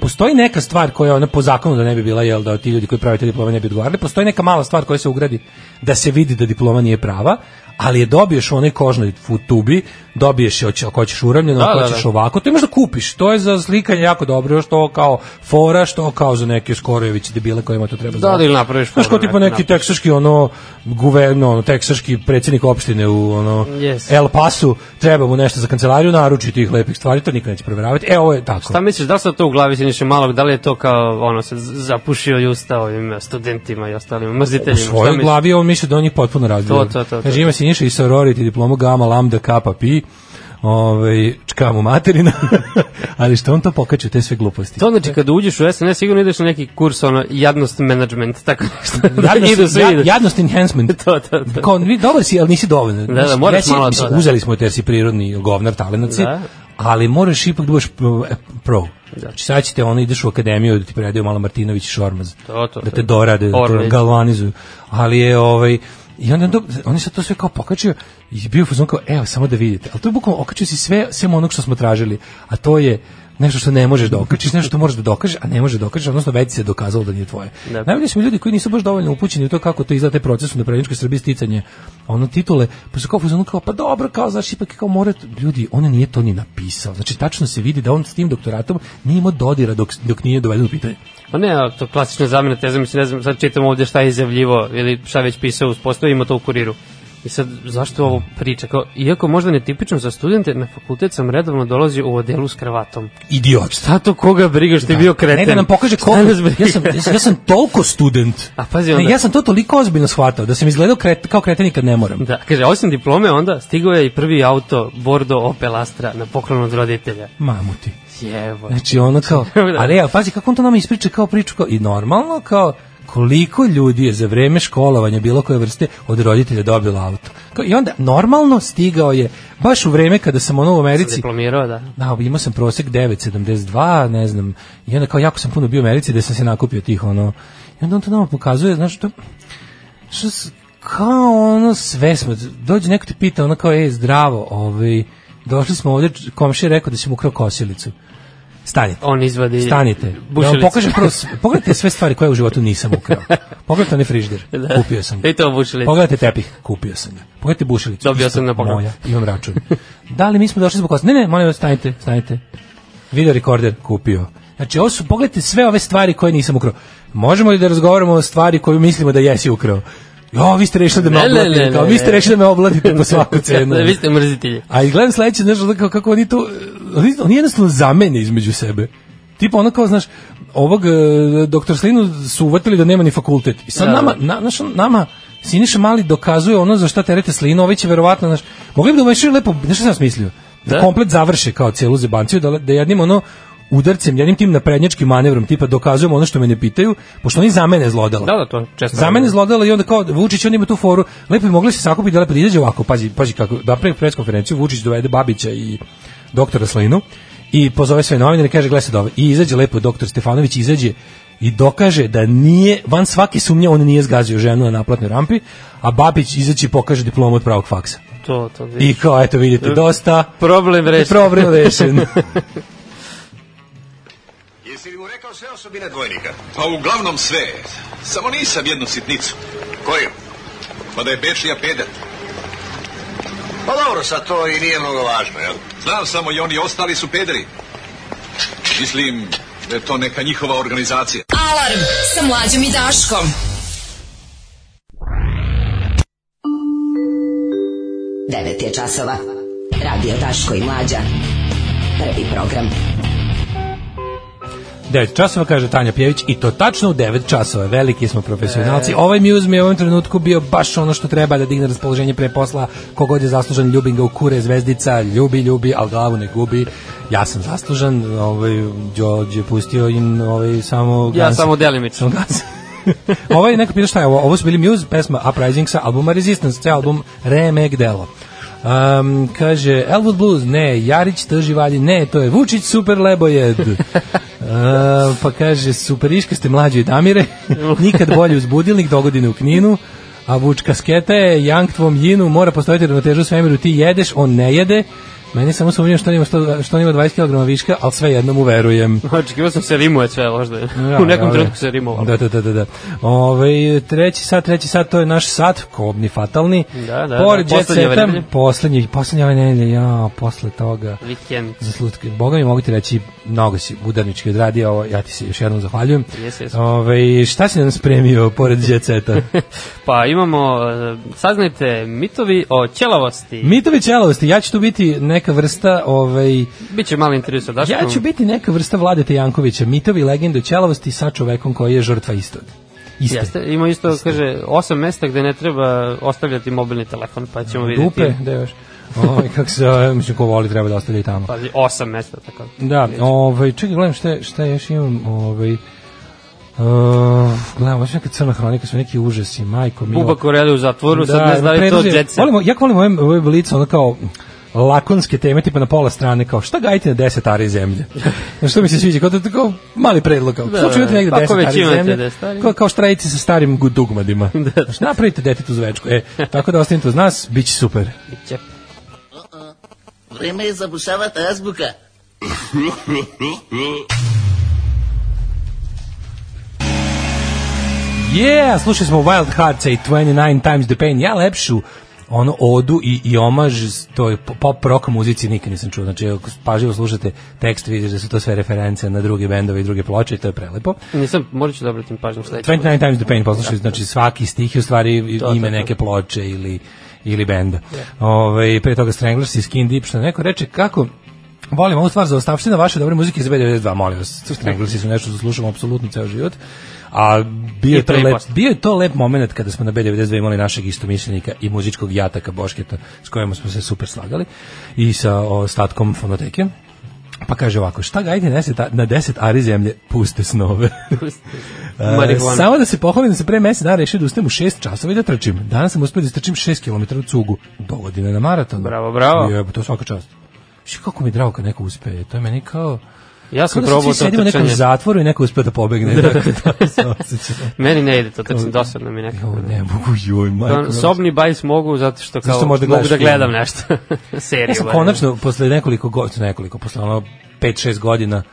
Postoji neka stvar koja ona po zakonu da ne bi bila, jel da ti ljudi koji prave te diplome ne bi odgovarali, postoji neka mala stvar koja se ugradi da se vidi da diploma nije prava, ali je dobiješ u onoj kožnoj fu- tubi, dobiješ je, hoće- ako hoćeš uravljeno,
Da,
ako
da,
hoćeš
da.
ovako, to imaš da kupiš. To je za slikanje jako dobro, što kao fora, što kao za neke Skorojević debile kojima to treba
Da, da ili napraviš
Znaš
foru,
kao tipa
neki
neki teksaški ono guverno, ono teksaški američki predsjednik opštine u ono
Yes.
El Pasu, treba mu nešto za kancelariju, naruči tih lepih stvari, to nikad neće provjeravati. E, ovo je tako.
Šta misliš, da li sad to u glavi siniše malog, da li je to kao, ono, se z- zapušio i usta ovim eh, studentima i ostalim mrziteljima?
u svojoj glavi on misli da on njih potpuno razbio.
To, to, to, to,
Kaže,
to.
ima Sinjiša i sorority diplomu gama, lambda, kapa, pi, ovaj, čka mu materina, ali što on to pokače u te sve gluposti?
To znači kada uđeš u SNS sigurno ideš na neki kurs ono jadnost management tako nešto.
Jadnost,
Idu svi.
ja- jadnost enhancement.
To, to, to.
Kao, vi dobar si, ali nisi dovoljno.
Da, da,
Znaš,
moraš
jesi-
malo to,
mislim,
da.
Uzeli smo te jer si prirodni govnar, talenac si,
Da.
ali moraš ipak da budeš pro- pro. Znači, sad ćete, ono, ideš u akademiju da ti predaju malo Martinović i Šormaz.
To, to,
da te
to.
dorade, da te
Orlić.
galvanizuju. Ali je, ovaj, I onda do, oni sad to sve kao pokačio i bio fuzon kao, evo, samo da vidite. Ali to je bukvalno okačio si sve, sem onog što smo tražili. A to je nešto što ne možeš da okačiš, nešto što moraš da dokažeš, a ne možeš da dokažeš, odnosno već se dokazalo da nije tvoje.
Da.
Najbolje su mi ljudi koji nisu baš dovoljno upućeni u to kako to izgleda taj proces u napredničkoj Srbiji sticanje ono titule, pa su kao u fazonu kao pa dobro, kao znači ipak je kao mora ljudi, on nije to ni napisao. Znači tačno se vidi da on s tim doktoratom nije imao dodira dok, dok nije doveden u pitanje.
Pa ne, a to klasična zamena teza, mislim, ne znam, sad čitam ovdje šta je izjavljivo ili šta je već pisao uz postoji, ima to u kuriru. I sad, zašto ovo priča? Kao, iako možda netipično za studente, na fakultet sam redovno dolazio u odelu s kravatom.
Idiot.
Šta to koga briga što je bio kreten?
Ne da nam pokaže
Šta
koliko,
nas briga?
ja sam, ja sam, ja sam toliko student.
A pazi
ne,
onda.
ja sam to toliko ozbiljno shvatao da sam izgledao kret, kao kreten i kad ne moram.
Da, kaže, osim diplome onda stigao je i prvi auto Bordo Opel Astra na poklon od roditelja.
Mamu ti.
Jevo.
Znači ono kao,
Da.
ali ja, pazi kako on to nama ispriča kao priču kao, i normalno kao koliko ljudi je za vreme školovanja bilo koje vrste od roditelja dobilo auto. Kao, I onda normalno stigao je baš u vreme kada sam ono u Americi
Diplomirao, da.
da, imao sam prosek 9,72, ne znam, i onda kao jako sam puno bio u Americi da sam se nakupio tih, ono, i onda on to nama pokazuje, znaš, to, što, s- kao ono, sve smo, dođe neko te pita, ono kao, ej, zdravo, ovaj, došli smo ovde, komši je rekao da si mu ukrao kosilicu, stanite.
On izvadi...
Stanite. Ja vam
Bušilicu.
pokažem prvo, s- pogledajte sve stvari koje u životu nisam ukrao. Pogledajte onaj frižder,
Da. E,
kupio sam ga.
I to bušilicu.
Pogledajte tepih, kupio sam ga. Pogledajte bušilicu.
Dobio
isto
sam na poklon.
Moja, imam račun. da li mi smo došli zbog vas? Ne, ne, molim vas, stanite, stanite. Video rekorder kupio. Znači, ovo su, pogledajte sve ove stvari koje nisam ukrao. Možemo li da razgovaramo o stvari koju mislimo da jesi ukrao? Jo, vi ste rešili da me
Ne, ne, ne,
oblatite, kao,
ne,
vi ste
ne.
rešili da me oblatite po svaku cenu.
Da, vi ste mrzitelji.
A i gledam sledeće, znaš, ono kao kako oni to, oni, oni jednostavno zamene između sebe. Tipa ono kao, znaš, ovog e, doktor Slinu su uvatili da nema ni fakultet. I sad
Da,
nama, na, znaš, on- nama Siniša Mali dokazuje ono za šta terete Slinu, ovaj će verovatno, znaš, mogli bi da umešaju lepo, znaš šta sam smislio? Da,
Da.
komplet završe kao celu zebanciju, da, le- da jednim ono udarcem, jednim tim naprednjačkim manevrom, tipa dokazujemo ono što me ne pitaju, pošto oni zamene zlodala.
Da, da, to često.
Za mene zlodela i onda kao Vučić on ima tu foru. Lepo bi mogli se sakupiti da lepo da izađe ovako. Pazi, pazi kako da pre pres konferenciju Vučić dovede Babića i doktora Slinu i pozove sve novinare i kaže gle se dobro. I izađe lepo doktor Stefanović izađe i dokaže da nije van svake sumnje on nije zgazio ženu na naplatnoj rampi, a Babić izaći i pokaže diplomu od pravog faksa.
To, to.
I kao eto vidite dosta
Problem rešen.
problem rešen.
Jesi li mu rekao sve osobine dvojnika? Pa uglavnom sve. Samo nisam jednu sitnicu. Koju? Pa da je Bečija pedat. Pa dobro, sad to i nije mnogo važno, jel? Znam samo i oni ostali su pederi. Mislim da je to neka njihova organizacija.
Alarm sa mlađom i Daškom.
9 je časova. Radio Daško i Mlađa. Prvi program.
9 časova, kaže Tanja Pjević, i to tačno u 9 časova. Veliki smo profesionalci.
E.
Ovaj muse mi je u ovom trenutku bio baš ono što treba da digne raspoloženje pre posla. Kogod je zaslužan, ljubim ga u kure, zvezdica, ljubi, ljubi, ali glavu ne gubi. Ja sam zaslužan, ovaj, Đorđe je pustio im ovaj, samo...
Ja
Guns-
samo delimično.
samo Guns. ovaj neko pita šta je ovo, ovo su bili Muse, pesma Uprising sa albuma Resistance, ceo album Remek delo. Um, kaže, Elwood Blues, ne, Jarić trži valji, ne, to je Vučić super lebojed. Uh, pa kaže, superiška ste mlađe i Damire, nikad bolje uz budilnik, do godine u kninu, a Vučka skete, Jank tvom jinu, mora postojati ravnoteža u svemiru, ti jedeš, on ne jede, Meni samo sumnjam što on ima, što, što on ima 20 kg viška, ali sve jednom uverujem.
Očekivao sam se rimuje sve, možda.
Ja,
u nekom
ja,
trenutku
ja.
se rimovalo.
Da, da, da, da. da. Ove, treći sat, treći sat, to je naš sat, kobni, fatalni.
Da, da,
Pored
da,
Jet
poslednje
Seta,
nedelje.
poslednji, poslednje ove nedelje, ja, posle toga.
Vikend.
Za slutke. Boga mi mogu ti reći, mnogo si udarnički odradio ovo, ja ti se još jednom zahvaljujem.
Jes, jes.
Ove, šta si nam spremio pored Jet Seta?
Pa imamo, e, saznajte, mitovi o ćelavosti.
Mitovi ćelovosti, ja ću tu biti neka vrsta, ovaj,
Biće mali intervju sa Daškom.
ja ću biti neka vrsta Vladete Jankovića, mitovi i legende o ćelovosti sa čovekom koji je žrtva istog. Iste.
Jeste, ima isto, kaže, osam mesta gde ne treba ostavljati mobilni telefon, pa ćemo vidjeti.
Dupe, da još. Ovaj kako se, zove, mislim ko voli treba da ostavlja i tamo.
Pazi, osam mesta, tako.
Da, ovaj čekaj gledam šta je- šta još imam, ovaj Uh, gledam, baš neka crna hronika, su neki užasi, majko mi.
Buba Koreli u zatvoru, sad ne zna li to
predlozi-
jet set.
Volimo, jako volim ove, ove blice, ono kao lakonske teme, tipa na pola strane, kao šta gajite na 10 ari zemlje? Znaš, što mi se sviđa, kao, to, kao mali predlog, kao, da, slučaj imate negde
tako
10
pa već
ari
imate
zemlje,
10 ari.
kao, kao štrajice sa starim gu- dugmadima. da. Znaš, napravite detetu zvečku, e, tako da ostanite uz nas, bit će super.
Biće.
Vreme je zabušavati azbuka.
Yeah, slušali smo Wild Hearts i 29 Times the Pain. Ja lepšu ono odu i, i omaž s- toj po- pop rock muzici nikad nisam čuo. Znači, ako pažljivo slušate tekst, vidiš da su to sve reference na druge bendove i druge ploče i to je prelepo.
Nisam, morat ću da obratim pažnju sledeću.
29 Times the Pain poslušaj, znači svaki stih je u stvari
To, to,
ime
to.
neke ploče ili, ili benda. Ove, pre toga Stranglers i Skin Deep, što neko reče kako Volim ovu stvar za ostavština vaše dobre muzike iz B92, molim vas. Stranglesi su nešto što slušamo apsolutno ceo život. A bio je,
I
to
pre i
lep,
posle.
bio je to lep moment kada smo na B92 imali našeg istomišljenika i muzičkog jataka Bošketa s kojim smo se super slagali i sa ostatkom fonoteke. Pa kaže ovako, šta gajde na 10 na 10 ari zemlje, puste snove. E,
Marihuana.
Samo da se pohvalim da se pre mesec dana rešio da ustanem u 6 časova i da trčim. Danas sam uspio da istrčim 6 km u cugu. Dovodi me na maraton.
Bravo, bravo.
Je, to svaka čast. Ši, kako mi je drago kad neko uspe. To je meni kao...
Ja
Kao
sam
da
probao
se svi
to
sedimo u nekom
trčanje.
zatvoru i neko uspe da pobegne. Da, da, da. se osjećam.
Meni ne ide to trčanje, dosadno mi nekako.
Jo, ne mogu, joj, majko.
To-
mila.
Sobni bajs mogu zato što kao
Zato što možda
mogu
gledaš
da gledam
film.
nešto. Seriju.
Ja sam
barem.
konačno, posle nekoliko godina, nekoliko, posle ono 5-6 godina,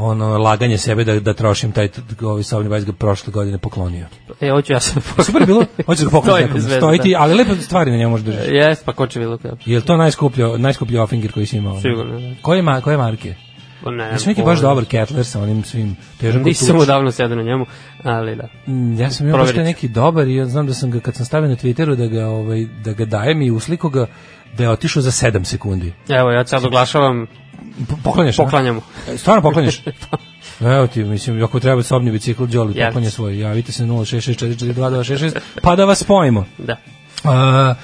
ono, laganje sebe da, da trošim taj t- ovaj sobni bajs ga prošle godine poklonio.
E, hoću ja sam.
Super je bilo, hoćeš da
To je
pokloniš nekom,
bez veze,
stoji
da.
ti, ali lepe stvari na njemu možeš držati.
Jes, pa ko će bilo kao?
Je li to najskuplji najskuplji offinger koji si imao?
Sigurno, da.
Koje, ma, koje marke?
Pa Ne,
Ja sam neki
pojma.
baš dobar Kettler sa onim svim težakom
Nisam odavno sedao na njemu, ali da.
Mm, Ja sam imao baš
Proverit
taj
ću.
neki dobar i ja znam da sam ga, kad sam stavio na Twitteru da ga, ovaj, da ga dajem i usliku ga, da je otišao za 7 sekundi.
Evo, ja sad oglašavam,
P- Poklanjaš, a?
poklanjamo.
E, Stvarno poklanjaš? Evo ti, mislim, ako treba sobni bicikl, Đoli,
Jeste.
poklanja svoj. Javite se 066442266, pa da vas spojimo.
Da.
A,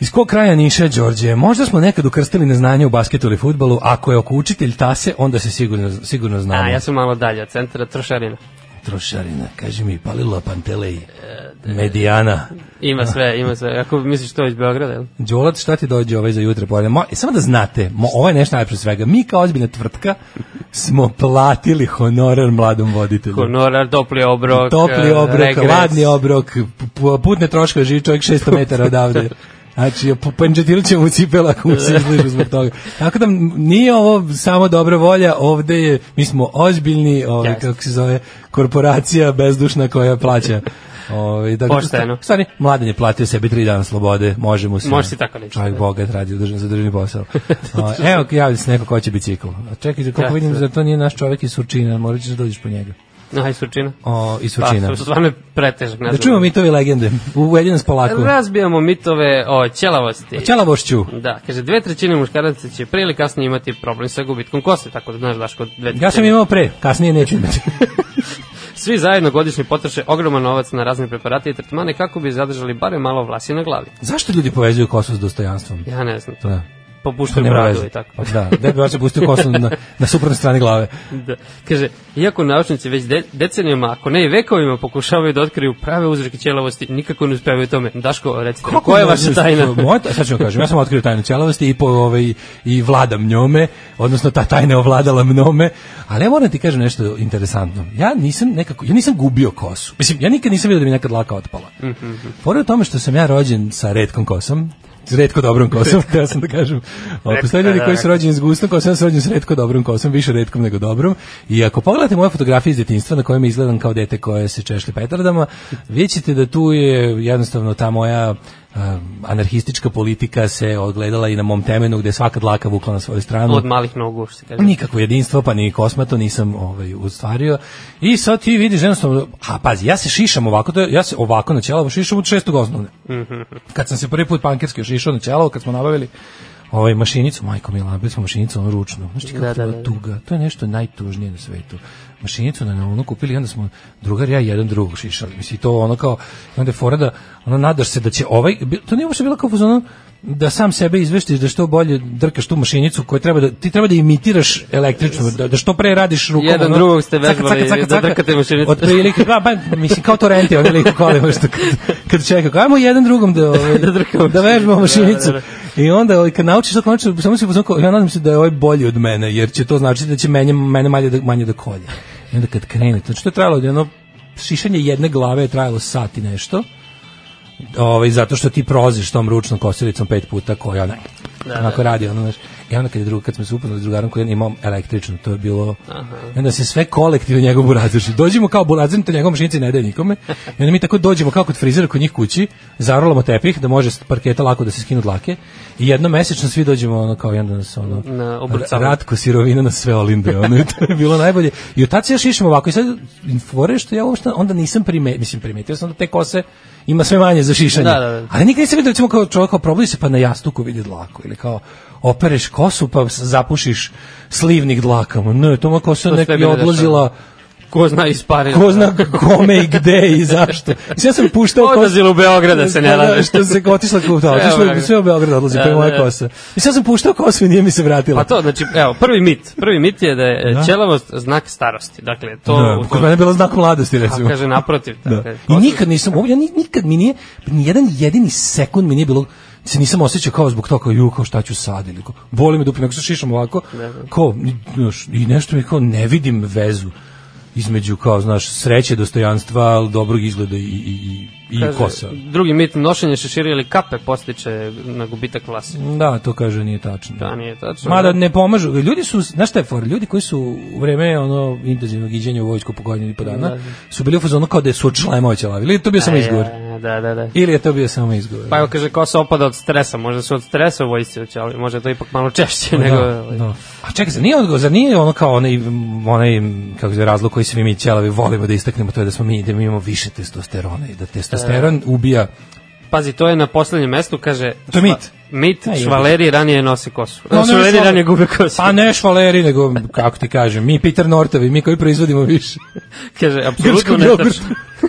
iz kog kraja Niša, Đorđe? Možda smo nekad ukrstili neznanje u basketu ili futbalu, ako je oko učitelj tase, onda se sigurno, sigurno znamo.
A, ja sam malo dalje od centra, trošarina.
Trošarina, kaži mi, palila Pantelej, Medijana.
Ima sve, ima sve. Ako misliš to iz Beograda, jel?
Đolac, šta ti dođe ovaj za jutro? Pojede? Mo, e, samo da znate, mo, ovo je nešto najpre svega. Mi kao ozbiljna tvrtka smo platili honorar mladom voditelju.
Honorar, topli obrok,
Topli
eh,
obrok,
regres.
ladni obrok, p- p- putne troškove, živi čovjek 600 metara odavde. Znači, panđetilit ćemo u cipela ako mu se izližu zbog toga. Tako da m, nije ovo samo dobra volja, ovde je, mi smo ozbiljni, ovaj,
Jeste.
kako se zove, korporacija bezdušna koja plaća. Ovaj, dakle,
Pošteno.
u Stvari, mladen je platio sebi tri dana slobode, možemo se.
Može se tako reći,
Čovjek
da.
bogat radi udržan za državni posao. O, evo, javlja se neko ko će bicikl. A čekaj, koliko
Jeste.
vidim, zar to nije naš čovjek iz Surčina, morat ćeš da dođeš po njega.
Aj, sučina.
O, iz
Pa,
Surčina.
stvarno je pretežak.
Da čujemo mitovi i legende. Uvedi nas polako.
Razbijamo mitove o ćelavosti.
Ćelavošću.
Da, kaže, dve trećine muškaraca će prije ili kasnije imati problem sa gubitkom kose, tako da znaš daš kod dve trećine.
Ja sam imao pre, kasnije neću imati.
Svi zajedno godišnje potroše ogroman novac na razne preparate i tretmane kako bi zadržali barem malo vlasi na glavi.
Zašto ljudi povezuju kosu s dostojanstvom?
Ja ne znam to.
Da.
Popuštaju
nema
bradu
veze.
i tako.
Pa da, da bi ja se pustio kosu na, na suprotnoj strani glave.
Da. Kaže, iako naučnici već de decenijama, ako ne i vekovima, pokušavaju da otkriju prave uzroke ćelavosti, nikako ne uspevaju u tome. Daško, recite, Kako koja je vaša
dođeš-
tajna?
Moja, ta- sad ću vam kažem, ja sam otkrio tajnu ćelavosti i, po, ovaj, i vladam njome, odnosno ta tajna je ovladala mnome, ali ja moram ti kažem nešto interesantno. Ja nisam nekako, ja nisam gubio
Mhm,
kosu. Mislim, ja nikad nisam vidio da mi nekad laka otpala. Mm -hmm. Pored tome što sam ja rođen sa redkom kosom, s redko dobrom kosom, htio sam da kažem. Ovo, Postoje ljudi koji su rođeni s gustom kosom, ja sam rođen s redko dobrom kosom, više redkom nego dobrom. I ako pogledate moje fotografije iz djetinjstva na kojem izgledam kao dete koje se češlje petardama, vidjet ćete da tu je jednostavno ta moja a, anarhistička politika se odgledala i na mom temenu gde je svaka dlaka vukla na svoju stranu.
Od malih nogu, što se kaže.
Nikakvo jedinstvo, pa ni kosmato nisam ovaj, ustvario. I sad ti vidiš jednostavno, a pazi, ja se šišam ovako, to je- ja se ovako na ćelavo šišam od šestog osnovne.
Mhm.
Kad sam se prvi put pankerski šišao na ćelavo, kad smo nabavili ovaj mašinicu, majko mi nabili smo mašinicu onu ručnu. Znaš ti kako
Da,
da,
da, da.
tuga, to je nešto najtužnije na svetu. Mašinicu na neonu kupili, i onda smo drugar i ja jedan drugog šišali. Mislim, to ono kao, i onda je fora da, ono, nadaš se da će ovaj, bi- to nije uopšte bilo kao ono, da sam sebe izveštiš da što bolje drkaš tu mašinicu koju treba da, ti treba da imitiraš električnu, da, da što pre radiš rukom.
Jedan
ono,
drugog ste
caka, caka,
vežbali
caka,
da
caka.
drkate mašinicu.
Otprilike, pa, pa, mislim, kao to renti, ono liko kolima što kad, kad čeka. kao, Ajmo jedan drugom da, ovaj, da, da vežbamo mašinicu. I onda ovaj, kad naučiš to konačno, samo se poznako, ja nadam se da je ovaj bolji od mene, jer će to značiti da će mene, mene manje, da, manje da kolje. I onda kad krene, znači, to što je trajalo, jedno, šišanje jedne glave je trajalo sat i nešto, ovaj, zato što ti proziš tom ručnom kosilicom pet puta koja ne, onako radi, ono, znaš. I onda kad je drugo, kad smo se upoznali s drugarom koji je imao električnu, to je bilo, i onda se sve kolektivno njegovu razreši. Dođemo kao bulazin, to njegov mašinici ne daje nikome, i onda mi tako dođemo kao kod frizera kod njih kući, zarolamo tepih da može s parketa lako da se skinu dlake i jednom mesečno svi dođemo ono kao i onda nas ono,
Na obrucavanje.
Ratko sirovina na sve olinde, ono i to je bilo najbolje. I od tad se još išem ovako i sad fore što ja uopšte onda nisam primetio, mislim primetio sam da te kose ima sve manje za šišanje.
Da, da, da.
Ali nikad nisam vidio recimo kao čovjek kao probudi se pa na jastuku vidi dlaku ili kao opereš kosu pa s- zapušiš slivnik dlakama. Ne, to moja kosa
To sve
nek
mi
je
ne
odlazila
Ko zna isparila.
ko zna kome i gde i zašto. Mislim, ja sam puštao kosu.
Odlazila u Beograd da se ne laže.
Što se otišla kao da, otišla,
Sve u Beograd.
sve u Beograd odlazi, pa
Da,
je moja
da, da.
kosa. Mislim, ja sam puštao kosu i nije mi se vratila.
Pa to, znači, evo, prvi mit. Prvi mit je da je da. ćelavost znak starosti. Dakle, to...
Da,
u
kod
to
mene je bilo znak mladosti, recimo.
a, kaže naprotiv.
Da.
Dakle,
I nikad nisam, ovo, ja ni- nikad mi nije, ni jedan jedini sekund mi nije bilo, se nisam osjećao kao zbog toga, kao ju, kao šta ću sad, ili kao, boli me dupe, nego se šišam ovako, kao, i, znaš, i nešto mi kao, ne vidim vezu između, kao, znaš, sreće, dostojanstva, dobrog izgleda i, i, i, i
Kaže,
kosa.
Drugi mit, nošenje šešira ili kape postiče na gubitak klase.
Da, to kaže, nije tačno.
Da, nije tačno.
Mada ne pomažu. Ljudi su, znaš šta je for, ljudi koji su u vreme ono intenzivnog iđenja u vojsku po godinu i po dana, su bili u fazonu kao da su od šlajmova ćelavi. Ili je to bio samo izgovor?
E, Da, da, da.
Ili je to bio samo izgovor?
Pa evo kaže kosa opada od stresa, možda su od stresa u vojsci ali možda je to ipak malo češće
Pa Da,
nego...
da. A čekaj, zar nije odgovor, zar nije ono kao onaj, onaj kako se zove, razlog koji svi mi ćelavi volimo da istaknemo, to je da smo mi, da mi imamo više testosterona i da testosteron ubija
Pazi, to je na poslednjem mestu, kaže...
To je mit.
Mit,
Ne,
švaleri ranije nose kosu.
Pa ne,
švaleri
švaleri.
ranije gube kosu.
Pa ne švaleri, nego, kako ti kažem, mi Peter Nortovi, mi koji proizvodimo više.
Kaže, apsolutno
Grčkog
netačno.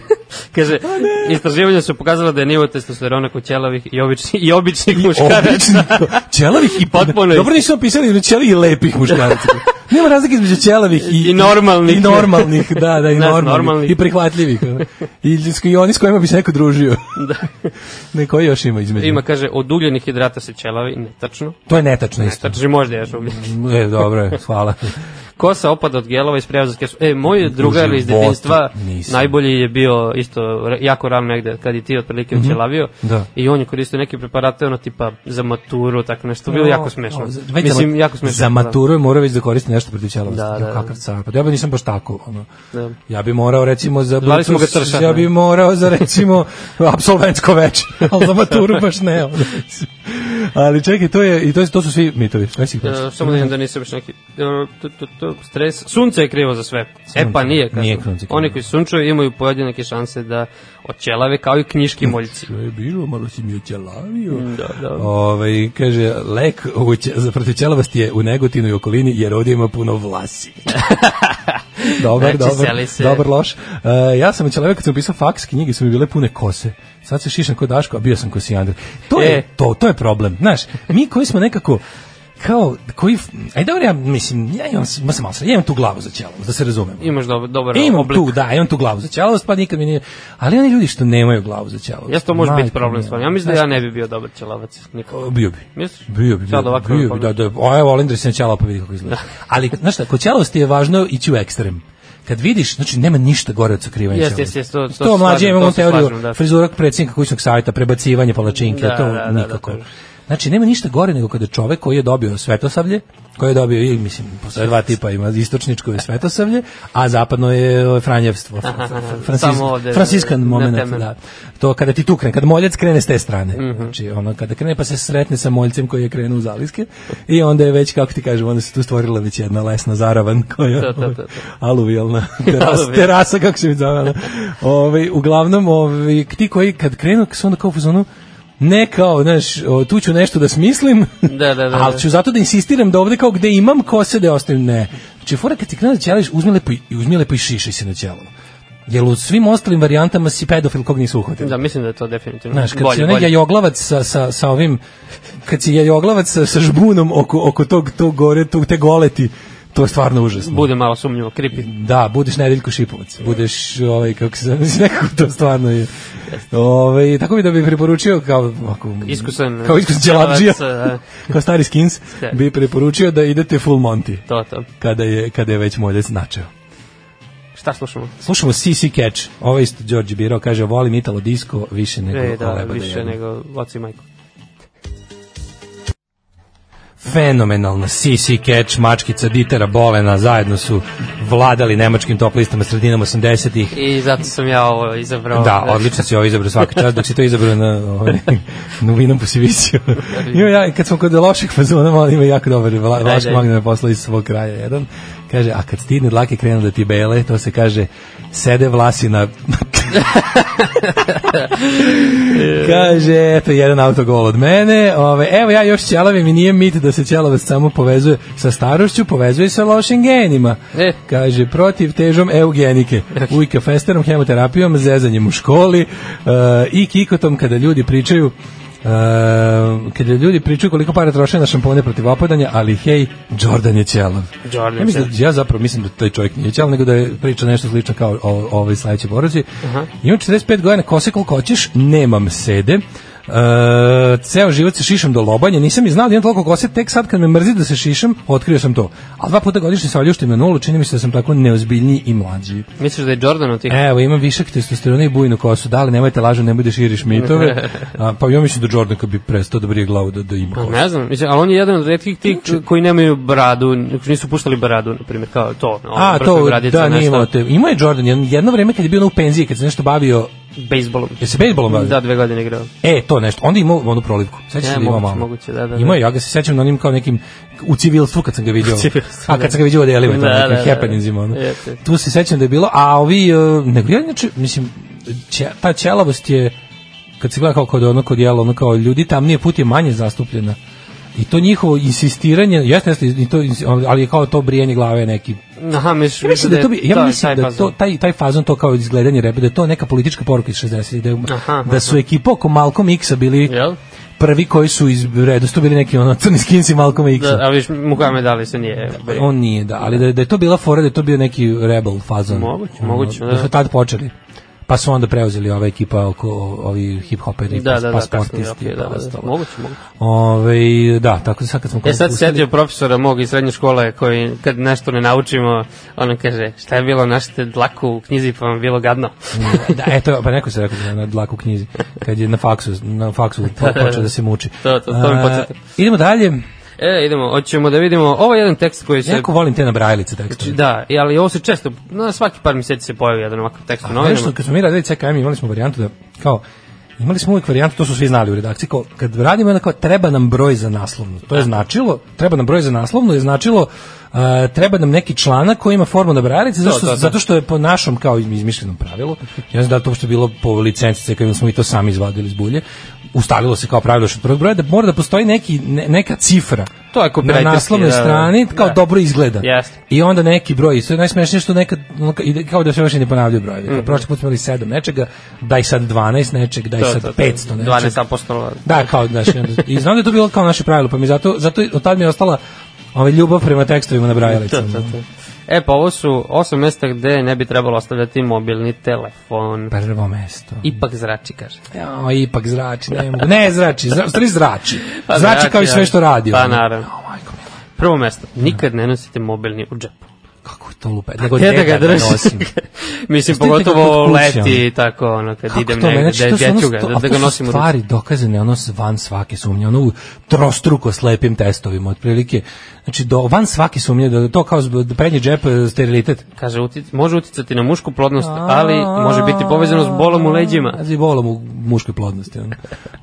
Kaže,
Pa
istraživanja su pokazala da je nivo testosterona kod ćelavih i običnih, i običnih muškaraca.
Običnih, ćelavih i
Potpuno
Dobro nisu
isto.
opisali između ćelih i lepih muškaraca. Nema razlike između ćelavih i,
I normalnih.
I normalnih, da, da, i
Nas
normalnih.
normalnih.
I prihvatljivih. ono. I, s- I oni s kojima bi se neko družio.
Da.
Ne, koji još ima između?
Ima, kaže, od ugljenih hidrata se ćelavi, netačno.
To je netačno isto.
Netačno, možda je još ugljen.
E, dobro je, hvala.
Kosa opada od gelova iz prevozarske su. E, moj drugar iz
životu
detinjstva
nisam.
najbolji je bio isto ra- jako ravno negde kad je ti otprilike učelavio.
Mhm. Da.
I on je koristio neke preparate ono tipa za maturu, tako nešto. Bilo jako smešno.
O, za- već za,
Mislim,
mat-
jako smešno.
Za maturu je morao već da koristi nešto protiv ćelavosti.
Da,
Da,
da, da.
Kakav car. Pa ja bi nisam baš tako. Ono.
Da.
Ja bi morao recimo za
Zvali smo ga
Bluetooth-
Tršan,
Ja
ne?
bi morao za recimo apsolventsko veče, ali za maturu baš ne. ono. Ali čekaj, to je i to, je- to su svi mitovi. Sve si ih
E,
pročitao?
samo da imam da nisam još neki e, tu, tu, tu, stres. Sunce je krivo za sve. e pa nije. kažu.
Nije sunce krivo.
Oni koji sunčaju imaju pojedinake šanse da oćelave kao i knjiški moljci.
To je bilo, malo si mi oćelavio.
Mm, Da, da.
Ovaj kaže, lek u će- za protiv ćelavosti je u negotinu i okolini, jer ovdje ima puno vlasi. dobar,
Znači, seli
dobar,
se.
dobar, loš. E, ja sam čelavek kad sam pisao faks, knjige su mi bile pune kose. Sad se šišam kod Daško, a bio sam kod Sijandra. To,
E.
je, to, to je problem. Znaš, mi koji smo nekako kao, koji, aj dobro, ja mislim, ja imam, s- ima sam malo sre- ja imam tu glavu za ćelavost, da se razumemo.
Imaš dobar, dobar
E, Imam
oblik.
tu, da, imam tu glavu za ćelavost, pa nikad mi nije... Ali oni ljudi što nemaju glavu za ćelavost.
Jesi to može biti
majko
problem
mila.
stvarno. Ja mislim da ja ne bi bio dobar ćelavac. Nikako.
Bio bi.
Misliš?
Bio bi, bio,
Sad
bi,
ovako
bio bi,
pametno.
da, da, o, evo Olindra se načela pa vidi kako izgleda. Ali, znaš šta, kod ćelosti je važno ići u ekstrem. kad vidiš, znači nema ništa gore od sakrivanja.
Jeste,
čela.
jeste, jeste, to- to se
to mlađe
slažem,
imamo
to se
teoriju
slažem, da.
frizurak predsjednika kućnog savjeta, prebacivanje palačinke,
Da,
to
da, da, da,
nikako.
to je.
Znači, nema ništa gore nego kada čovek koji je dobio svetosavlje, koji je dobio, i, mislim, postoje dva tipa, ima istočničko je svetosavlje, a zapadno je ovo, franjevstvo, fr- fr- francisk-
samo ovde,
franciskan
na
moment,
temelju.
da. To kada ti tu krene, kada moljac krene s te strane,
Mhm.
znači, ono, kada krene pa se sretne sa moljcem koji je krenuo u zaliske, i onda je već, kako ti kažem, onda se tu stvorila već jedna lesna zaravan koja ovaj,
To, to, to, to.
aluvijalna terasa,
Aluvijalna.
terasa kako se mi zove. ono. Ovaj uglavnom ovaj ti koji kad krenu su onda kao u fazonu ne kao, znaš, o, tu ću nešto da smislim,
Da, da, da,
ali
da.
ću zato da insistiram da ovde kao gde imam kose da je ostavim, ne. Znači, fora kad ti krenu da ćeliš, uzmi lepo, i- i uzmi lepo i šišaj se na ćelu. Jer u svim ostalim varijantama si pedofil kog nisu uhvatili.
Da, mislim da je to definitivno
Znaš, kad
bolje,
si onaj
bolje.
jajoglavac sa, sa, sa ovim, kad si jajoglavac sa, sa žbunom oko, oko tog, tog gore, tog, te goleti, to je stvarno užasno.
Bude malo sumnjivo, kripi.
Da, budeš Nedeljko Šipovac. Budeš ovaj kako se zove, mislim, nekako to stvarno je. Ovaj tako bi da bi preporučio kao ako
Iskusan,
kao iskusan đelabdžija.
đelavac,
kao stari skins
Da.
bi preporučio da idete full Monty
To, to.
kada je kada je već moljac načeo.
Šta slušamo?
Slušamo CC Catch. Ovo isto Đorđe Biro kaže volim Italo disco više nego
E, da,
hleba
više
jedem."
nego oci i majko.
fenomenalno CC Catch, mačkica Ditera Bolena zajedno su vladali nemačkim top listama sredinom 80-ih.
I zato sam ja ovo izabrao.
Da, odlično si ovo izabrao svaka čast, dok si to izabrao na, ovaj, na vinom po si visio. Ima ja, kad smo kod loših fazona, malo ima jako dobar, Vla- Vlaško
Ajde.
Magna me posla iz svog kraja jedan. Kaže, a kad stidne dlake krenu da ti bele, to se kaže, sede vlasi na... kaže, eto, jedan autogol od mene. Ove, evo ja još ćelavim i nije mit da se ćelavac samo povezuje sa starošću, povezuje sa lošim genima.
E.
Kaže, protiv težom eugenike, ujka festerom, hemoterapijom, zezanjem u školi e, i kikotom kada ljudi pričaju e, kada ljudi pričaju koliko para troše na šampone protiv opadanja, ali hej, Jordan je ćelav.
Jordan
ja, mislim,
je
da- ja zapravo mislim da taj čovjek nije ćelav, nego da je priča nešto slično kao o, ovaj sledeći borazi. Imam 45 godina, kose koliko hoćeš, nemam sede. Uh, ceo život se šišam do lobanje nisam i znao da imam toliko kose, tek sad kad me mrzi da se šišam, otkrio sam to a dva puta godišnje se oljuštim na nulu, čini mi se da sam tako neozbiljniji i mlađi
Misliš da je Jordan od tih?
Evo, imam višak testosterona i bujnu kosu. Da li nemojte lažu, nemoj da širiš mitove. A, pa ja mislim da Jordan kad bi prestao da brije glavu da, da ima
Pa
kosu.
ne znam, mislim, ali on je jedan od redkih tih koji nemaju bradu, koji nisu puštali bradu, na primjer, kao to. ono,
A,
brkaju
to,
bradice,
da, nije
nešto,
imao te. Imao je Jordan jedno, jedno vreme kad je bio ono u penziji, kad se nešto bavio,
Bejsbolom.
je se bejsbolom bavio?
Da, dve godine igrao.
E, to nešto. Onda je imao onu prolivku. Sećaš
E,
se da imao
moguće,
malo?
moguće, da, da, da.
Imao je, ja ga se sećam na onim kao nekim u civilstvu kad sam ga vidio.
U civilstvu,
A kad
da.
sam ga vidio u delima, tamo
Da,
nekim
da, da, da.
happeningsima, ono.
Jeste, jeste.
Tu se sećam da je bilo, a ovi, e, nego ja inače, mislim, će, ta ćelavost je, kad se gleda kao kod ono, kod jelo, ono kao ljudi tamnije put je manje zastupljena. I to njihovo insistiranje, jeste, jeste, i to, insi- ali je kao to brijanje glave neki
Aha, misliš,
ja mislim da je to bi, ja
taj-
mislim
taj
da
fazon.
to taj taj fazon to kao izgledanje rebe da je to neka politička poruka iz 60 da, je-
Aha,
da su ekipa oko Malcolm X-a bili
Jel?
prvi koji su iz redu su bili neki ono crni skinci Malcolm X-a.
Da, a vidiš, Muhammed Ali se nije... brio.
On nije, da, ali da, da je to bila fora, da je to bio neki rebel fazon.
Moguće,
Ono,
moguće,
da.
da.
su tad počeli. Pa su onda preuzeli ova ekipa oko ovi hip-hoperi,
Da,
da,
da,
da,
da,
pa
kasnije,
sportisti,
okej, da,
pa
da, da,
ostalo.
moguće, moguće.
Ove, da, tako da sad kad smo...
E sad se setio profesora mog iz srednje škole koji kad nešto ne naučimo, on kaže šta je bilo našte dlaku u knjizi pa vam bilo gadno.
da, eto, pa neko se rekao da je na dlaku knjizi, kad je na faksu, na faksu po- počeo da se muči.
To- to- to me
A,
podsjeti.
idemo dalje,
E, idemo, hoćemo da vidimo, ovo je jedan tekst koji se...
jako volim te nabrajalice tekstove.
Da, i- ali ovo se često, na svaki par mjeseci se pojavi jedan ovakav tekst u
A Nešto,
novinama.
kad smo mi radili CKM, imali smo varijantu da, kao, imali smo uvijek varijantu, to su svi znali u redakciji, kao, kad radimo, onda kao, treba nam broj za naslovnu. To je značilo, treba nam broj za naslovnu, je značilo, uh, treba nam neki članak koji ima formu nabrajalice, zato, što-
to, to.
zato što je po našom, kao izmišljenom pravilu, ja ne znam da li to uopšte bilo po licenci CKM, ili smo mi to sami izvadili iz bulje, ustavilo se kao pravilo još od prvog broja, da mora da postoji neki, ne- neka cifra
To je
na
copywriterski,
naslovnoj
da, da.
strani, kao
Da.
dobro izgleda.
Jeste.
I onda neki broj, sve najsmešnije što nekad ono, ka- ide kao da se više ne ponavljaju brojevi.
Mhm.
Kao Prošli put smo imali 7 nečega, daj sad 12 nečeg, daj
To,
sad
to, to.
500 nečeg.
12 apostola.
Da, kao znaš, i onda- i znam da je to bilo kao naše pravilo, pa mi zato zato od tad mi je ostala ovaj ljubav prema tekstovima na
To,
brajalicama.
to, to. E, pa ovo su osam mjesta gde ne bi trebalo ostavljati mobilni telefon.
Prvo mesto. I
Ipak zrači, kaže.
ja, ipak zrači, ne mogu. Ne zrači, zra, stvari zrači.
Pa
Zrači
zrači,
kao i sve
da.
što radi.
Pa,
ono.
naravno.
O, majko mila.
Prvo mjesto, nikad ne nosite mobilni u džepu.
kako to lupa, nego
Gde
gde
da ga drži?
nosim. Pustite
Mislim,
ga
pogotovo
kod kuće,
leti i tako, ono, kad
Kako
idem
to,
negde,
znači,
da,
to su ono
ću ga,
sto-
da,
a
da ga
to su
nosim u ruci.
stvari dokazane, ono s- van svake sumnje, ono u trostruko slepim testovima, otprilike. Znači, do, van svake sumnje, da to kao zb- da prednji džep, e, sterilitet.
Kaže, utic, može uticati na mušku plodnost, ali može biti povezano s bolom u leđima.
Znači, bolom u muškoj plodnosti. Ono.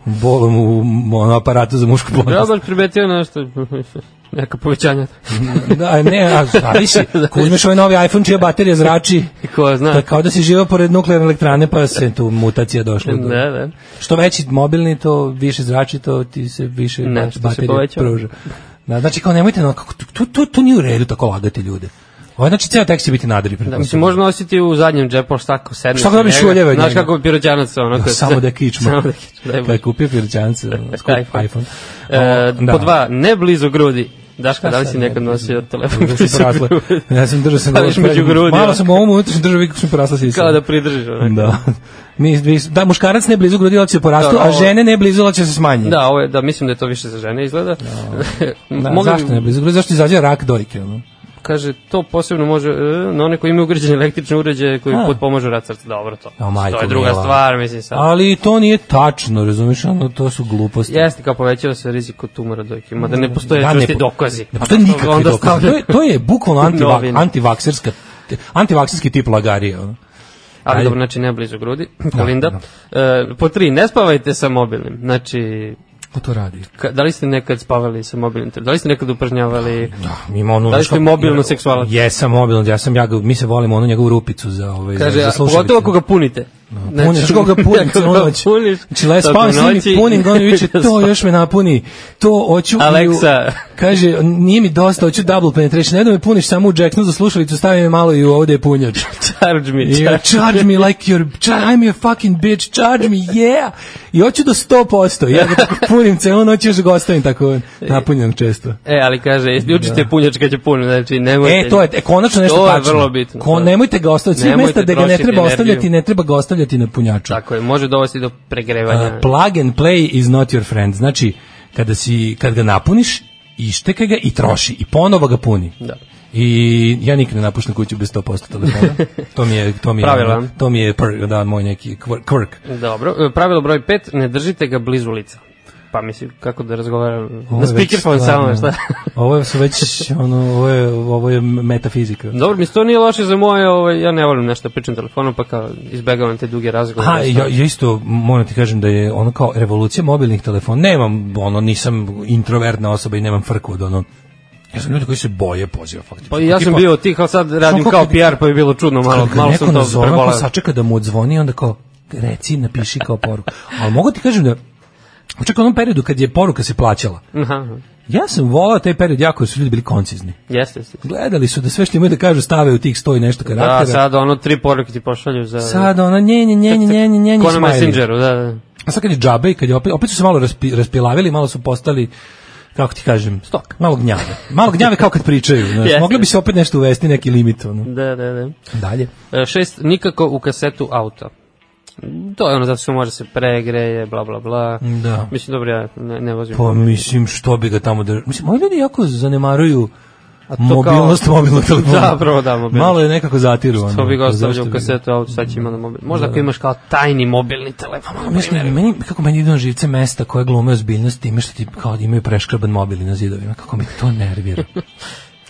Bolom u m, ono, aparatu za mušku plodnost.
Robar primetio nešto, neka povećanja.
da, ne, a zavisi. Ako uzmeš ovaj novi iPhone čija baterija zrači,
I ko zna.
da, kao da si živao pored nuklearne elektrane, pa se tu mutacija došla. do-
Da, da.
Što veći mobilni, to više zrači, to ti se više
Ne,
baš
što se
baterije
povećava.
pruža. Da, znači, kao nemojte, no, kako, to, to, to nije u redu tako lagati ljude. Ovo, znači, ceo tekst će biti nadri.
Da, mislim, može nositi u zadnjem džepu, šta ako sedneš.
Šta ako
na
dobiješ
njega,
uljeve od
Znaš
njega?
kako pirođanac, ono.
Da,
kad-
samo da kičma.
Samo da kičma, daj
Pa je
Bože.
kupio pirćance, ono, skup
iPhone.
iPhone.
E,
O,
po dva, ne blizu grudi. Daška, da li si
sad,
nekad
ne,
nosio telefon
Da
blizu
su porasle.
grudi?
Ja sam držao sam
Staviš među grudi, ono.
Malo sam u ovom unutra držao vidio kako su mi porasle sisa.
Kao da pridržiš. ono. onako.
Da. Mi, mi, da, muškarac ne blizu grudi, ali će porastu,
Da, da,
a
ovo-
žene ne blizu, ali će se smanjiti.
Da, ovo je, da, mislim da je to više za žene izgleda.
Da,
Mogli bi-
zašto ne blizu grudi? Zašto izađe rak dojke? Ono?
Kaže, to posebno može e, na one koji imaju ugrađene električne uređaje koji
A.
potpomažu rad srca. Dobro, to.
O, majko
to je druga
mila.
stvar, mislim sad.
Ali to nije tačno, razumiješ, ono, to su gluposti.
Jeste kao povećava se rizik od tumora dojke, mada ne postoje
ne
čvrsti
po-
dokazi.
Ne postoje
Pa što
nikakvi
onda
dokazi. To
stavlja-
je, to je bukvalno antiva,
Novine.
antivakserska antivakserski tip lagarije. ono.
Ali
Ajde.
dobro, znači ne blizu grudi, Kolinda. E, po tri, ne spavajte sa mobilnim. Znači,
Ko to radi?
ka, da li ste nekad spavali sa mobilnim? Da li ste nekad upražnjavali?
Da, ima ono...
Da li
znaš
ste
kako-
mobilno seksualac?
Jesam mobilno, ja sam, ja ga, mi se volimo onu njegovu rupicu za, ovaj,
Kaže,
za,
a
za slušalice.
pogotovo ako ga punite. Znači,
Punim, znači, koga punim
ako ga
celu noć.
puniš,
Znači, le, spavam s
tokom
njim
noći
i punim, ga on mi viče,
da
to još me napuni, to hoću. i u-
Aleksa.
Kaže, nije mi dosta, hoću double penetration, ne da me puniš samo u džeknu za slušalicu, stavi me malo i u ovde je punjač.
Charge me,
Yeah,
charge.
charge me like your, char, I'm your fucking bitch, charge me, yeah! I hoću do 100%, ja ga tako punim celu noć i još ga ostavim tako napunjen često.
E, ali kaže, isključite punjač kad će punim, znači nemojte.
E, to je, e, konačno nešto
To je
tačno.
vrlo bitno.
Ko, nemojte ga ostaviti, svih
Nemojte
mesta gde ga ne
trošiti
treba ostavljati,
energiju.
ne treba ga ostavljati na punjaču.
Tako je, može dovesti do pregrevanja.
Uh, plug and play is not your friend. Znači, kada si, kad ga napuniš, ištekaj ga i troši. I ponovo ga puni.
Da.
I ja nikad ne napuštam kuću bez 100% telefona. To mi je, to mi je,
Pravila.
to mi je pr, da, moj neki quirk. quirk.
Dobro, e, pravilo broj 5, ne držite ga blizu lica. Pa mislim, kako da razgovaram?
Ovo
Na
je već
speakerphone samo,
stvarno-
šta?
ovo su već, ono, ovo je, ovo je metafizika.
Dobro, mislim, to nije loše za moje, ovaj, ja ne volim nešto da pričam telefonom, pa kao izbegavam te duge razgovore. znači,
Ha, ja, ja isto moram ti kažem da je ono kao revolucija mobilnih telefona. Nemam, ono, nisam introvertna osoba i nemam frku od ono. Ja sam ljudi koji se boje poziva, faktički.
Pa ja sam
Tipa-
bio od tih, ali sad radim
Samo
kao
kako-
PR, pa je bilo čudno, malo,
Kad ga
malo
neko
sam to
nazove, ako
prebolao.
sačeka da mu odzvoni, onda kao, reci, napiši kao poruku. Ali mogu ti kažem da, čak u onom periodu kad je poruka se plaćala,
Aha,
ja sam volao taj period jako jer su ljudi bili koncizni.
jeste, jeste.
Gledali su da sve što imaju da kažu stave u tih sto i nešto karaktera.
Da, sad ono tri poruke ti pošalju za...
Sad ono, nje, nje, nje, nje, nje, nje, nje,
Ko na
smiley.
Messengeru, da, da.
A sad kad je džabe i kad je opet, opet su se malo raspi, raspilavili, malo su postali kako ti kažem,
Stok.
malo gnjave. Malo gnjave kao kad pričaju. Znaš,
Jeste.
moglo bi se opet nešto uvesti, neki limit. Ono.
Da, da, da.
Dalje.
E, Šest, nikako u kasetu auta. To je ono, zato što može se pregreje, bla, bla, bla.
Da.
Mislim, dobro, ja ne, ne vozim.
Pa mislim, što bi ga tamo držao? Mislim, ovi ljudi jako zanemaruju
to
mobilnost
kao-
mobilnog telefona.
Da, prvo da, mobilnost.
Malo je nekako zatiruano.
To bi ga ostavljao
Zašto
u
bi ga-
kasetu auta, sad će ima na mobil. Možda ako imaš kao tajni mobilni telefon. ono, na
Mislim,
primjer.
meni, kako meni idu na živce mesta koje glume ozbiljnost time što ti kao da imaju preškraban mobil na zidovima, kako me to nervira.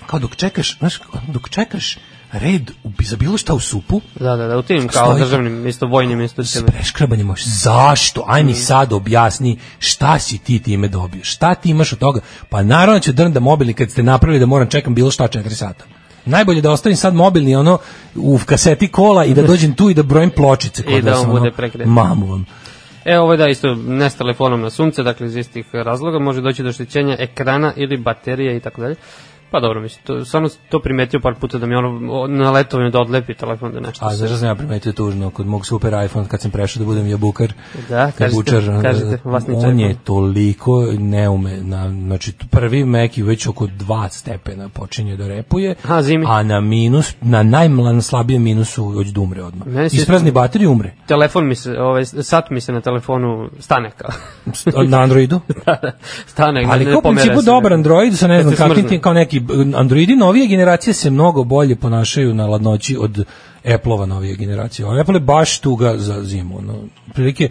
kao dok čekaš, znaš, kako, dok čekaš red u, za bilo šta u supu,
Da, da, da, u tim kao
Stoji.
državnim, isto vojnim
s
institucijama.
preškrabanjem možeš. Zašto? Aj
Mm.
mi sad objasni šta si ti time dobio, šta ti imaš od toga. Pa naravno ću drnda mobilni kad ste napravili da moram čekam bilo šta 4 sata. Najbolje da ostavim sad mobilni ono u kaseti kola i da dođem tu i da brojim pločice. kod
I da
vas,
on
ono,
bude prekret.
Mamu vam.
E, ovo je da isto ne s telefonom na sunce, dakle iz istih razloga može doći do oštećenja ekrana ili baterije i tako dalje. Pa dobro, mislim, to, stvarno sam to primetio par puta da mi ono o, na letovanju da odlepi telefon da nešto.
A
se-
zašto sam ja primetio tužno kod mog super iPhone kad sam prešao da budem jabukar?
Da, kažete,
jabučar, onda,
kažete, vlasnič
ono, on je
iPhone.
toliko neume, na, znači prvi Mac je već oko 2 stepena počinje da repuje,
Aha, zimi.
a na minus, na najmlan slabijem minusu već da umre odmah.
Meni se-
Isprazni baterij umre.
Telefon mi se, ovaj, sat mi se na telefonu stane kao.
Na Androidu.
stane,
Ali
ne
kao u
pomera
principu
se.
dobar Android sa ne
Kad
znam
se
kakvim
smrzne.
tim kao neki androidi novije generacije se mnogo bolje ponašaju na ladnoći od Apple-ova novije generacije. Ovo Apple je baš tuga za zimu. No, prilike,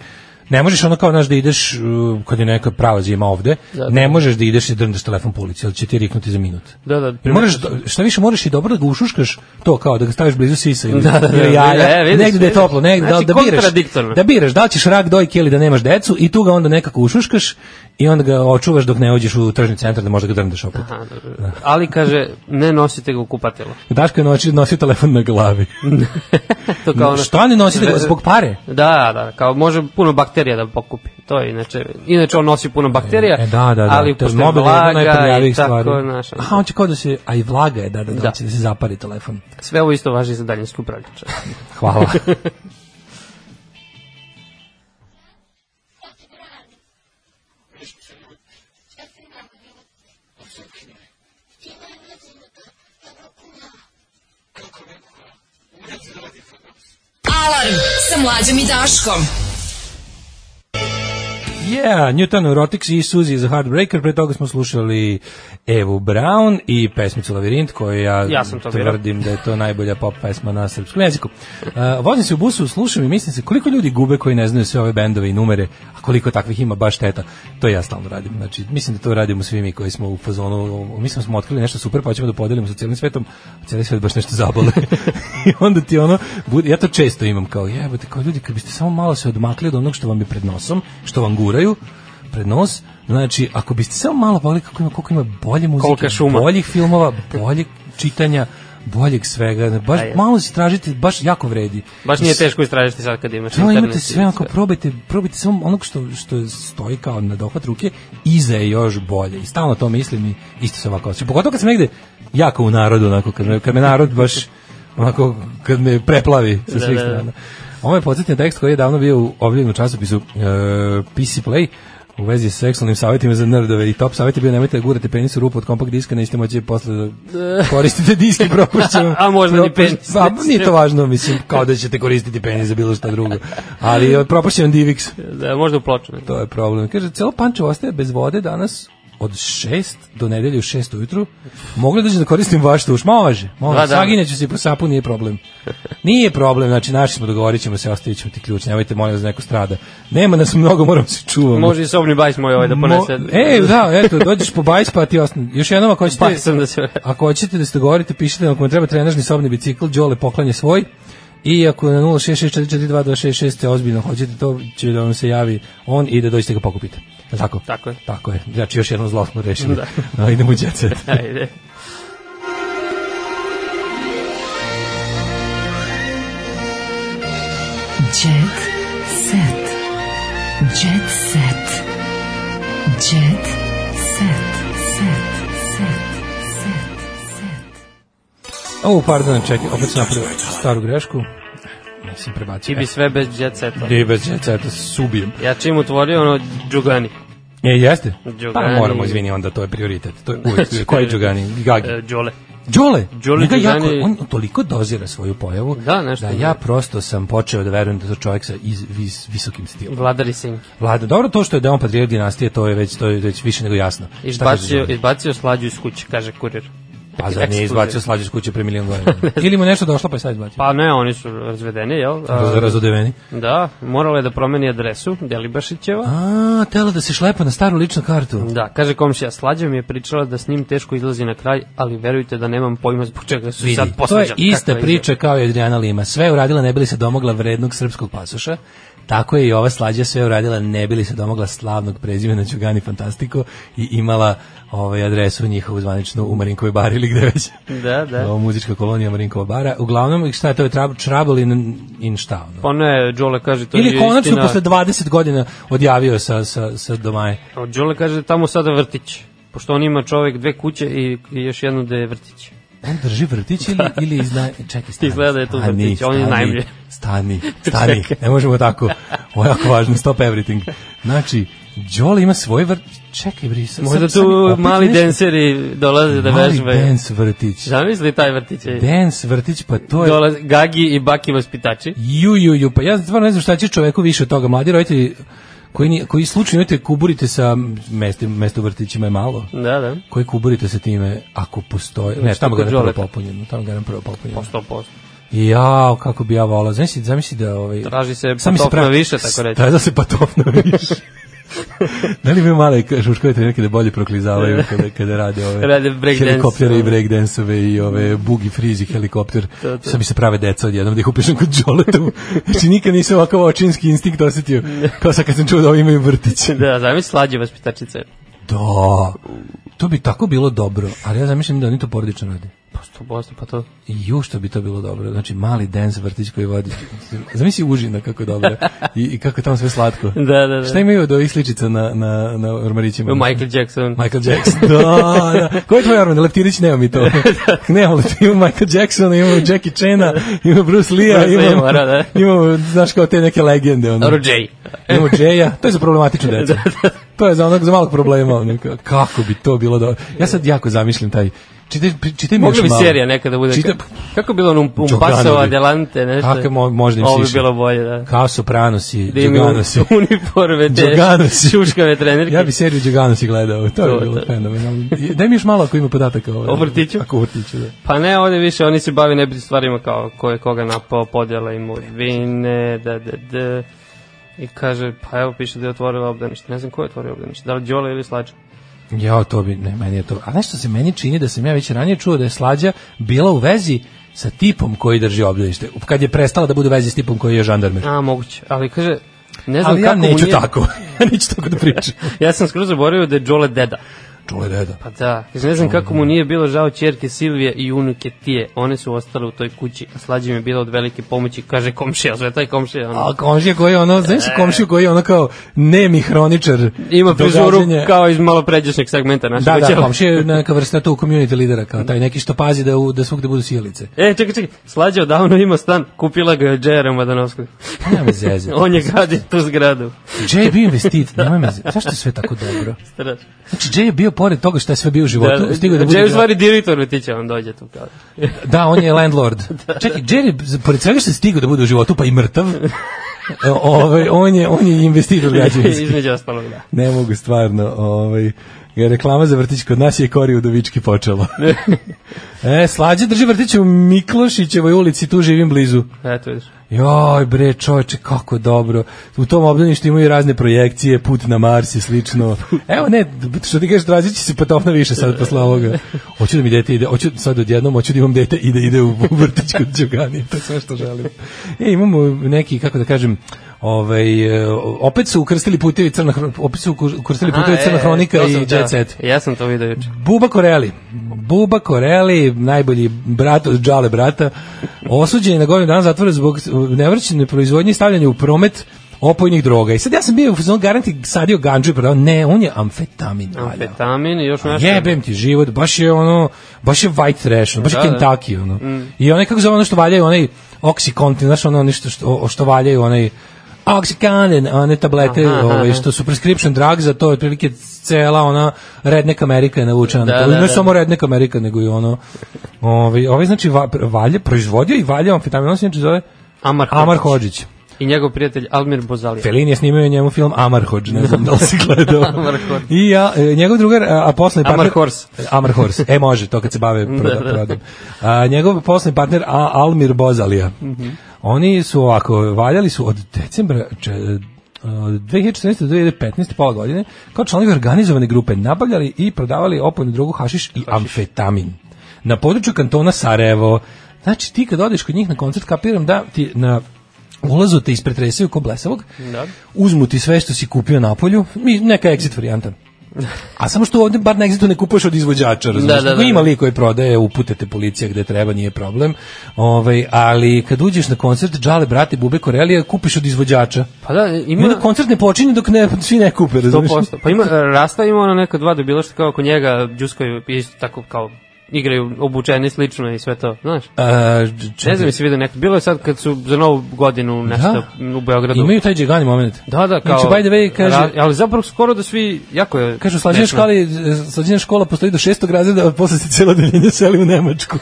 ne možeš ono kao naš da ideš uh, kad je neka prava zima ovde, ne možeš da ideš i drndaš telefon po ulici, ali će ti riknuti za minut.
Da, da, primetio
moraš,
sam.
do- šta više, moraš i dobro da ga ušuškaš to kao da ga staviš blizu sisa ili, ili jaja,
E, vidiš,
negde da je
vidiš.
toplo, negde
Znači,
da, da biraš,
kontradiktorno.
da biraš, da li ćeš rak dojke ili da nemaš decu i tu ga onda nekako ušuškaš i onda ga očuvaš dok ne uđeš u tržni centar da možda ga drndeš opet.
Aha, ali kaže, ne nosite ga u kupatilo.
Daško je noći, nosio telefon na glavi.
To kao ono,
Šta ne nosite? Zbog pare?
Da, da, kao može puno bakterija da pokupi. To je inače, inače on nosi puno bakterija,
E, da, da, da.
ali
to je
pošto
mobil jedna od
vlaga i
najprljavijih
tako,
stvari.
znaš,
Aha, on će kao da se, a i vlaga je, da, da, da,
Da.
da. će da se zapari telefon.
sve ovo isto važi za daljinski upravljač.
Hvala.
Alarm sa mlađom i Daškom.
Yeah, Newton Neurotics i Suzy za Heartbreaker, pre toga smo slušali Evu Brown i pesmicu Lavirint, koju ja,
Ja sam to birao.
tvrdim da je to najbolja pop pesma na srpskom jeziku. Uh, vozim se u busu, slušam i mislim se koliko ljudi gube koji ne znaju sve ove bendove i numere, a koliko takvih ima baš teta. To ja stalno radim. Znači, mislim da to radimo svi mi koji smo u fazonu. Mislim smo otkrili nešto super, pa ćemo da podelimo sa cijelim svetom, a cijeli svet baš nešto zabole. I onda ti ono, bude, ja to često imam kao, jebate, kao ljudi, kad biste samo malo se odmakli od onog što vam je pred nosom, što vam guraju, pred nos, Znači, ako biste samo malo pogledali kako ima, koliko ima bolje
Kolika
muzike,
šuma.
boljih filmova, boljeg čitanja, boljeg svega. Baš
Ajde.
malo si tražite, baš jako vredi.
Baš nije teško istražiti sad kad imaš
Sve
internet.
Znači, imate sve,
i
ako probajte, probajte samo onog što, što stoji kao na dohvat ruke, iza je još bolje. I stalno to mislim i isto se ovako osjećam. Pogotovo kad sam negde jako u narodu, onako, kad me, kad me narod baš onako, kad me preplavi sa
Da,
svih
da, da.
strana. Ovo je podsjetni tekst koji je davno bio u objavljenom časopisu e, PC Play u vezi s seksualnim savjetima za nerdove i top savjet je bio nemojte da gurate penis u rupu od kompakt diska, nećete moći posle da koristite diske propušćeno.
A možda ni
Propuš-
penis.
Pa, nije to važno, mislim, kao da ćete koristiti penis za bilo šta drugo. Ali je propušćen Divix,
Da, možda u ploču. ne.
to je problem. Kaže, celo Pančevo ostaje bez vode danas od 6 do nedelje u 6 ujutru. Mogu li dođem da koristim vaš tuš? Ma važe, ma
Da,
da,
da.
saginjaću se i po sapu, nije problem. Nije problem, znači naši smo, dogovorit ćemo se, ostavit ćemo ti ključ, nemojte molim vas da neko strada. Nema nas mnogo, moram se čuvamo.
Može i sobni bajs moj ovaj da ponese.
Mo- e, da, eto, dođeš po bajs pa ti osnovni. Još jednom ako hoćete...
Pa sam da se...
Ako hoćete da se dogovorite, pišite nam ako vam treba trenažni sobni bicikl, Đole poklanja svoj. I ako na 0664422666 ozbiljno hoćete, to će da vam se javi on i da dođete ga pokupite. Je li Tako?
Tako je.
Tako je. Znači još jedno zlo smo rešili. Da. idemo u jet set.
Ajde.
Jet set. Jet set. Jet set. Set. Set. Set. Set.
O, pardon, čekaj, opet sam napravio staru grešku. Nisam prebacio.
Ti bi sve bez jet seta.
Ti bez jet seta se ubijem.
Ja čim utvorio ono džugani.
E, jeste? Pa
Đugani.
moramo, izvini, onda to je prioritet. To je uvijek. Koji Đugani? Gagi.
E, Đole.
Đole,
Đole
njega jako,
Đugani-
on toliko dozira svoju pojavu
Da, nešto
da
je.
ja prosto sam počeo da verujem da je to čovjek sa iz, vis, visokim stilom.
Vladari Sinki.
Vlada, dobro to što je da on patrijarh dinastije, to je već to je već više nego jasno. Šta kaže
Izbacio,
Đole?
izbacio slađu iz kuće, kaže kurir.
pa zar
Ekskluziv.
nije izbacio slađe iz kuće pre milion godina. Ili mu nešto došlo pa je sad izbacio.
Pa ne, oni su razvedeni, jel? E, A,
Pa, Razodeveni.
Da, morala je da promeni adresu, Delibašićeva.
A, tela da se šlepa na staru ličnu kartu.
Da, kaže komšija, slađa mi je pričala da s njim teško izlazi na kraj, ali verujte da nemam pojma zbog čega su
Vidi,
sad
to
posvađali.
je ista
Kakva je
priča kao i Adriana Lima. Sve je uradila ne bi li se domogla vrednog srpskog pasoša. Tako je i ova slađa sve uradila ne bi li se domogla slavnog prezimena Đugani Fantastiko i imala ovaj adresu njihovu zvaničnu u Marinkovoj bari ili gde već.
ideja. Da, da.
Ovo muzička kolonija Marinkova bara. Uglavnom, šta je to je trab, Trouble in, in šta? Ono?
Pa ne, Đole kaže, to
Ili
je
konačno
istina.
posle 20 godina odjavio sa, sa, sa domaje.
A Đole kaže da je tamo sada vrtić, pošto on ima čovek dve kuće i, i još jednu da je vrtić.
On drži vrtić ili, ili izna... Čekaj, stani.
Izgleda da je tu
stani,
vrtić, on
stani,
je iznajmljuje.
Stani, stani, ne možemo tako. Ovo je jako važno, stop everything. Znači, Đole ima svoj vrtić. Čekaj, bre, sad-
Možda
sad- sad
tu
opet
mali
nešto-
denseri dolaze da
Mali
vežbaju.
dance vrtić.
Zamisli taj vrtić. je.
Dance vrtić, pa to je...
Dolaze Gagi i Baki vaspitači.
Ju, ju, ju, pa ja stvarno ne znam šta će čoveku više od toga. Mladi roditelji koji, ni- koji slučajno imate kuburite sa mesta, mesta u vrtićima je malo,
Da, da.
koji kuburite sa time ako postoje, ne,
Znači,
tamo ga
kod
ne prvo
Đoleta.
popunjeno, tamo ga ne prvo popunjeno.
Po 100%.
Jao, kako bi ja volao. Zamisli, zamisli da ovaj
Traži se
Sad mi
patofna
pravi-
više, tako reći.
Traži se patofna više. da li mi male šuškove trenirke da bolje proklizavaju kada, kada rade ove
Rade breakdance.
helikoptere i breakdance-ove i ove bugi frizi helikopter.
To, to.
Sad mi se prave deca odjednom da ih upišem kod Đoletu. znači nikad nisam ovakav očinski instinkt osetio kao sad kad sam čuo da ovi imaju vrtić.
Da, zamisli slađe vaspitačice.
Da. To bi tako bilo dobro, ali ja zamišljam da oni to porodično rade.
Po 100%, pa to.
Ju, što bi to bilo dobro. Znači, mali dance vrtić koji vodi. Zamisli užina kako je dobro. I, I kako je tamo sve slatko.
Da, da, da.
Šta imaju od ovih sličica na, na, na ormarićima?
Michael Jackson.
Michael Jackson. Da, da. Koji je tvoj ormar? Leptirić nema mi to. Nemamo Leptirić, imamo Michael Jacksona, imamo Jackie Chana, imamo Bruce Lee-a,
Bruce Lee
imamo,
mora, da.
imamo, znaš, kao te neke legende. Ono.
Dobro, Jay.
Imamo Jaya, to je za problematično deca. To je za onog za malog problema. ono, ka- Kako bi to bilo dobro? Ja sad jako zamišljam taj Čitaj, čitaj mi
Mogla
još
bi
malo.
serija nekada bude.
Čita-
Kako je bilo ono um, um
Đoganovi.
pasova, adelante, nešto?
Kako mo- možda im
Ovo bi
siše.
bilo bolje, da.
Kao Sopranosi,
Da imaju
Đoganosi.
uniforme, te
Đoganosi.
šuškave trenerke.
Ja bi seriju Đoganosi gledao, to
To,
je bilo
to.
fenomenalno. I- Daj mi još malo ako ima podataka ovo.
O vrtiću?
Ako o vrtiću, da.
Pa ne, ovde više oni se bavi nebitnim stvarima kao ko je koga napao, podjela imovine, da, da, da. I kaže, pa evo piše da je otvorio obdanište. Ne znam ko je otvorio obdanište, da li Đole ili Slađa.
Ja, to bi, ne, meni je to. A nešto se meni čini da sam ja već ranije čuo da je Slađa bila u vezi sa tipom koji drži obdanište. Kad je prestala da bude u vezi s tipom koji je žandarmer.
A, moguće. Ali kaže, ne znam
Ali ja
kako mu
neću
nije-
tako. Ja neću tako da pričam.
Ja sam skroz zaboravio da je Đole deda.
Čule deda.
Pa da, kaže, ne znam kako mu nije bilo žao čerke Silvije i unuke Tije. One su ostale u toj kući, a Slađa mi je bila od velike pomoći, kaže komšija, sve taj komšija. Ono.
A komšija koji je ono, znaš komšiju koji je ono kao nemi hroničar.
E. Ima frizuru
događanja.
kao iz malo pređašnjeg segmenta naše
Da, da,
kuće.
komšija je neka vrsta tu community lidera, kao taj neki što pazi da, u, da svugde budu sjelice.
E, čekaj, čekaj, Slađa odavno ima stan, kupila ga je od Džera Madanovskog.
Nema me zezati.
On je gradio tu zgradu.
Jay je bio investit, nema me zezati. Zašto je sve tako dobro?
Strašno.
Znači, Jay je bio pored toga što je sve bio u
Da,
životu,
da,
stigao je Pa da
Džer je u
bude...
stvari direktor vrtića, on dođe tu kao.
Da, on je landlord. Čekaj, Jay je, z- pored svega što je stigao da bude u životu, pa i mrtav, e, ovaj, on je, on je investitor građevinski.
Između ostalog, da.
Ne mogu stvarno, ovaj, reklama za vrtić kod nas je Kori Udovički počela. e, slađe drži vrtić u Miklošićevoj ulici, tu živim blizu.
Eto, vidiš.
Joj bre, čoveče, kako dobro. U tom obdaništu imaju razne projekcije, put na Mars i slično. Evo ne, što ti kažeš, tražit će se patofna više sad posle ovoga. Hoću da mi dete ide, hoću sad odjednom, hoću da imam dete ide, ide u u vrtić kod Đogani, to je sve što želim. E, imamo neki, kako da kažem, ovaj, e, opet su ukrstili putevi crna, hro- opet su ukr- ukrstili putevi
A,
crna
e,
hronika
to
i
sam, da.
jet set.
Ja sam to vidio juče.
Buba Koreli. Buba Koreli, najbolji brat od džale brata, osuđen je na godinu dana zatvora zbog nevrćene proizvodnje i stavljanja u promet opojnih droga. I sad ja sam bio u fazonu garanti sadio ganđu i prodao. Ne, on je amfetamin. valjao.
Amfetamin i još nešto.
Jebem ti život, baš je ono, baš je white trash, ono, baš je
Da, Mm. da.
Kentucky, ono. I onaj, kako zove ono što valjaju, onaj Oxycontin, znaš ono, nešto što, o- što valjaju, onaj Oxycontin, one tablete,
Aha, aha,
ovaj,
aha.
što su prescription drug, za to je otprilike cela ona redneck Amerika je navučena.
Da,
na to.
da,
ne
da.
samo redneck Amerika, nego i ono, ovaj, ovaj znači va, valje, proizvodio i valjao amfetamin, on se inače zove
Amar Hodžić.
Amar Hodžić.
I njegov prijatelj Almir Bozalija.
Felin je snimio njemu film Amarhodž, ne znam da li si gledao.
Amarhodž.
I ja, e, njegov drugar, a, a poslednji partner...
Amarhors.
Amar Horse. E, može, to kad se bave proda,
Da, da.
prodom. A, njegov poslednji partner a, Almir Bozalija.
Mhm.
Oni su ovako, valjali su od decembra... Če, od 2014. do 2015. pola godine kao članovi organizovane grupe nabavljali i prodavali opojnu drogu hašiš i amfetamin na području kantona Sarajevo. Znači ti kad odeš kod njih na koncert kapiram da ti na ulazu te ispretresaju ko blesavog,
Da.
uzmu ti sve što si kupio na polju, mi- neka exit varijanta. A samo što ovde bar na exitu ne kupuješ od izvođača, razumiješ?
Da, da,
Ako
da,
ima
da.
lik koji prodaje, uputete policija gde treba, nije problem. Ovaj, ali kad uđeš na koncert Džale Brate Bube Korelija, kupiš od izvođača.
Pa da,
Ima...
ima...
da koncert ne počinje dok ne, svi ne kupe, razumiješ?
100%. Pa ima, Rasta ima ono neka dva debila što kao oko njega džuskaju isto tako kao igraju obučeni slično i sve to, znaš?
A, č-
Ne znam jesi vidio neko. Bilo je sad kad su za novu godinu nešto u Beogradu.
Imaju taj džigani moment.
Da, da, kao...
Znači, by the way, kaže-
Ra- ali zapravo skoro da svi, jako je...
Kažu, slađena
smešno.
škola, slađena škola postoji do šestog razreda, a posle se cijelo deljenje seli u Nemačku.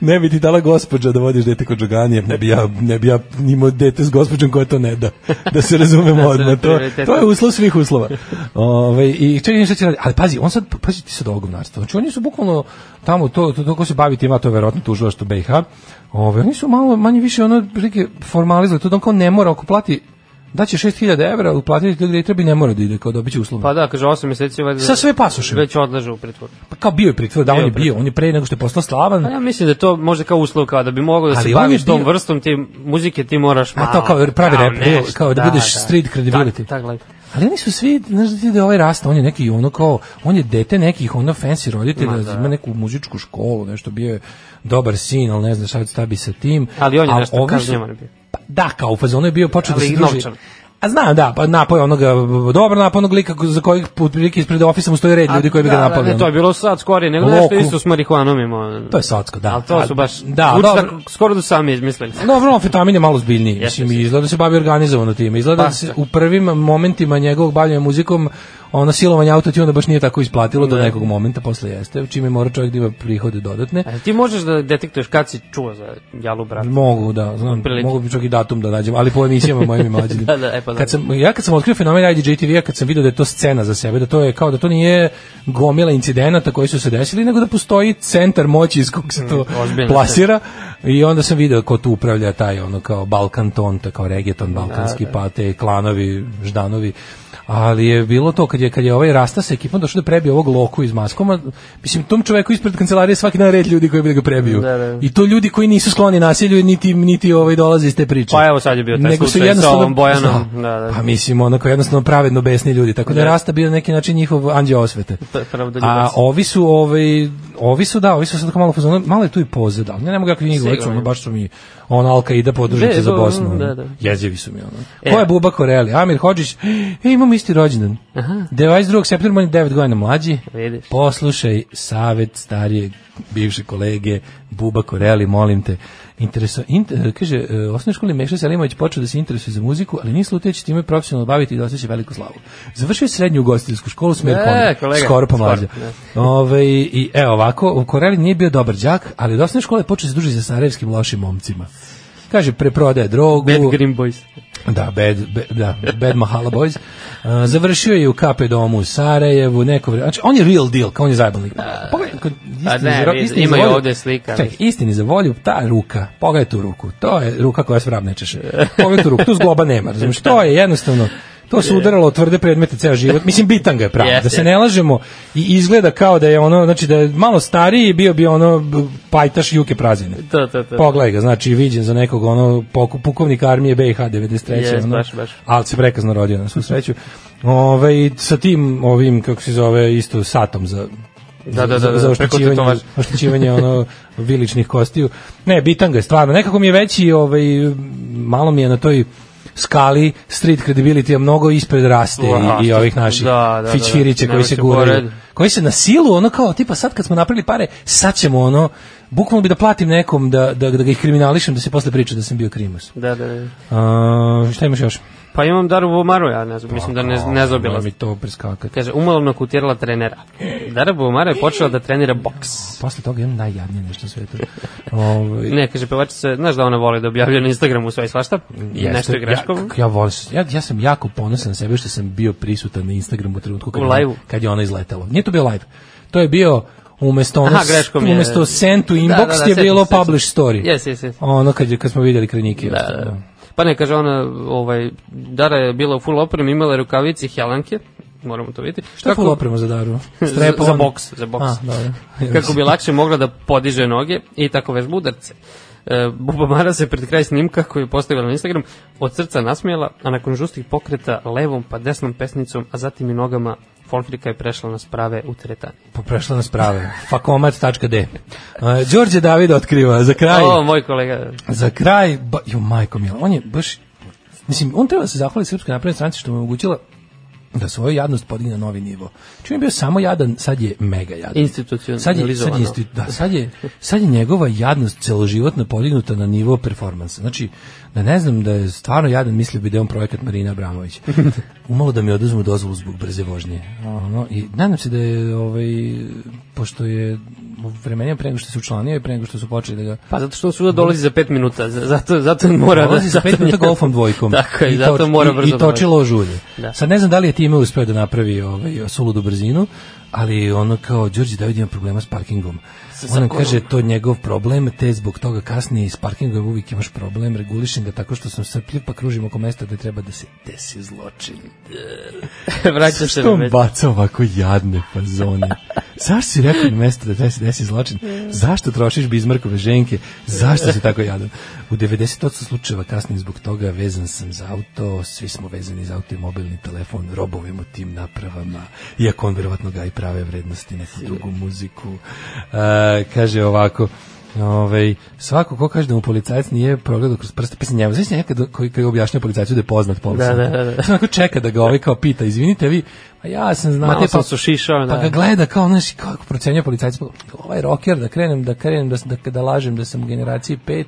ne bi ti dala gospođa da vodiš dete kod džoganije, ne bi ja, ne bi ja imao dete s gospođom koja to ne da, da se razumemo
Da se
odmah, to,
prioritet-
to je uslov svih uslova. Ove, I čekaj, nešto će raditi, ali pazi, on sad, pazi ti sad ovo govnarstvo, znači oni su bukvalno tamo, to, to, to ko se bavi tima, to je verovatno tužilaštvo BiH, ove, oni su malo, manje više, ono, prilike, formalizali, to da on kao ne mora, ako plati, daće 6000 evra, uplatiti to gde treba i ne mora da ide, kao dobit će uslovno.
Pa da, kaže, 8 meseci ovaj...
Sa sve pasošima.
Već odlaže u pritvor.
Pa kao bio je pritvor, da,
Bio
on je
je pritvor.
bio, on je pre nego što je postao slavan,
Pa ja mislim da je to možda kao uslov kao da bi mogao da
Ali on
se
je
baviš tom
bio-
vrstom ti muzike, ti moraš malo.
A to kao pravi rap, real,
nešto,
kao da budeš street credibility.
Tak, tak, like.
Ali oni su svi, znaš da ti da je ovaj rasta, on je neki ono kao, on je dete nekih ono fancy roditelja,
Ma
da.
da.
ima neku muzičku školu, nešto bio je dobar sin, ali ne znam šta, šta bi sa tim.
Ali on je
A
nešto
ovi su-
kažnjavan bio.
Pa, da, kao u fazonu je bio počeo da
Ali
se
i
druži.
novčano.
A znam, da, pa napoj onoga, dobro napoj onog lika za kojeg put prilike ispred ofisa mu stoji red ljudi koji bi ga
Da, da,
napali.
Ne, to
ono.
je bilo sad skorije, nego
Loku.
nešto isto s marihuanom imao.
To je socko, da.
Ali to su baš,
Da,
da,
dobro.
da, skoro da sami izmislili.
Dobro, amfetamin je malo zbiljniji.
Jeste,
Mislim, izgleda da se bavi organizovano time. Izgleda da
Pa,
se u prvim momentima njegovog bavljanja muzikom ono silovanje autotuna baš nije tako isplatilo do nekog momenta, posle jeste, čime mora čovjek da ima prihode dodatne.
A E, ti možeš da detektuješ kad si čuo za jalu brata.
Mogu, da, znam,
Otprilike.
mogu bi čak i datum da nađem, ali po emisijama mojim i mlađim.
Da, da, e, pa da.
Kad sam, ja kad sam otkrio fenomen IDJ TV-a, kad sam video da je to scena za sebe, da to je kao da to nije gomila incidenata koji su se desili, nego da postoji centar moći iz kog se to
ozbiljna
plasira i onda sam video ko tu upravlja taj ono kao Balkan ton, ta kao reggaeton balkanski, pa te klanovi, ždanovi ali je bilo to kad je kad je ovaj rasta sa ekipom došao da prebije ovog loku iz maskoma mislim tom čoveku ispred kancelarije svaki dan red ljudi koji bi da ga prebiju
Da, da.
i to ljudi koji nisu skloni nasilju niti niti ovaj dolaze iz te priče.
Pa evo sad je bio taj
Nego su
slučaj sa
jednostavno-
ovom Bojanom.
Da,
Da, da.
Pa mislim onako jednostavno pravedno besni ljudi, tako da je Rasta bio na neki način njihov anđeo osvete.
P-
A
pravedoljubac.
ovi su ovaj ovi su da, ovi su sad kao malo fazon, malo je tu i poze da. Ne, ne mogu kako njih
Sigurno.
gledati, ono baš su mi on Alka ide podružnica
Be,
za
da,
Bosnu. ono.
da, da.
Jezivi su mi ono.
E.
Ko je Buba Koreli? Amir Hodžić. E, imamo isti rođendan. Aha. 22. septembra, on je 9 godina mlađi.
Vidiš.
Poslušaj savet starijeg bivše kolege Buba Koreli, molim te. Intereso, inter, kaže, e, u osnovnoj školi Meša Selimović počeo da se interesuje za muziku, ali nije slutio da će time profesionalno baviti i da osjeća veliku slavu. Završio je srednju ugostiteljsku školu s
E,
Merkonom,
kolega,
skoro pa mlađa.
skoro,
Ove, i, evo ovako, Koreli nije bio dobar đak, ali od osnovne škole je počeo da se druži sa sarajevskim lošim momcima. Kaže, preprodaje drogu.
Bad Green Boys.
Da, bad, bad, da, bad Mahala Boys. Uh, završio je u KP domu u Sarajevu, neko vreme. Znači, on je real deal, kao on je zajebalnik. Pogledaj, kod- istini
Pa ne,
za-
vidi,
istini
ima
za
i
volju-
ovde slika.
Čekaj, istini za volju, ta ruka, pogledaj tu ruku, to je ruka koja se vram ne češe. Pogledaj tu ruku, tu zgloba nema, razumiješ, to je jednostavno... To se udaralo o tvrde predmete ceo život. Mislim, bitan ga je pravo.
Jeste,
da se
jeste.
ne lažemo i izgleda kao da je ono, znači da je malo stariji bio bi ono b- pajtaš juke prazine.
To, to, to.
Pogledaj ga, znači viđen za nekog ono poku- pukovnik armije BiH 93.
Jes,
ono,
baš, baš.
Ali se prekazno rodio na svu sreću. Ove, sa tim ovim, kako se zove, isto satom za
Da, da, da,
za-
da,
za
preko
oštećivanje,
tetovaža.
oštećivanje ono viličnih kostiju. Ne, bitan ga je stvarno. Nekako mi je veći, ovaj, malo mi je na toj skali street credibility a mnogo ispred raste
Wow,
i, i
što-
ovih naših
da, da, da,
fićfirića
da,
koji
nemoj
se
se
guraju
pored.
koji se na silu ono kao tipa sad kad smo napravili pare sad ćemo ono bukvalno bi da platim nekom da, da, da ga ih kriminališem da se posle priča da sam bio krimus
Da, da, da.
A, šta imaš još?
Pa imam Daru Vomaru, ja ne znam, mislim da ne, ne
Nemoj
zobila.
Pa, mi to preskakati
Kaže, umalovno kutirala trenera. Dara Bumara je počela da trenira boks.
posle toga imam najjadnije nešto na svetu Ovaj,
Ne, kaže, pevačica, znaš da ona voli da objavlja na Instagramu sve i svašta?
jeste,
Nešto je greškovo.
Ja, ja, volim, ja, ja sam jako ponosan na sebe što sam bio prisutan na Instagramu u trenutku kad,
U
je ona-
live-u?
kad je ona izletela. Nije to bio live. To je bio umesto ono,
Aha, greškom je.
umesto send to
Da,
inbox
da, da,
je
sećam
bilo
se, sećam
publish
se.
story.
Jes, jes, jes.
Ono kad, je- kad smo vidjeli krenike.
Da, da, da. Pa ne, kaže ona, ovaj, Dara je bila u full opremi, imala je rukavice i helanke, moramo to vidjeti.
Šta je full oprema za daru? Strep
za
on?
boks, za boks.
A, dobro.
kako bi lakše mogla da podiže noge i tako vežba udarce. E, Buba Mara se pred kraj snimka koju je postavila na Instagram od srca nasmijela, a nakon žustih pokreta levom pa desnom pesnicom, a zatim i nogama, Folfrika je prešla na sprave u teretani.
Pa prešla nas prave. Fakomat.d Uh, Đorđe David otkriva za kraj.
O, moj kolega.
Za kraj, ba, jo majko mila, on je baš, mislim, on treba da se zahvali Srpskoj naprednoj stranci što mu je omogućila da svoju jadnost podigne na novi nivo. Čim je bio samo jadan, sad je mega jadan. Sad je, sad je,
Institucionalizovano.
isti- da, sad, je, sad je njegova jadnost celoživotno podignuta na nivo performansa. Znači, da ne znam da je stvarno jadan, mislio bi da je on projekat Marina Abramović. Umalo da mi oduzmu dozvolu zbog brze vožnje. Ono, I nadam se da je, ovaj, pošto je vremenima pre nego što se učlanio i pre nego što su počeli da ga
Pa zato što suda dolazi za 5 minuta, za- zato, zato mora
Dolazi
da...
za pet
zato
minuta
njega-
golfom dvojkom.
Tako je, zato
toč-
mora
i-
brzo
I toči
brzo.
lož ulje.
Da.
Sad ne znam da li je time uspeo da napravi ovaj, suludu brzinu, ali ono kao, Đorđe David ima problema s parkingom. On nam kaže, to je njegov problem, te zbog toga kasnije i s parkingom uvijek imaš problem, regulišem ga tako što sam srpljiv, pa kružim oko mesta gde treba da se desi zločin.
Vraća se
Što
na
on
već.
baca ovako jadne fazone? Zašto si rekao na mesto da te se desi zločin? Zašto trošiš bizmarkove ženke? Zašto si tako jadan? U 90% slučajeva kasnije zbog toga vezan sam za auto, svi smo vezani za auto i mobilni telefon, robovimo tim napravama, iako on verovatno ga i prave vrednosti, neku drugu muziku. E, kaže ovako, Ove, svako ko kaže da mu policajac nije progledao kroz prste, pa se njemu, znači nekad koji, koji objašnja policajcu da je poznat policajac.
da, da.
Samo onako čeka da ga ovaj kao pita, izvinite vi, a ja sam znate,
Malo sam sušišao,
pa
da.
ga gleda kao, znaš, kako procenjuje policajac, pa, ovaj roker, da krenem, da krenem, da, da, da lažem da sam u generaciji 5,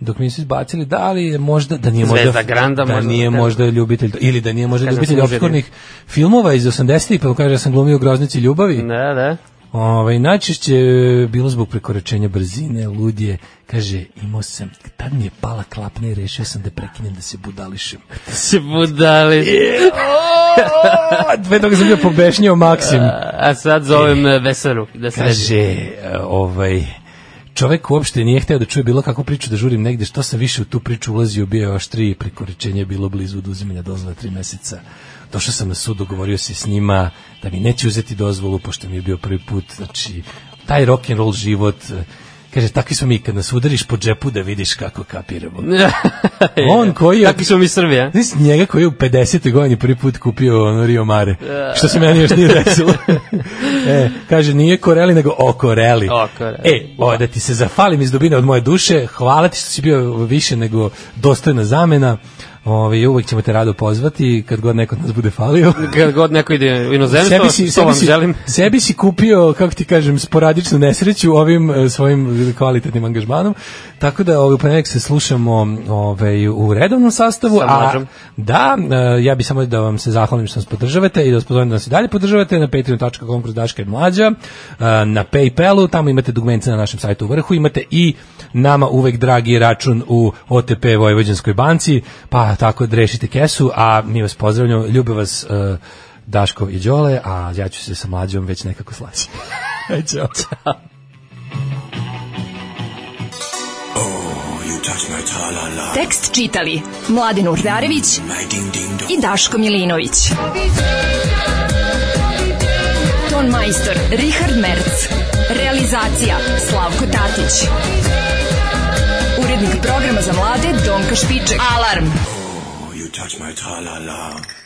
dok mi nisu izbacili, da li je možda, da nije možda,
Zvezda Granda,
da
možda,
nije
da.
možda ljubitelj, ili da nije možda
Kažem,
ljubitelj
služenje.
obskurnih filmova iz 80-ih, pa mu kaže da sam glumio u groznici ljubavi,
Da, da.
Ovaj najčešće e, bilo zbog prekoračenja brzine, ludje, kaže, imao sam, tad mi je pala klapna i rešio sam da prekinem da se budališem.
Se budali.
Sve toga Pa, sam bio pobešnjao Maksim.
A sad zovem e, Veseru da se reži.
Kaže, e, ovaj, čovek uopšte nije hteo da čuje bilo kakvu priču da žurim negde, što sam više u tu priču ulazio, bio je oštriji, prekoračenje je bilo blizu oduzimanja dozvola tri meseca. Došao sam na sud, dogovorio se s njima da mi neće uzeti dozvolu, pošto mi je bio prvi put, znači, taj rock'n'roll život, e, kaže, takvi smo mi, kad nas udariš po džepu da vidiš kako kapiramo. On koji je-
Takvi smo mi Srbi, a?
Znaš njega koji je u 50. godini prvi put kupio ono Rio Mare, što se meni još nije desilo. e, kaže, nije Koreli, nego Okoreli.
Okoreli.
E, o, da ti se zafalim iz dubine od moje duše, hvala ti što si bio više nego dostojna zamena. Ove, uvek ćemo te rado pozvati kad god neko od nas bude falio.
Kad god neko ide u inozemstvo,
Sebi si,
to
sebi,
vam
si,
želim.
sebi si kupio, kako ti kažem, sporadičnu nesreću ovim e, svojim kvalitetnim angažmanom. Tako da ovaj, u ponedeljak se slušamo ovaj, u redovnom sastavu.
Sa
a,
mlađom.
da, e, ja bih samo da vam se zahvalim što nas podržavate i da vas pozovem da nas i dalje podržavate na patreon.com kroz Daška i Mlađa, e, na Paypalu, tamo imate dugmence na našem sajtu u vrhu, imate i nama uvek dragi račun u OTP Vojvođanskoj banci, pa tako da rešite kesu, a mi vas pozdravljamo, ljube vas e, Daško i Đole, a ja ću se sa mlađom već nekako slaći. Ćao.
Tekst čitali Mladin Urdarević i Daško Milinović. Ton majstor Richard Merc. Realizacija Slavko Tatić. Urednik programa za mlade Donka Špiček. Alarm!
Oh, you touch my tra-la-la.